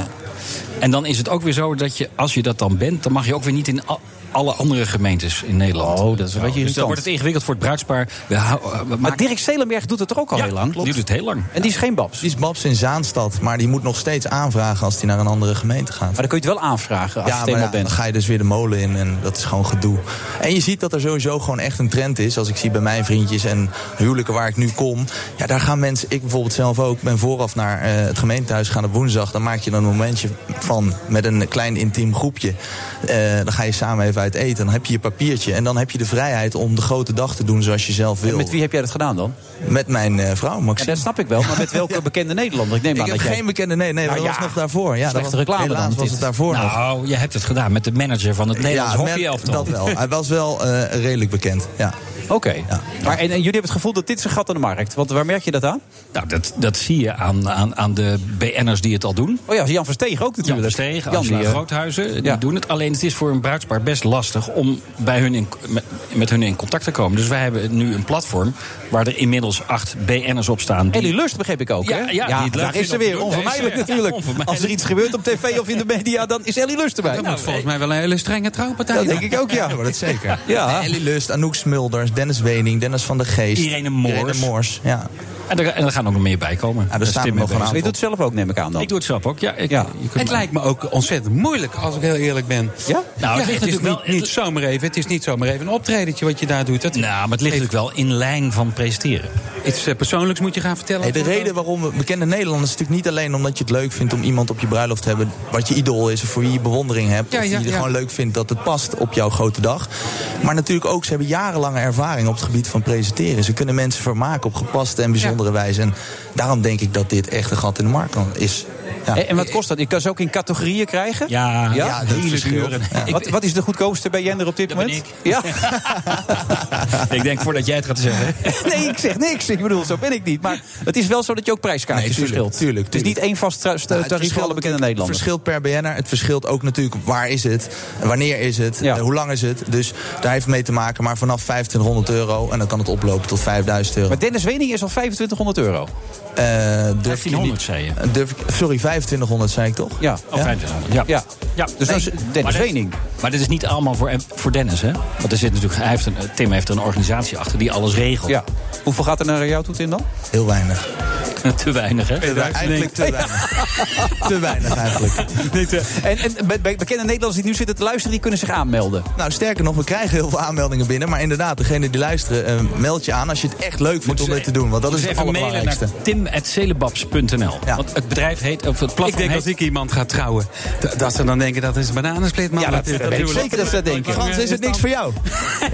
S15: En dan is het ook weer zo dat je, als je dat dan bent... dan mag je ook weer niet in al- alle andere gemeentes in Nederland. Oh, dat is
S6: een beetje
S15: Dus dan
S6: irritant.
S15: wordt het ingewikkeld voor het bruidspaar. We hou- eh, we
S6: Maar
S15: maken-
S6: Dirk Stelenberg doet het er ook al
S15: Ja,
S6: heel lang.
S15: klopt. Die doet het heel lang.
S6: En die is geen babs.
S17: Die is babs in Zaanstad, maar die moet nog steeds aanvragen als die naar een andere gemeente gaat. Maar
S6: dan kun je het wel aanvragen als je
S17: ja,
S6: het
S17: maar
S6: eenmaal
S17: ja,
S6: bent.
S17: Dan ga je dus weer de molen in en dat is gewoon gedoe. En je ziet dat er sowieso gewoon echt een trend is. Als ik zie bij mijn vriendjes en huwelijken waar ik nu kom. Ja, daar gaan mensen, ik bijvoorbeeld zelf ook, ben vooraf naar eh, het gemeentehuis gaan op woensdag. Dan maak je er een momentje van met een klein intiem groepje. Eh, dan ga je samen even uit eten. Dan heb je je papiertje. En dan heb je de vrijheid om de grote dag te doen zoals je zelf wil.
S6: Met wie heb jij dat gedaan dan?
S17: Met mijn eh, vrouw, Maxine.
S6: dat snap ik wel, maar met welke bekende Nederlander? Ik neem
S17: Ik
S6: aan
S17: heb
S6: Nou, dat jij...
S17: geen bekende, nee, nee,
S6: Nou
S17: dat
S6: ja,
S17: was nog daarvoor. Ja, dat
S6: slechte
S17: was,
S6: reclame
S17: helaas
S6: dan,
S17: was
S6: dit.
S17: het daarvoor nog.
S15: Nou, je hebt het gedaan met de manager van het Nederlands
S17: Ja,
S15: hockeyelftal.
S17: Dat wel. Hij was wel eh, redelijk bekend. Ja.
S6: Oké. Maar en, en jullie hebben het gevoel dat dit is een gat aan de markt. Want waar merk je dat aan?
S15: Nou, dat, dat zie je aan, aan, aan de BN'ers die het al doen.
S6: Oh ja, Jan Versteeg ook natuurlijk.
S15: Jan Versteeg,
S6: Jan,
S15: Angela
S6: die, eh,
S15: Groothuizen, die doen het. Alleen het is voor een bruidspaar best lastig om bij hun in, met, met hun in contact te komen. Dus wij hebben nu een platform waar er inmiddels acht BN'ers op staan.
S6: En die lust begreep ik ook.
S15: Ja,
S6: hè?
S15: ja, die het leuk
S6: daar
S15: vinden
S6: is ze
S15: om te
S6: weer.
S15: doen.
S6: Onvermijdelijk
S15: Ja,
S6: natuurlijk.
S15: onvermijdelijk.
S6: Als er iets gebeurt op tv of in de media, dan is Ellie Lust erbij.
S7: Dat moet volgens mij wel een hele strenge trouwpartij.
S17: Dat
S7: dan.
S17: denk ik ook, ja. maar dat zeker.
S6: Ja.
S17: Ellie Lust, Anouk Smulders, Dennis Wening, Dennis van der Geest.
S15: Irene Moors.
S17: Moors, ja.
S15: En er, en er gaan ook nog meer bij komen.
S17: er
S15: Daar is
S17: staan
S15: Tim
S17: er nog
S15: mee
S17: een
S15: bezig.
S17: aantal. Je doet
S6: het zelf ook, neem ik aan dan.
S15: Ik doe het zelf ook, ja. Ik, je kunt
S7: Het lijkt me ook ontzettend moeilijk, als ik heel eerlijk ben.
S6: Ja?
S7: Nou,
S15: het
S7: het,
S15: ligt
S7: is
S15: natuurlijk
S7: niet, niet zomaar even. Het is niet zomaar even een optredentje wat je daar doet. Het, nou,
S15: maar het ligt natuurlijk wel in lijn van presenteren.
S7: Iets eh, persoonlijks moet je gaan vertellen.
S17: Hey, de reden waarom we bekende Nederlanders is natuurlijk niet alleen omdat je het leuk vindt om iemand op je bruiloft te hebben wat je idool is of voor wie je bewondering hebt.
S7: Ja,
S17: of
S7: ja,
S17: die je
S7: ja.
S17: gewoon leuk vindt dat het past op jouw grote dag. Maar natuurlijk ook, ze hebben jarenlange ervaring op het gebied van presenteren. Ze kunnen mensen vermaken op gepaste en bijzondere wijze. En daarom denk ik dat dit echt een gat in de markt kan- is. Ja.
S6: Eh, En, en wat kost dat? Je kan ze ook in categorieën krijgen?
S15: Ja,
S17: ja, dat verschilt. Ja.
S6: Wat, wat is de goedkoopste bij Jender op dit moment? Ja.
S15: ik denk voordat jij het gaat zeggen.
S6: nee, ik zeg niks. Ik bedoel, zo ben ik niet. Maar het is wel zo dat je ook prijskaartjes
S17: Nee, tuurlijk,
S6: verschilt.
S17: tuurlijk,
S6: Het is niet één vast tra- sta-
S17: Nou,
S6: tarief voor alle bekende
S17: natuurlijk-
S6: Nederlanders.
S17: Het verschilt per BN'er. Het verschilt ook natuurlijk waar is het, wanneer is het, eh, hoe lang is het. Dus daar heeft het mee te maken. Maar vanaf 2500 euro en dan kan het oplopen tot 5000 euro.
S6: Maar Dennis Wening is al 2500 euro.
S17: Eh, durf ik niet-
S15: 1500 zei je.
S17: Eh, durf ik- sorry, 2500 zei ik toch?
S6: Ja.
S15: Oh, 2500, ja.
S6: Ja.
S15: ja.
S6: Dus dan is Dennis
S15: maar dit-
S6: Wening.
S15: Maar dit is niet allemaal voor, voor Dennis, hè? Want er zit natuurlijk, hij heeft een, Tim heeft er een organisatie achter die alles regelt.
S6: Ja. Hoeveel gaat er naar jou toe, Tim, dan?
S17: Heel weinig.
S15: Te weinig, hè?
S17: Eigenlijk te weinig. te weinig eigenlijk.
S6: En, en be- be- bekende Nederlanders die nu zitten te luisteren, die kunnen zich aanmelden.
S17: Nou, sterker nog, we krijgen heel veel aanmeldingen binnen. Maar inderdaad, degene die luisteren, eh, meld je aan als je het echt leuk vindt om dit te doen. Want dat is
S15: Dus
S17: het
S15: even mailen naar
S17: allerbelangrijkste.
S15: tim.celebabs.nl. Want het bedrijf heet, of het platform
S7: Ik denk
S15: heet...
S7: als ik iemand ga trouwen, d- dat ze dan denken dat is een bananensplit. man.
S6: Ja, dat- dat weet ik zeker dat ze dat denken.
S17: Frans, is het niks voor jou?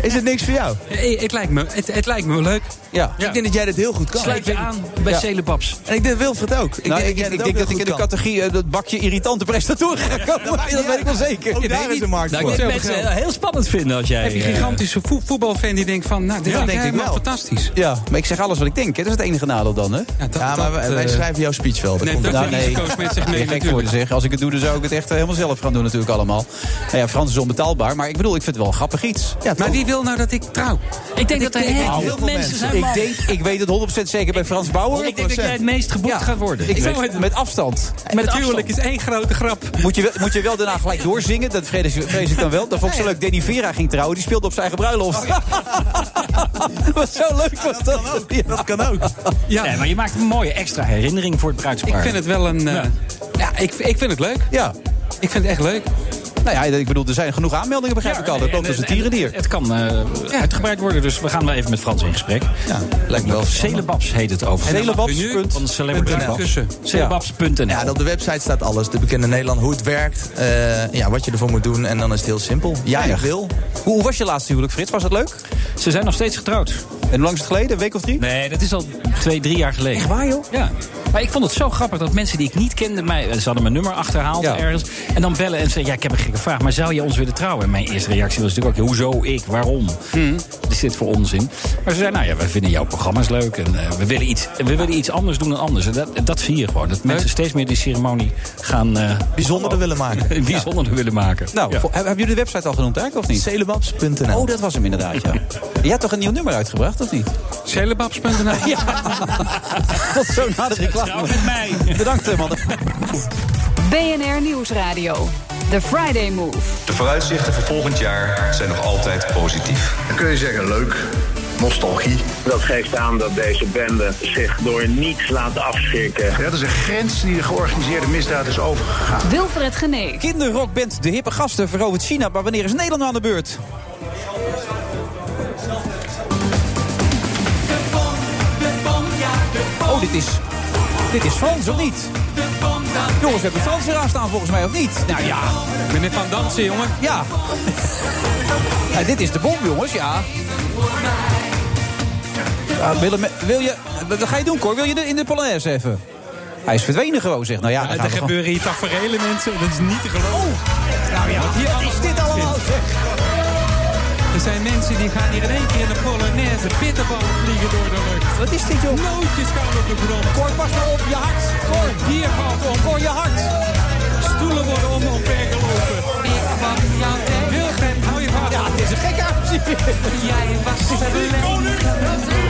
S17: Is het niks voor jou?
S7: Eh, Het lijkt me, het, het lijkt me wel leuk.
S6: Ja.
S17: Ik denk dat jij dit heel goed kan.
S15: Sluit je aan bij
S6: Ja.
S15: Celebab.
S16: Paps.
S6: En ik denk Wilfred ook. Ik, denk-
S16: Nou, ik-
S6: ik
S16: ik
S6: denk
S16: denk
S6: dat
S16: dat
S6: ik in de
S16: goed kan.
S6: categorie eh, dat bakje irritante prestatoren ga komen. dat weet ik wel zeker.
S16: Ook daar is een markt voor.
S15: Nou, heel spannend vinden als jij... eh,
S7: Heb je een gigantische vo- voetbalfan die denkt van... Nou, dit
S6: Ja,
S7: vind
S6: denk ik
S7: helemaal
S6: wel.
S7: fantastisch.
S6: Ja, maar ik zeg alles wat ik denk. hè. Dat is het enige nadeel dan, hè? Ja,
S16: maar wij- wij schrijven jouw speech wel.
S6: Nee,
S16: komt
S6: dat
S16: het
S6: nou,
S16: niet.
S6: nee.
S16: Risico's met zich
S6: Ja,
S16: mee
S6: gek voor te
S16: natuurlijk.
S6: zeggen. Als ik het doe, dan zou ik het echt eh, helemaal zelf gaan doen natuurlijk allemaal. Nou ja, Frans is onbetaalbaar, maar ik bedoel, ik vind het wel een grappig iets. Ja,
S7: maar wie wil nou dat ik Nou, trouw?
S15: Ik denk dat er heel veel mensen zijn,
S6: Ik,
S15: man.
S6: denk, ik weet het 100% zeker bij Frans Bauer.
S15: Ik denk dat jij het meest geboekt gaat worden.
S6: Ik
S15: Ik
S6: weet,
S15: zou het-
S6: met afstand.
S15: Met afstand.
S7: is één grote grap.
S6: Moet je, wel- moet je wel daarna gelijk doorzingen? Dat vrees, ik- vrees ik dan wel. Dat vond ik zo leuk. Danny Vera ging trouwen. Die speelde op zijn eigen bruiloft. Wat zo leuk was dat. Ja.
S16: Dat kan ook.
S15: Ja. Nee, maar je maakt een mooie extra herinnering voor het bruidspaar.
S7: Ik vind het wel een... eh, ja, ik, ik vind het leuk.
S6: Ja.
S7: Ik vind het echt leuk.
S6: Nou ja, ik bedoel, er zijn genoeg aanmeldingen, begrijp ik al. Dat loopt als een tierendier.
S15: Het kan eh, uitgebreid worden, dus we gaan wel even met Frans in gesprek. Ja,
S6: lijkt me wel.
S15: Celebabs heet het over. Van Celebrity Babs. Celebabs.nl.
S16: Ja, en op de website staat alles. De bekende Nederland, hoe het werkt. eh, ja, wat je ervoor moet doen. En dan is het heel simpel. Ja, ik
S6: Eindig.
S16: wil.
S6: Hoe, hoe was je laatste huwelijk, Frits? Was dat leuk?
S15: Ze zijn nog steeds getrouwd.
S6: En hoe lang is het geleden? Een week of drie?
S15: Nee, dat is al twee, drie jaar geleden. Echt
S6: waar, joh?
S15: Ja. Maar ik vond het zo grappig dat mensen die ik niet kende... Mij, ze hadden mijn nummer achterhaald ergens. En dan bellen en zeggen, ja, ik heb een gekke vraag... maar zou je ons willen trouwen? En mijn eerste reactie was natuurlijk ook... hoezo, ik, waarom?
S6: Hmm.
S15: Wat Is dit voor onzin? Maar ze zeiden, nou ja, wij vinden jouw programma's leuk... en eh, we, willen iets, we willen iets anders doen dan anders. En dat, dat zie je gewoon. Dat mensen steeds meer die ceremonie gaan... eh,
S16: Bijzonderder willen maken.
S15: bijzonderder willen maken.
S6: Nou,
S15: Ja.
S6: vo- hebben jullie de website al genoemd eigenlijk, of niet?
S16: Celebabs.nl.
S6: Oh, dat was hem inderdaad, ja. Je hebt toch een nieuw nummer uitgebracht, of niet?
S7: Celebabs.nl.
S6: Tot zo na de reclame. met mij. Bedankt, eh, mannen.
S2: BNR Nieuwsradio. The Friday Move.
S3: De vooruitzichten voor volgend jaar zijn nog altijd positief.
S5: Dan kun je zeggen, leuk, nostalgie. Dat geeft aan dat deze bende zich door niets laat afschrikken.
S4: Dat is een grens die de georganiseerde misdaad is overgegaan.
S2: Wilfred Genee.
S6: Kinderrockband De Hippe Gasten verovert China, maar wanneer is Nederland nou aan de beurt? Oh, dit is, dit is Frans, of niet? Jongens, we hebben Frans eraan staan volgens mij, of niet? Nou ja.
S7: Meneer Van Dansen, jongen.
S6: Ja. Ja, dit is de bom, jongens, ja. Ja, Willem, wil je, wat ga je doen, Cor? Wil je de- in de Polonaise even? Hij is verdwenen gewoon, zeg. Nou ja, dan
S12: Ja,
S6: gaan
S12: er
S6: we gewoon-
S12: gebeuren hier tafereelen, mensen. Dat is niet te geloven.
S6: nou ja, wat is dit allemaal?
S7: Er zijn mensen die gaan hier in één keer in de Polonaise bitterballen vliegen door de lucht.
S6: Wat is dit, joh?
S7: Nootjes gaan op de grond.
S6: Cor, pas nou op, je hart. Cor,
S7: hier gaat om.
S6: Cor, je hart.
S7: Stoelen worden om omver gelopen. Ik was jouw Wilfred, hou je vast.
S6: Ja, het is een gekke actie.
S7: Jij was de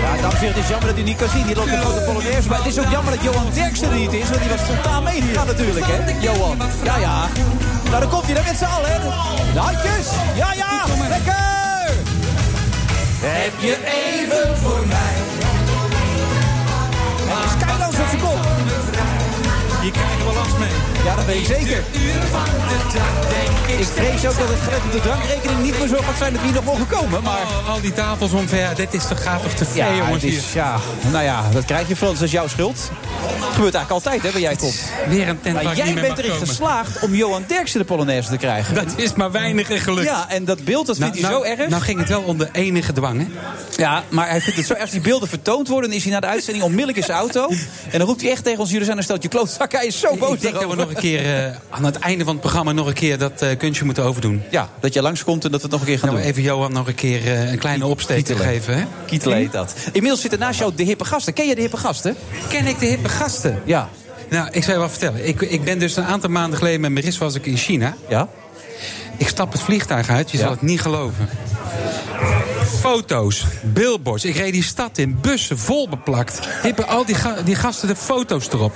S6: Ja, dames en heren, het is jammer dat u niet kan zien. Die loopt een grote Polonaise. Maar het is ook jammer dat Johan Derksen er niet is. Want die was spontaan meegegaan natuurlijk, hè? Johan. Ja, ja. Nou, dan komt hij dan met z'n allen, hè? De handjes. Ja, ja. Lekker. Heb je even voor mij. Het is Skylands op zijn kop.
S7: Je krijgt wel last mee.
S6: Ja, dat weet ik zeker. Ik vrees ook dat het gelet op de drankrekening niet meer zo gaat zijn dat we hier nog mogen komen. Maar...
S7: Al, al die tafels omver, dit is toch gaaf of te veel,
S6: Ja,
S7: jongens.
S6: het
S7: Hier.
S6: is, ja, nou ja, dat krijg je Frans, dat is jouw schuld. Het gebeurt eigenlijk altijd, hè, waar jij komt.
S7: Weer een tent waar
S6: Maar
S7: ik
S6: jij
S7: niet mee mag
S6: bent erin
S7: komen.
S6: geslaagd om Johan Derksen de Polonaise te krijgen.
S7: Dat is maar weinig en gelukt.
S6: Ja, en dat beeld, dat vindt hij zo erg.
S7: Nou ging het wel onder enige dwang, hè?
S6: Ja, maar hij vindt het zo erg. Als die beelden vertoond worden, dan is hij na de uitzending onmiddellijk in zijn auto. En dan roept hij echt tegen ons, jullie zijn een steltje klootzak. Hij is zo boos
S7: Ik denk dat we
S6: daarover.
S7: nog een keer, eh, aan het einde van het programma, nog een keer dat eh, kunstje moeten overdoen.
S6: Ja, dat je langskomt en dat we het nog een keer gaan
S7: Nou,
S6: doen.
S7: even Johan nog een keer eh, een kleine opsteek te
S6: Kietelen.
S7: geven, hè? Hm?
S6: Kietelen heet dat. Inmiddels zitten naast jou de hippe gasten. Ken je de hippe gasten?
S7: Ken ik de hippe gasten?
S6: Ja.
S7: Nou, ik zou je wel vertellen. Ik, ik ben dus een aantal maanden geleden met Maris was ik in China.
S6: Ja.
S7: Ik stap het vliegtuig uit, je zal het niet geloven. Foto's, billboards. Ik reed die stad in, bussen vol beplakt. Hippen al die, ga- die gasten de foto's erop.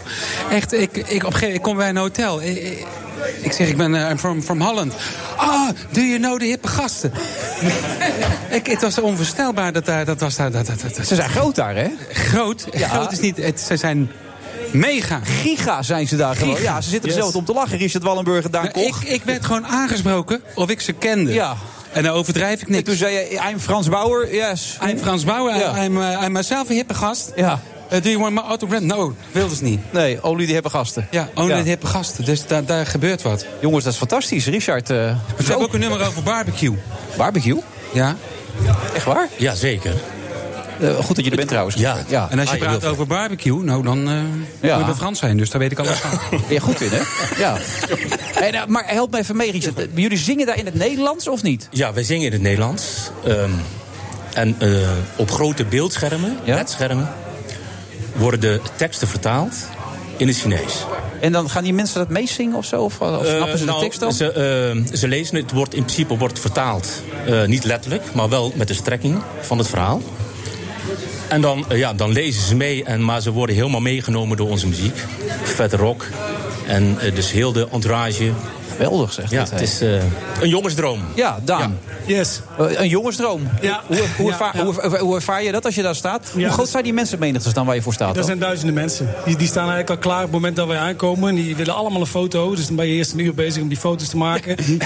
S7: Echt, ik, ik, op een gegeven moment kom bij een hotel. Ik, ik- ik zeg, ik ben eh, I'm from, from Holland. Ah, do you know de hippe gasten? ik, het was onvoorstelbaar dat daar... Dat was daar dat, dat, dat,
S6: Ze zijn groot daar, hè?
S7: groot.
S6: Ja.
S7: Groot is niet... Het, ze zijn mega.
S6: Giga zijn ze daar gewoon.
S7: Giga.
S6: Ja, ze zitten er
S7: Yes.
S6: zelf om te lachen. Richard Wallenburg en Daan
S7: Nou,
S6: Koch.
S7: ik, ik werd gewoon aangesproken of ik ze kende.
S6: Ja.
S7: En daar overdrijf ik niks.
S6: En toen zei je, I'm Frans Bauer, yes.
S7: I'm Frans Bauer.
S6: Ja.
S7: I'm, uh, I'm myself een hippe gast.
S6: Ja.
S7: Eh, do you want my autograph? No, wilde ze niet.
S6: Nee, olie die hebben gasten.
S7: Ja, oh,
S6: Ja.
S7: dit hippe gasten. Dus daar daar gebeurt wat.
S6: Jongens, dat is fantastisch. Richard, eh
S7: We hebben ook een nummer over barbecue.
S6: barbecue?
S7: Ja?
S6: Echt waar?
S11: Jazeker.
S6: Eh, goed dat je er bent trouwens. Ja. Ah, ja.
S7: En als
S18: Ah,
S7: je praat over barbecue, nou dan eh
S6: Ja.
S7: moet je bij Frans zijn. Dus daar weet ik alles van.
S6: Ben je goed in, hè? Ja. Hey, nou, maar help me even mee, Richard. Eh, Jullie zingen daar in het Nederlands of niet?
S18: Ja, wij zingen in het Nederlands. Ehm, en eh, op grote beeldschermen, bedschermen, worden de teksten vertaald in het Chinees.
S6: En dan gaan die mensen dat meezingen of zo? Of, of snappen ze
S18: Eh, nou,
S6: de tekst dan?
S18: Ze, eh, ze lezen het, wordt in principe wordt vertaald. eh, niet letterlijk, maar wel met de strekking van het verhaal. En dan, eh, ja, dan lezen ze mee, en, maar ze worden helemaal meegenomen door onze muziek. Vet rock. En eh, dus heel de entourage.
S6: Geweldig zeg.
S18: Ja,
S6: dit, hè?
S18: het is eh, een jongensdroom.
S6: Ja, Daan.
S18: Yes.
S6: Eh, Een jongensdroom. Hoe, hoe, hoe,
S18: Ja,
S6: ervaar,
S18: ja.
S6: Hoe, ervaar- hoe ervaar je dat als je daar staat?
S19: Ja,
S6: hoe groot
S19: dat-
S6: zijn die mensenmenigtes dan waar je voor staat?
S19: Er
S6: dan?
S19: zijn duizenden mensen. Die, die staan eigenlijk al klaar op het moment dat wij aankomen. En die willen allemaal een foto. Dus dan ben je eerst een uur bezig om die foto's te maken. Ik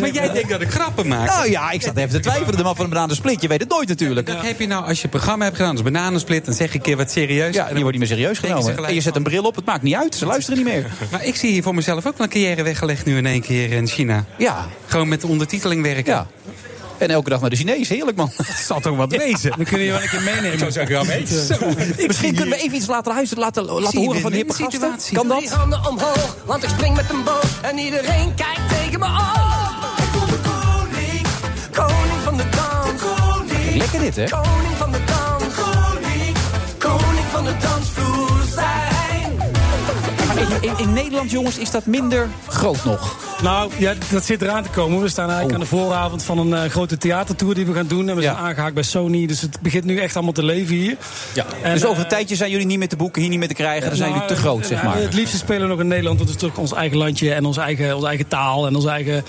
S7: Maar jij denkt dat ik grappen maak.
S6: Nou ja, ik zat even te twijfelen. De man van de bananensplit. Je weet het nooit natuurlijk.
S7: Dat heb je nou als je een programma hebt gedaan als bananensplit. Dan zeg je een keer wat serieus. Ja, en
S6: je wordt niet meer serieus genomen. En je zet een bril op. Het maakt niet uit. Ze luisteren niet meer.
S7: Maar ik zie hier voor mezelf ook wel een carrière weggelegd nu in één keer in China.
S6: Ja.
S7: Gewoon met de ondertiteling werken.
S6: Ja. En elke dag naar de Chinees. Heerlijk man. Dat zal toch wat
S7: wezen. We kunnen je wel een keer meenemen. Ik zou zeggen, ja, weet je.
S6: Misschien kunnen we even iets laten luisteren. Laten, laten horen van de hippe gasten. Kan
S20: Drie
S6: dat?
S20: handen omhoog, want ik spring met een boot en iedereen kijkt tegen me op. Ik voel de koning, koning van de dans. koning,
S6: Lekker dit, hè?
S20: koning van de dans. koning, koning van de dansvloer zijn.
S6: Maar in, in, in Nederland, jongens, is dat minder groot nog. Oh.
S19: Nou, ja, dat zit eraan te komen. We staan eigenlijk aan de vooravond van een eh, grote theatertour die we gaan doen. En we zijn aangehaakt bij Sony. Dus het begint nu echt allemaal te leven hier.
S18: Ja.
S6: dus
S19: En, eh,
S6: over een tijdje zijn jullie niet meer te boeken, hier niet meer te krijgen. Dan zijn
S19: Nou,
S6: jullie te groot, zeg
S19: eh,
S6: maar.
S19: Het liefste spelen we nog in Nederland. want Dat is toch ons eigen landje en ons eigen, onze eigen taal en onze eigen...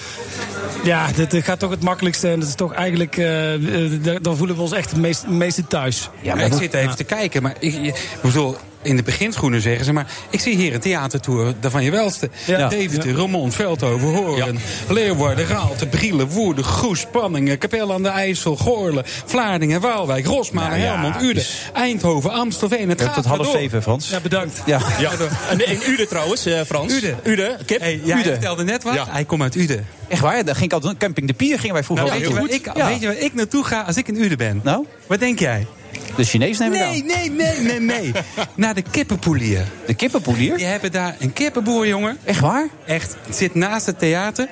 S19: Ja, dat eh, gaat toch het makkelijkste. En dat is toch eigenlijk... eh, eh, daar- dan voelen we ons echt het meest, meeste thuis.
S7: Ja, maar ik zit even te kijken. Maar ik, ik bedoel, in de beginschoenen zeggen ze... maar ik zie hier een theatertour daarvan je welste.
S19: Ja.
S7: Deventer, Roermond, Veldhoven, Hoorn, Leeuwarden, Raalte, Brielen, Woerden... Goes, Panningen, Capelle aan de IJssel, Goorlen... Vlaardingen, Waalwijk, Rosmalen,
S6: Nou ja,
S7: Helmond, Uden...
S6: dus-
S7: Eindhoven, Amstelveen, het
S6: Ja,
S7: gaat
S6: tot
S7: maar
S6: half
S7: door.
S6: zeven, Frans. Ja,
S19: bedankt.
S6: Ja.
S18: Ja. En in Ude trouwens, eh, Frans.
S7: Ude.
S18: Ude, kip.
S7: Hey, jij
S18: Ude.
S7: vertelde net wat.
S18: Ja.
S7: Hij komt uit Uden.
S6: Echt waar? Daar ging ik altijd camping de pier gingen wij vroeger.
S7: Nou, weet, je
S6: altijd
S7: waar
S6: doen.
S7: ik,
S6: Ja.
S7: weet je waar ik naartoe ga als ik in Uden ben?
S6: Nou?
S7: Wat denk jij?
S6: De Chinees nemen we
S7: Nee, nee, nee, nee, nee. Naar de kippenpoelier.
S6: De kippenpoelier?
S7: Die hebben daar een kippenboer, jongen.
S6: Echt waar?
S7: Echt. Het zit naast het theater.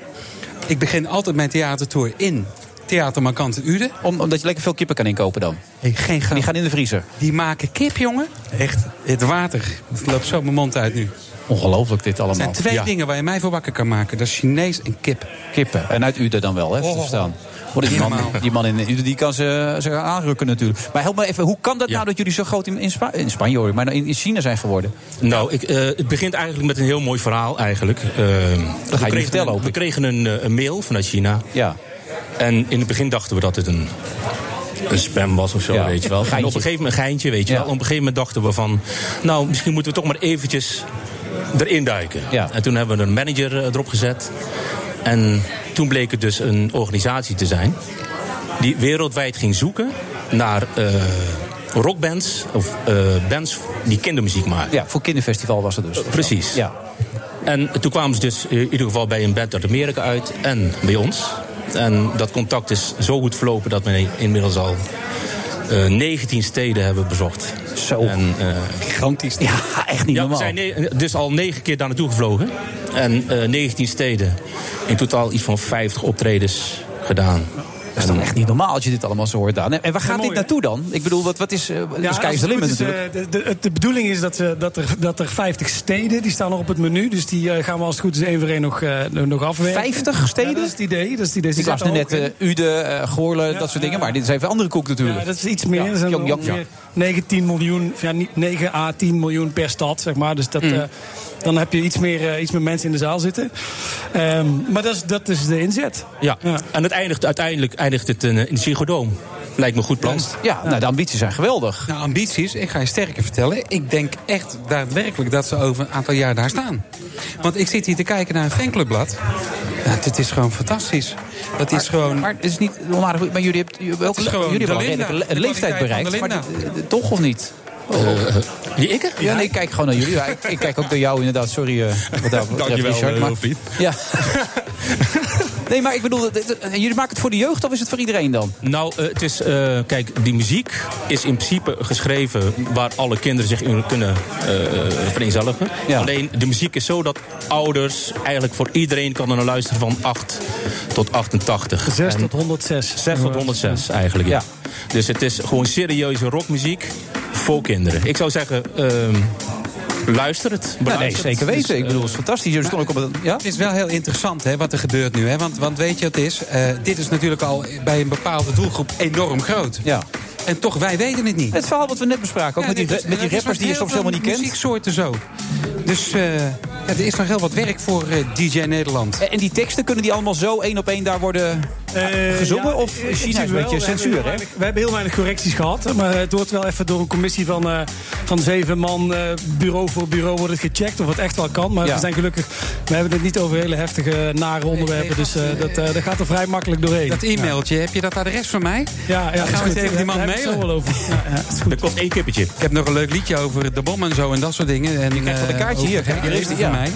S7: Ik begin altijd mijn theatertour in Theater Markant in Uden.
S6: omdat je lekker veel kippen kan inkopen dan?
S7: geen grap.
S6: Die gaan in de vriezer.
S7: Die maken kip, jongen. Echt. Het water. Het loopt zo mijn mond uit nu.
S6: Ongelooflijk dit allemaal.
S7: Er zijn twee
S6: Ja.
S7: dingen waar je mij voor wakker kan maken. Dat is Chinees en kip.
S6: Kippen. En uit Uden dan wel, hè?
S7: Oh.
S6: Te verstaan. Hoor, die, man, die man in Uden die kan ze, ze gaan aanrukken natuurlijk. Maar help me even, hoe kan dat nou dat jullie zo groot in, in, Spa- in Spanje hoor, ik, maar in, in China zijn geworden?
S18: Nou, ik, eh, het begint eigenlijk met een heel mooi verhaal eigenlijk. Eh, we
S6: niet
S18: kregen
S6: vertellen,
S18: een-
S6: hoop
S18: We kregen een, eh, een mail vanuit China.
S6: Ja.
S18: En in het begin dachten we dat het een, een spam was of zo,
S6: Ja.
S18: weet je wel. En
S6: Geintje.
S18: op een gegeven moment een geintje, weet je wel. Op een gegeven moment dachten we van... Nou, misschien moeten we toch maar eventjes erin duiken. En toen hebben we een manager eh, erop gezet. En toen bleek het dus een organisatie te zijn... die wereldwijd ging zoeken naar... eh, Rockbands of eh, bands die kindermuziek maken.
S6: Ja, voor kinderfestival was het dus.
S18: precies.
S6: Ja.
S18: En toen kwamen ze dus eh, in ieder geval bij een band uit Amerika uit en bij ons. En dat contact is zo goed verlopen dat we inmiddels al eh 19 steden hebben bezocht. Zo. En, eh,
S7: Gigantisch.
S6: Ja, echt niet
S18: ja,
S6: normaal.
S18: We zijn ne- dus al negen keer daar naartoe gevlogen. En eh 19 steden. In totaal iets van 50 optredens gedaan.
S6: Dat is dan echt niet normaal als je dit allemaal zo hoort. Daan. En en waar gaat dit naartoe dan? Ik bedoel, wat, wat is... eh, de
S19: Ja,
S6: sky
S19: als
S6: is
S19: het
S6: the limit
S19: goed is,
S6: natuurlijk.
S19: eh, de, de, de bedoeling is dat, ze- dat, er, dat er 50 steden, die staan nog op het menu. Dus die eh, gaan we als het goed is één voor één nog, eh, nog afwerken.
S6: 50 steden?
S19: dat is het idee. Dat is het idee. Ze
S6: ik las nu
S19: zaten
S6: net
S19: ook in-
S6: eh, Ude, eh, Goorlen, dat soort dingen. Maar dit is even een andere koek natuurlijk.
S19: Ja, dat is iets meer.
S6: Ja,
S19: Er zijn
S6: jong, jong,
S19: ongeveer
S6: jong.
S19: 19 miljoen, ja, niet 9 à 10 miljoen per stad, zeg maar. Dus dat,
S6: Mm.
S19: eh, dan heb je iets meer, eh, iets meer mensen in de zaal zitten. Ehm, maar dat is, dat is de inzet.
S18: Ja. En het eindigt, uiteindelijk eindigt het in, eh, in de Psychodoom. Lijkt me een goed plan.
S6: Ja, nou, de ambities zijn geweldig.
S7: Nou, ambities, ik ga je sterker vertellen. Ik denk echt daadwerkelijk dat ze over een aantal jaar daar staan. Want ik zit hier te kijken naar een fanclubblad. Nou, dit is gewoon fantastisch. Dat is gewoon...
S6: Maar het is niet onaardig. Maar jullie, hebt, jullie, hebben ook-
S7: Het is gewoon
S6: jullie
S7: de
S6: hebben al
S7: Linda.
S6: redelijk le-
S7: De
S6: leeftijd
S7: kwaliteit
S6: bereikt.
S7: van de
S6: Maar
S7: Linda.
S6: dit- dit- toch of niet?
S18: Eh, Die ik?
S6: Ja, nee, ik kijk gewoon naar jullie. Ja, ik, ik kijk ook naar jou inderdaad. Sorry, eh wat dat betreft,
S18: Dankjewel,
S6: Richard.
S18: eh,
S6: maar-
S18: Piet.
S6: Ja. Nee, maar ik bedoel, dit- dit- eh, jullie maken het voor de jeugd of is het voor iedereen dan?
S18: Nou, eh, het is, eh, kijk, die muziek is in principe geschreven waar alle kinderen zich in kunnen eh, vereenzelvigen. Alleen de muziek is zo dat ouders eigenlijk voor iedereen kan er luisteren van 8 tot 88.
S19: 6
S18: En-
S19: tot 106.
S18: 6 tot 106 eigenlijk, ja. Dus het is gewoon serieuze rockmuziek voor kinderen. Ik zou zeggen, ehm, luister het.
S6: Nou, nee,
S18: beluister het.
S6: zeker weten.
S18: Dus,
S6: Ik bedoel, het is fantastisch. Jullie stonden ook op het... Ja?
S7: Het is wel heel interessant hè, wat er gebeurt nu. Hè? Want, want weet je wat het is? Eh, dit is natuurlijk al bij een bepaalde doelgroep enorm groot.
S6: Ja.
S7: En toch, wij weten het niet.
S6: Het verhaal wat we net bespraken, ook met die- met die rappers die je soms helemaal niet kent.
S7: muzieksoorten zo. Dus eh, ja, er is nog heel wat werk voor eh, DJ Nederland.
S6: Eh, En die teksten, kunnen die allemaal zo één op één daar worden eh, gezongen?
S19: ja,
S6: of
S19: in
S6: China
S19: principe
S6: is een
S19: wel. eh, We
S6: beetje
S19: hebben heel
S6: censuur, hè?
S19: weinig- We hebben heel weinig correcties gehad. Maar het wordt wel even door een commissie van, eh, van zeven man... eh, bureau voor bureau wordt het gecheckt of het echt wel kan. Maar
S6: Ja.
S19: we zijn gelukkig... We hebben het niet over hele heftige, nare onderwerpen. Dus eh, dat, eh, dat gaat er vrij makkelijk doorheen.
S7: Dat e-mailtje, heb je dat adres van mij?
S19: Ja, ja
S7: Dan gaan we
S19: is
S7: eens
S19: goed.
S7: even die man
S19: Daar heb ik het zo
S7: mailen.
S19: wel over. Ja, ja.
S18: Dat kost één kippetje.
S7: Ik heb nog een leuk liedje over de bom en zo en dat soort dingen. En, eh, je krijgt
S6: Van
S19: eh,
S6: een kaartje
S19: oh,
S6: hier, hè?
S7: Hier is die van mij.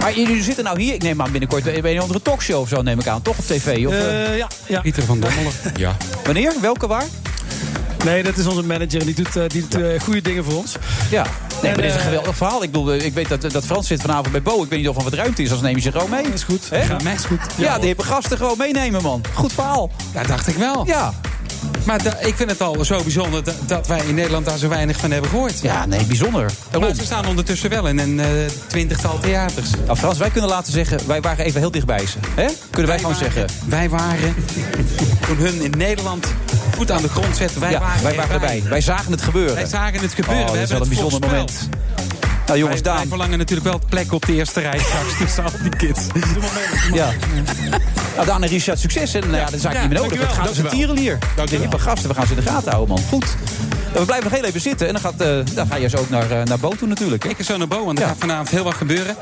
S6: Maar jullie zitten nou hier, ik neem aan binnenkort bij bij een andere talkshow of zo, neem ik aan. Toch op tv? Of,
S19: Eh, ja, ja.
S7: Pieter van Dommelen.
S18: ja.
S6: Wanneer? Welke waar?
S19: Nee, dat is onze manager. en Die doet, eh, die doet eh, goede dingen voor ons.
S6: Ja. Nee, maar dit is een
S19: eh,
S6: geweldig verhaal. Ik bedoel, eh, ik weet dat, dat Frans zit vanavond bij Bo. Ik weet niet of er wat ruimte is, als neem je ze gewoon mee. Dat is goed.
S7: Ja, mij is goed.
S6: Ja, die hebben gasten gewoon meenemen, man. Goed verhaal.
S7: Ja, dacht ik wel.
S6: Ja.
S7: Maar da- ik vind het al zo bijzonder dat, dat wij in Nederland daar zo weinig van hebben gehoord.
S6: Ja, nee, bijzonder.
S7: Maar ze staan ondertussen wel in een eh, twintigtal theaters.
S6: Nou, Frans, wij kunnen laten zeggen, wij waren even heel dichtbij ze. Hè? Kunnen wij, gewoon zeggen.
S7: Wij waren, toen hun in Nederland goed aan de grond zetten, wij
S6: ja,
S7: waren
S6: wij waren erbij. Wij zagen het gebeuren.
S7: Wij zagen het gebeuren.
S6: Oh,
S7: We
S6: dat is wel een
S7: hebben het
S6: bijzonder moment.
S7: voorspeld.
S6: Nou, jongens,
S7: wij,
S6: Daan.
S7: wij verlangen natuurlijk wel plek op de eerste rij straks tussen al die kids.
S6: Ja. Nou, Daan en Richard, succes. En nou ja, dat is eigenlijk
S7: Ja,
S6: niet meer nodig.
S7: dankjewel.
S6: Het gaat dus een
S7: Dankjewel.
S6: tierenlier.
S7: Dankjewel.
S6: Hippe gasten, we gaan ze in de gaten houden, man. Goed. En We blijven nog heel even zitten. En dan, gaat, eh, dan ga je zo ook naar, eh, naar Bo toe natuurlijk. Hè?
S7: Ik ga zo naar Bo, en er gaat vanavond heel wat gebeuren.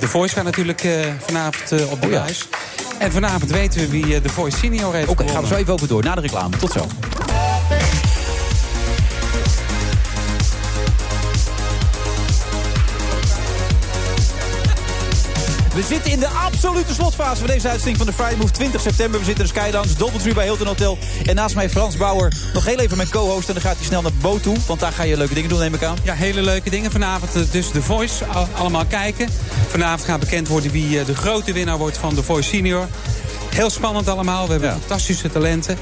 S7: De Voice gaat natuurlijk eh, vanavond eh,
S6: Oh
S7: op de huis. En vanavond weten we wie eh, de Voice Senior heeft
S6: Oké, gaan we zo even over door. Na de reclame. Tot zo. We zitten in de absolute slotfase van deze uitzending van de Friday Move 20 september. We zitten in de Skydance, Doubletree bij Hilton Hotel. En naast mij Frans Bauer, nog heel even mijn co-host. En dan gaat hij snel naar Bo toe, want daar ga je leuke dingen doen, neem ik aan.
S7: Ja, hele leuke dingen vanavond. eh, Dus de Voice, Al- allemaal kijken. Vanavond gaat bekend worden wie eh, de grote winnaar wordt van de Voice Senior. Heel spannend allemaal. We hebben fantastische talenten.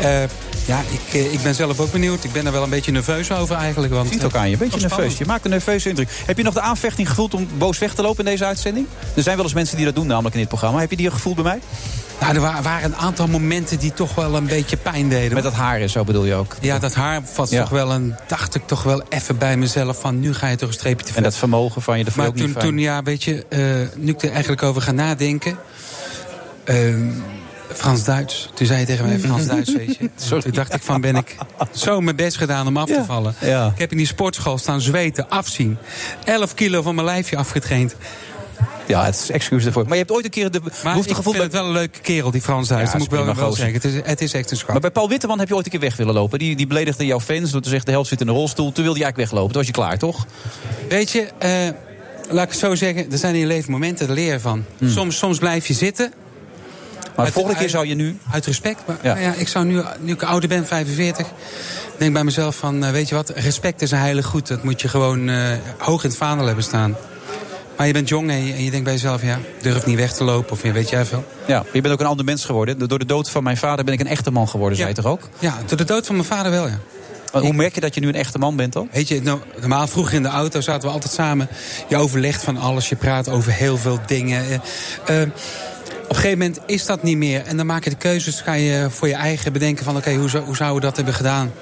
S7: Eh, ja, ik, eh, ik ben zelf ook benieuwd. Ik ben er wel een beetje nerveus over eigenlijk. Want,
S6: Ziet ook aan je, een beetje
S7: Toch spannend.
S6: nerveus. Je maakt een nerveuze indruk. Heb je nog de aanvechting gevoeld om boos weg te lopen in deze uitzending? Er zijn wel eens mensen die dat doen, namelijk in dit programma. Heb je die gevoeld bij mij?
S7: Nou, er wa- waren een aantal momenten die toch wel een beetje pijn deden. Met
S6: dat haar en zo bedoel je ook?
S7: Ja, dat haar was
S6: Ja.
S7: toch wel een... dacht ik toch wel even bij mezelf van... nu ga je toch een streepje te ver.
S6: En dat vermogen van je, dat vond
S7: Maar
S6: je ook
S7: toen,
S6: niet
S7: toen,
S6: fijn.
S7: ja, weet je, eh, nu ik er eigenlijk over ga nadenken... ehm, Frans-Duits. Toen zei je tegen mij Frans-Duits, weet je. Toen dacht ik van, ben ik zo mijn best gedaan om af te vallen. Ik heb in die sportschool staan zweten, afzien. 11 kilo van mijn lijfje afgetraind.
S6: Ja, het is excuus daarvoor. Maar je hebt ooit een keer de
S7: Maar
S6: behoefte
S7: ik
S6: gevoeld...
S7: vind het wel een leuke kerel, die Frans-Duits.
S6: Ja,
S7: dat moet ik wel,
S6: is prima
S7: wel
S6: gozer.
S7: zeggen. Het is, het is echt een schat.
S6: Maar bij Paul Witteman heb je ooit een keer weg willen lopen. Die, die beledigde jouw fans door te zeggen... de helft zit in een rolstoel. Toen wilde je eigenlijk weglopen. Toen was je klaar, toch?
S7: Weet je, eh, laat ik het zo zeggen, er zijn in je leven momenten, daar leer je van. Soms, soms blijf je zitten.
S6: Hmm. Maar de volgende keer zou je nu...
S7: Uit respect, maar
S6: Ja.
S7: nou ja, ik zou nu, nu ik ouder ben, 45, denk bij mezelf van, eh, weet je wat, respect is een heilig goed. Dat moet je gewoon eh, hoog in het vaandel hebben staan. Maar je bent jong en je, en je denkt bij jezelf, ja, durf niet weg te lopen of je weet jij veel.
S6: Oh. Ja, je bent ook een ander mens geworden. Door de dood van mijn vader ben ik een echte man geworden, zei je toch ook?
S7: Ja, door de dood van mijn vader wel, ja.
S6: Maar Hoe merk je dat je nu een echte man bent dan?
S7: Weet je, nou, normaal vroeger in de auto zaten we altijd samen. Je overlegt van alles, je praat over heel veel dingen. Eh, eh, op een gegeven moment is dat niet meer. En dan maak je de keuzes, ga je voor je eigen bedenken van... oké, hoe, zou- hoe zouden we dat hebben gedaan?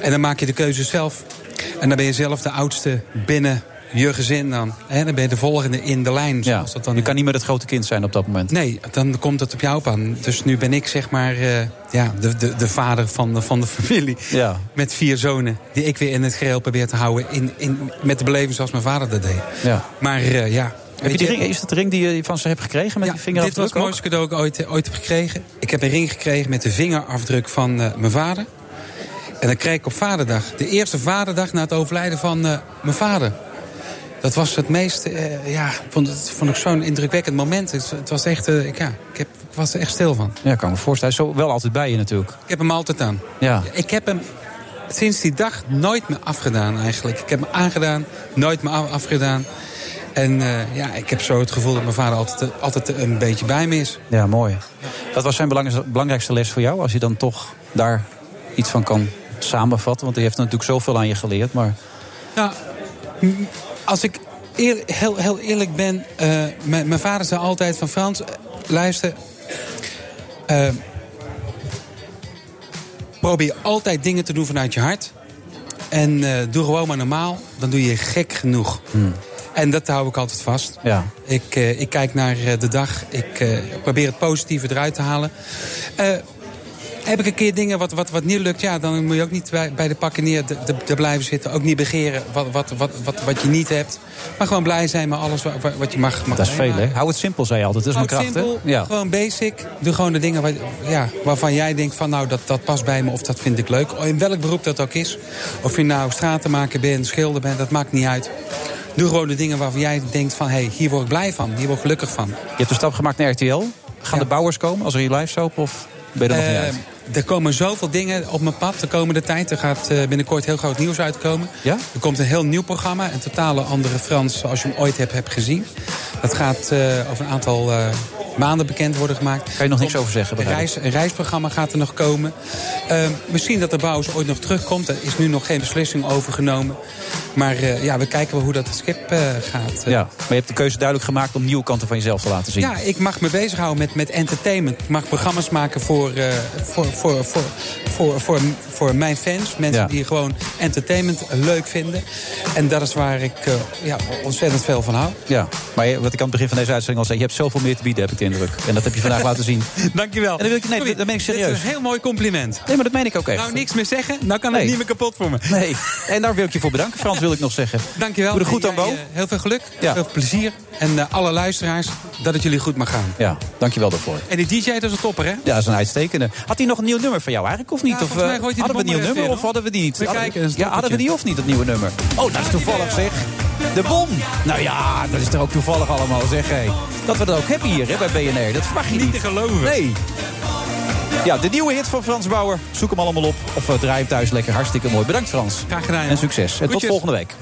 S7: En dan maak je de keuzes zelf. En dan ben je zelf de oudste binnen je gezin dan. Hè, dan ben je de volgende in de lijn.
S6: Ja, je kan niet meer het grote kind zijn op dat moment.
S7: Nee, dan komt het op jou op aan. Dus nu ben ik zeg maar eh, ja, de, de, de vader van de, van de familie.
S6: Ja.
S7: Met vier zonen. Die ik weer in het geheel probeer te houden. In, in, met de beleving zoals mijn vader dat deed.
S6: Ja.
S7: Maar eh, ja.
S6: Heb je
S7: weet
S6: die ring, is dat de ring die je van ze hebt gekregen met die
S7: dit was
S6: vingerafdruk
S7: het mooiste cadeau dat ik ooit, ooit heb gekregen. Ik heb een ring gekregen met de vingerafdruk van eh, mijn vader. En dat kreeg ik op vaderdag. De eerste vaderdag na het overlijden van eh, mijn vader. Dat was het meest, eh, ja, vond, het, vond ik zo'n indrukwekkend moment. Het, het was echt, eh, ik, ja, ik, heb, ik was er echt stil van.
S6: Ja, kan me voorstellen. Zo wel altijd bij je natuurlijk.
S7: Ik heb hem altijd aan.
S6: Ja.
S7: Ik heb hem sinds die dag nooit meer afgedaan eigenlijk. Ik heb hem aangedaan, nooit meer af- afgedaan. En eh, ja, ik heb zo het gevoel dat mijn vader altijd, altijd een beetje bij me is.
S6: Ja, mooi. Wat was zijn belangrij- belangrijkste les voor jou? Als je dan toch daar iets van kan samenvatten. Want hij heeft natuurlijk zoveel aan je geleerd. Maar
S7: Nou, m- als ik eer- heel, heel eerlijk ben... eh, mijn, mijn vader zei altijd van Frans, eh, luister... eh, probeer altijd dingen te doen vanuit je hart. En eh, doe gewoon maar normaal, dan doe je gek genoeg. En dat hou ik altijd vast.
S6: Ja.
S7: Ik, eh, ik kijk naar eh, de dag. Ik eh, probeer het positieve eruit te halen. Eh, heb ik een keer dingen wat, wat, wat niet lukt, ja, dan moet je ook niet bij, bij de pakken neer de, de, de blijven zitten. Ook niet begeren wat, wat, wat, wat, wat je niet hebt. Maar gewoon blij zijn met alles wa- wa- wat, je mag. mag
S6: dat is veel, hè?
S7: meemaken.
S6: Hou het simpel, zei je altijd. Dat is mijn
S7: Houd
S6: kracht, hè?
S7: simpel,
S6: Ja.
S7: Gewoon basic. Doe gewoon de dingen waar, ja, waarvan jij denkt van nou dat, dat past bij me of dat vind ik leuk. In welk beroep dat ook is. Of je nou stratenmaker bent, schilder bent, dat maakt niet uit. Doe gewoon de dingen waarvan jij denkt van hé, hey, hier word ik blij van, hier word ik gelukkig van.
S6: Je hebt een stap gemaakt naar RTL. Gaan de bouwers komen als er hier live soap? Of ben je er nog niet
S7: Eh,
S6: uit?
S7: Er komen zoveel dingen op mijn pad de komende tijd. Er gaat eh, binnenkort heel groot nieuws uitkomen.
S6: Ja?
S7: Er komt een heel nieuw programma. Een totale andere Frans zoals je hem ooit hebt, hebt gezien. Dat gaat eh, over een aantal eh, maanden bekend worden gemaakt.
S6: Kan je nog niks over zeggen,
S7: Een,
S6: begrijp ik.
S7: reis, een reisprogramma gaat er nog komen. Eh, misschien dat de bouwers ooit nog terugkomt. Daar is nu nog geen beslissing over genomen. Maar eh, ja, we kijken wel hoe dat het schip eh, gaat. eh,
S6: Ja, maar je hebt de keuze duidelijk gemaakt om nieuwe kanten van jezelf te laten zien.
S7: ja, ik mag me bezighouden met, met entertainment. Ik mag programma's maken voor, eh, voor, voor, voor, voor, voor, voor mijn fans. Mensen
S6: Ja.
S7: die gewoon entertainment leuk vinden. En dat is waar ik eh, ja, ontzettend veel van hou.
S6: Ja, maar je- wat ik aan het begin van deze uitzending al zei, je hebt zoveel meer te bieden, heb ik de indruk. En dat heb je vandaag laten zien.
S7: Dankjewel.
S6: En dan, wil ik, nee, dan ben ik
S7: Dit
S6: serieus.
S7: is een heel mooi compliment.
S6: Nee, maar dat meen ik ook echt.
S7: Nou, niks meer zeggen. Nou kan
S6: Nee.
S7: het niet meer kapot voor me.
S6: Nee, en daar wil ik je voor bedanken, Frans, wil ik nog zeggen.
S7: Dankjewel.
S6: Doe er goed
S7: En
S6: aan,
S7: jij,
S6: Bo.
S7: eh, Heel veel geluk,
S6: Ja.
S7: heel veel plezier. En eh, alle luisteraars, dat het jullie goed mag gaan.
S6: Ja, dankjewel daarvoor.
S7: En die DJ, dat is een topper, hè?
S6: Ja, dat is een uitstekende. Had hij nog een nieuw nummer van jou eigenlijk, of niet?
S7: Ja,
S6: of,
S7: volgens mij
S6: eh,
S7: gooit hij de
S6: hadden we een
S7: bom er
S6: nieuw nummer,
S7: even in,
S6: of hadden we die niet?
S7: We
S6: Hadden-
S7: kijken, dat is een
S6: ja, hadden we die of niet, dat nieuwe nummer? Oh, dat is toevallig, zeg. De bom! Nou ja, dat is toch ook toevallig allemaal, zeg. hé. Dat we dat ook hebben hier, hè, bij BNR. Dat verwacht je niet. Niet te geloven. Nee. Ja, de nieuwe hit van Frans Bauer. Zoek hem allemaal op. Of eh, draai hem thuis lekker. Hartstikke mooi. Bedankt, Frans. Graag gedaan. En succes. En tot
S4: Groetjes.
S6: volgende week.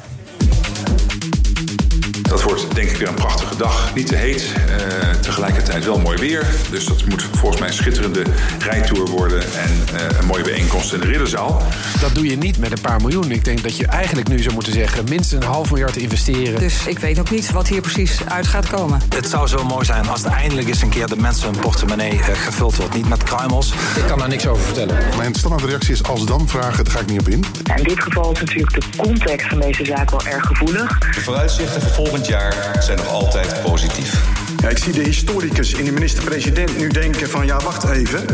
S4: Dat wordt denk ik weer een prachtige dag. Niet te heet, eh, tegelijkertijd wel mooi weer. Dus dat moet volgens mij een schitterende rijtour worden... en eh, een mooie bijeenkomst in de Ridderzaal.
S21: Dat doe je niet met een paar miljoen. Ik denk dat je eigenlijk nu zou moeten zeggen... minstens een half miljard te investeren.
S22: Dus ik weet ook niet wat hier precies uit gaat komen.
S23: Het zou zo mooi zijn als eindelijk eens een keer de mensen hun portemonnee eh, gevuld wordt. Niet met kruimels. Ik kan daar niks over vertellen.
S24: Mijn standaardreactie is als dan vragen, daar ga ik niet op in.
S25: In dit geval is natuurlijk de context van deze zaak wel erg gevoelig.
S3: De vooruitzichten voor volgend jaar zijn nog altijd positief.
S4: Ja, ik zie de historicus in de minister-president nu denken van... ja, wacht even.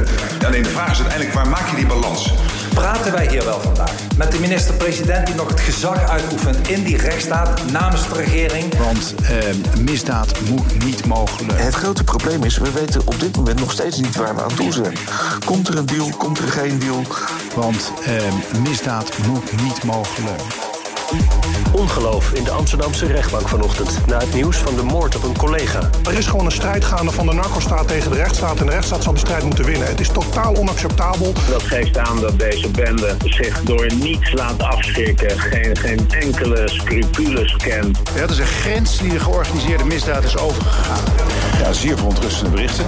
S24: Alleen de vraag is uiteindelijk, waar maak je die balans?
S23: Praten wij hier wel vandaag met de minister-president die nog het gezag uitoefent in die rechtsstaat namens de regering?
S21: Want eh, misdaad moet niet mogelijk.
S24: Het grote probleem is, we weten op dit moment nog steeds niet waar we aan toe zijn. Komt er een deal, komt er geen deal?
S21: Want eh, misdaad moet niet mogelijk.
S4: Ongeloof in de Amsterdamse rechtbank vanochtend... na het nieuws van de moord op een collega.
S26: Er is gewoon een strijd gaande van de narcostaat tegen de rechtsstaat. En de rechtsstaat zal die strijd moeten winnen. Het is totaal onacceptabel.
S5: Dat geeft aan dat deze bende zich door niets laat afschrikken. Geen, geen enkele scrupules kent.
S4: Dat is een grens die de georganiseerde misdaad is overgegaan. Ja, zeer verontrustende berichten.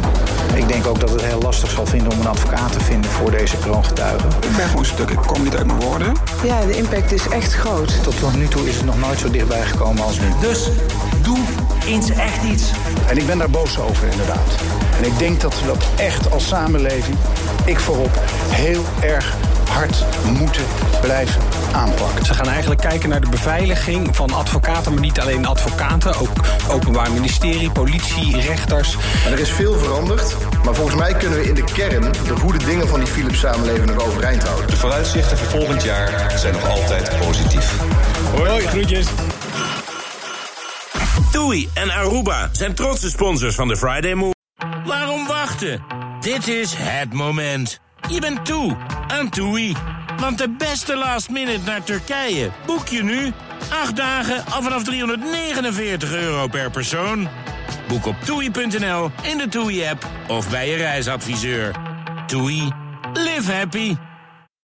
S27: Ik denk ook dat het heel lastig zal vinden om een advocaat te vinden voor deze kroongetuigen.
S24: Ik ben gewoon stuk, ik kom niet uit mijn woorden.
S27: Ja, de impact is echt groot. Tot, tot nu toe is het nog nooit zo dichtbij gekomen als nu.
S24: Dus doe eens echt iets.
S21: En ik ben daar boos over, inderdaad. En ik denk dat we dat echt als samenleving, ik voorop, heel erg hard moeten blijven aanpakken.
S13: Ze gaan eigenlijk kijken naar de beveiliging van advocaten, maar niet alleen advocaten. Ook openbaar ministerie, politie, rechters.
S24: Maar er is veel veranderd. Maar volgens mij kunnen we in de kern de goede dingen van die Philips-samenleving nog overeind houden.
S3: De vooruitzichten voor volgend jaar zijn nog altijd positief.
S1: Hoi, hoi, groetjes. TUI en Aruba zijn trotse sponsors van de Friday Move. Waarom wachten? Dit is het moment. Je bent toe aan TUI. Want de beste last minute naar Turkije boek je nu Acht dagen af vanaf 349 euro per persoon. Boek op toei.nl, in de TUI-app of bij je reisadviseur. TUI, live happy.